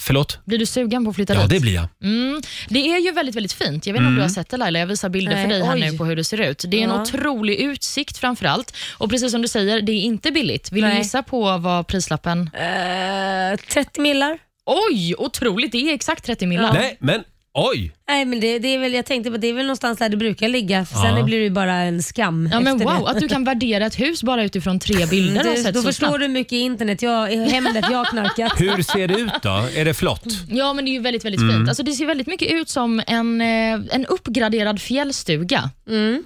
Speaker 1: Förlåt?
Speaker 3: Blir du sugen på att flytta
Speaker 1: Ja,
Speaker 3: dit?
Speaker 1: det blir jag.
Speaker 3: Mm. Det är ju väldigt, väldigt fint. Jag vet inte om
Speaker 1: Mm.
Speaker 3: du har sett det Laila, jag visar bilder
Speaker 2: Nej,
Speaker 3: för dig här
Speaker 2: oj.
Speaker 3: nu på hur det ser ut. Det är en
Speaker 2: Ja.
Speaker 3: otrolig utsikt framför allt. Och precis som du säger, det är inte billigt. Vill
Speaker 2: Nej.
Speaker 3: du gissa på vad prislappen... Eh,
Speaker 2: 30 millar.
Speaker 3: Oj, otroligt. Det är exakt 30 millar.
Speaker 1: Nej, men oj!
Speaker 2: Nej, men det, det är väl, jag tänkte på det är väl någonstans där det brukar ligga. För
Speaker 1: Ja.
Speaker 2: Sen blir det ju bara en skam
Speaker 3: Ja, men
Speaker 2: efter
Speaker 3: wow,
Speaker 2: det.
Speaker 3: att du kan värdera ett hus bara utifrån tre bilder du har
Speaker 2: Du,
Speaker 3: sett
Speaker 2: då
Speaker 3: så
Speaker 2: förstår
Speaker 3: snabbt.
Speaker 2: du hur mycket internet, jag, Hemnet jag har knarkat.
Speaker 1: Hur ser det ut då? Är det flott?
Speaker 2: Mhm.
Speaker 3: Ja, men det är ju väldigt, väldigt
Speaker 1: Mm.
Speaker 3: fint. Alltså, det ser väldigt mycket ut som en, eh, en uppgraderad fjällstuga.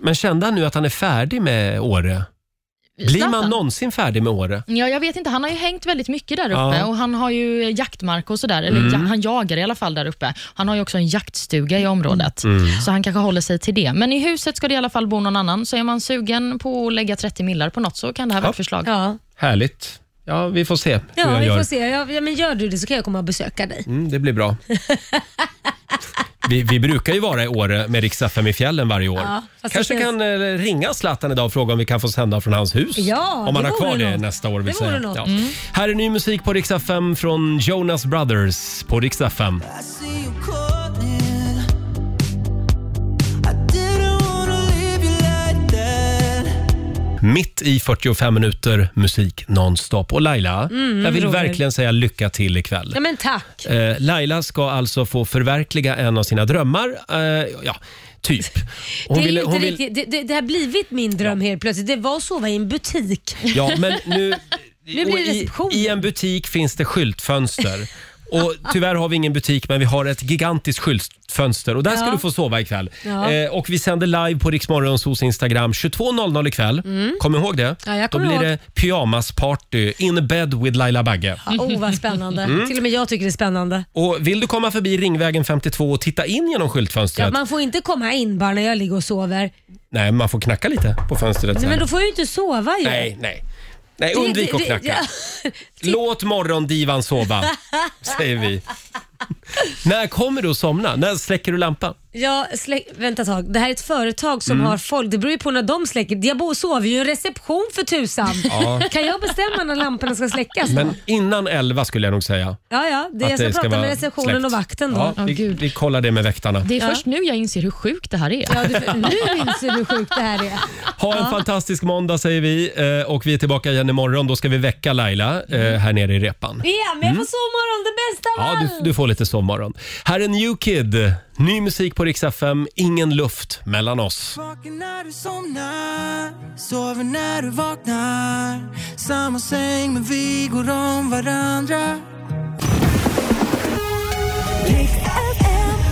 Speaker 1: Men kände han nu att han är färdig med Åre? Blir man
Speaker 3: Zlatan?
Speaker 1: någonsin färdig med Åre?
Speaker 3: Ja, jag vet inte. Han har ju hängt väldigt mycket där uppe
Speaker 1: Ja.
Speaker 3: och han har ju jaktmark och sådär. Eller
Speaker 1: Mm.
Speaker 3: ja, han jagar i alla fall där uppe. Han har ju också en jaktstuga i området,
Speaker 1: Mm.
Speaker 3: så han kanske håller sig till det. Men i huset ska det i alla fall bo någon annan, så är man sugen på att lägga 30 millar på något så kan det här vara ett förslag.
Speaker 2: Ja,
Speaker 1: Härligt. Ja, vi får se hur
Speaker 2: ja
Speaker 1: jag
Speaker 2: vi
Speaker 1: gör.
Speaker 2: får se. Ja, ja, men gör du det så kan jag komma och besöka dig.
Speaker 1: Mm, det blir bra. Vi, vi brukar ju vara i Åre med Rix FM i fjällen varje år.
Speaker 2: Ja, fast det
Speaker 1: Kanske
Speaker 2: känns-
Speaker 1: kan eh, ringa Zlatan idag och fråga om vi kan få sända från hans hus.
Speaker 2: Ja,
Speaker 1: om han
Speaker 2: det
Speaker 1: har kvar
Speaker 2: vore
Speaker 1: det
Speaker 2: något.
Speaker 1: nästa år. Vill
Speaker 2: Det vore
Speaker 1: säga.
Speaker 2: något.
Speaker 1: Ja.
Speaker 2: Mm.
Speaker 1: Här är ny musik på Rix FM från Jonas Brothers på Rix FM. Mitt i 45 minuter musik nonstop. Och Laila,
Speaker 2: Mm,
Speaker 1: jag vill
Speaker 2: Roger.
Speaker 1: verkligen säga lycka till ikväll.
Speaker 2: Ja, men tack.
Speaker 1: Eh, Laila ska alltså få förverkliga en av sina drömmar. Eh, ja, typ. Hon
Speaker 2: det, är ju
Speaker 1: ville-
Speaker 2: inte
Speaker 1: hon vill-
Speaker 2: riktigt, det, det, det har blivit min dröm helt plötsligt. Det var att sova i en butik.
Speaker 1: Ja, men nu...
Speaker 2: Nu blir
Speaker 1: och
Speaker 2: det
Speaker 1: i,
Speaker 2: reception.
Speaker 1: I en butik finns det skyltfönster. Och Tyvärr har vi ingen butik, men vi har ett gigantiskt skyltfönster. Och Där ska
Speaker 2: Ja.
Speaker 1: du få sova ikväll.
Speaker 2: Ja.
Speaker 1: Eh, och vi sänder live på Riksmorgons hos Instagram 22.00 ikväll.
Speaker 2: Mm.
Speaker 1: Kom ihåg det.
Speaker 2: Ja, jag
Speaker 1: Då
Speaker 2: kommer
Speaker 1: blir
Speaker 2: ihåg.
Speaker 1: det pyjamasparty in bed with Laila Bagge.
Speaker 2: Ja, oh, vad spännande.
Speaker 1: Mm.
Speaker 2: Till och med jag tycker det är spännande.
Speaker 1: Och Vill du komma förbi Ringvägen 52 och titta in genom skyltfönstret?
Speaker 2: Ja, man får inte komma in bara när jag ligger och sover.
Speaker 1: Nej, man får knacka lite på fönstret.
Speaker 2: Nej,
Speaker 1: sen.
Speaker 2: men då får jag ju inte sova ju.
Speaker 1: Nej, nej. Nej,
Speaker 2: Det-
Speaker 1: undvik
Speaker 2: det-
Speaker 1: att
Speaker 2: det-
Speaker 1: knacka.
Speaker 2: ja.
Speaker 1: Låt morgondivan sova, säger vi. När kommer du att somna? När släcker du lampan?
Speaker 2: Ja, släck, vänta ett tag. Det här är ett företag som
Speaker 1: Mm.
Speaker 2: har folk. Det beror ju på när de släcker. Jag bor och sover ju i en reception för tusan.
Speaker 1: Ja.
Speaker 2: Kan jag bestämma när lamporna ska släckas då?
Speaker 1: Men innan elva skulle jag nog säga.
Speaker 2: Ja, ja. Det,
Speaker 1: att
Speaker 2: jag ska,
Speaker 1: ska
Speaker 2: prata
Speaker 1: vara
Speaker 2: med receptionen
Speaker 1: släckt.
Speaker 2: och vakten då.
Speaker 1: Ja, vi, vi kollar det med väktarna.
Speaker 3: Det är först nu jag inser hur sjukt det här är.
Speaker 2: Ja, du, nu inser du hur sjukt det här är.
Speaker 1: Ha en fantastisk måndag säger vi eh, och vi är tillbaka igen imorgon. Då ska vi väcka Laila eh, eh, här nere i repan.
Speaker 2: Mm. Ja, men jag får sovmorgon, det bästa av
Speaker 1: Mm. Ja,
Speaker 2: allt.
Speaker 1: du, du får lite sovmorgon. Här är New Kid. Ny musik på Rix FM. Ingen luft mellan oss.
Speaker 9: Vaken när du somnar, sover när du vaknar Samma säng men vi går om varandra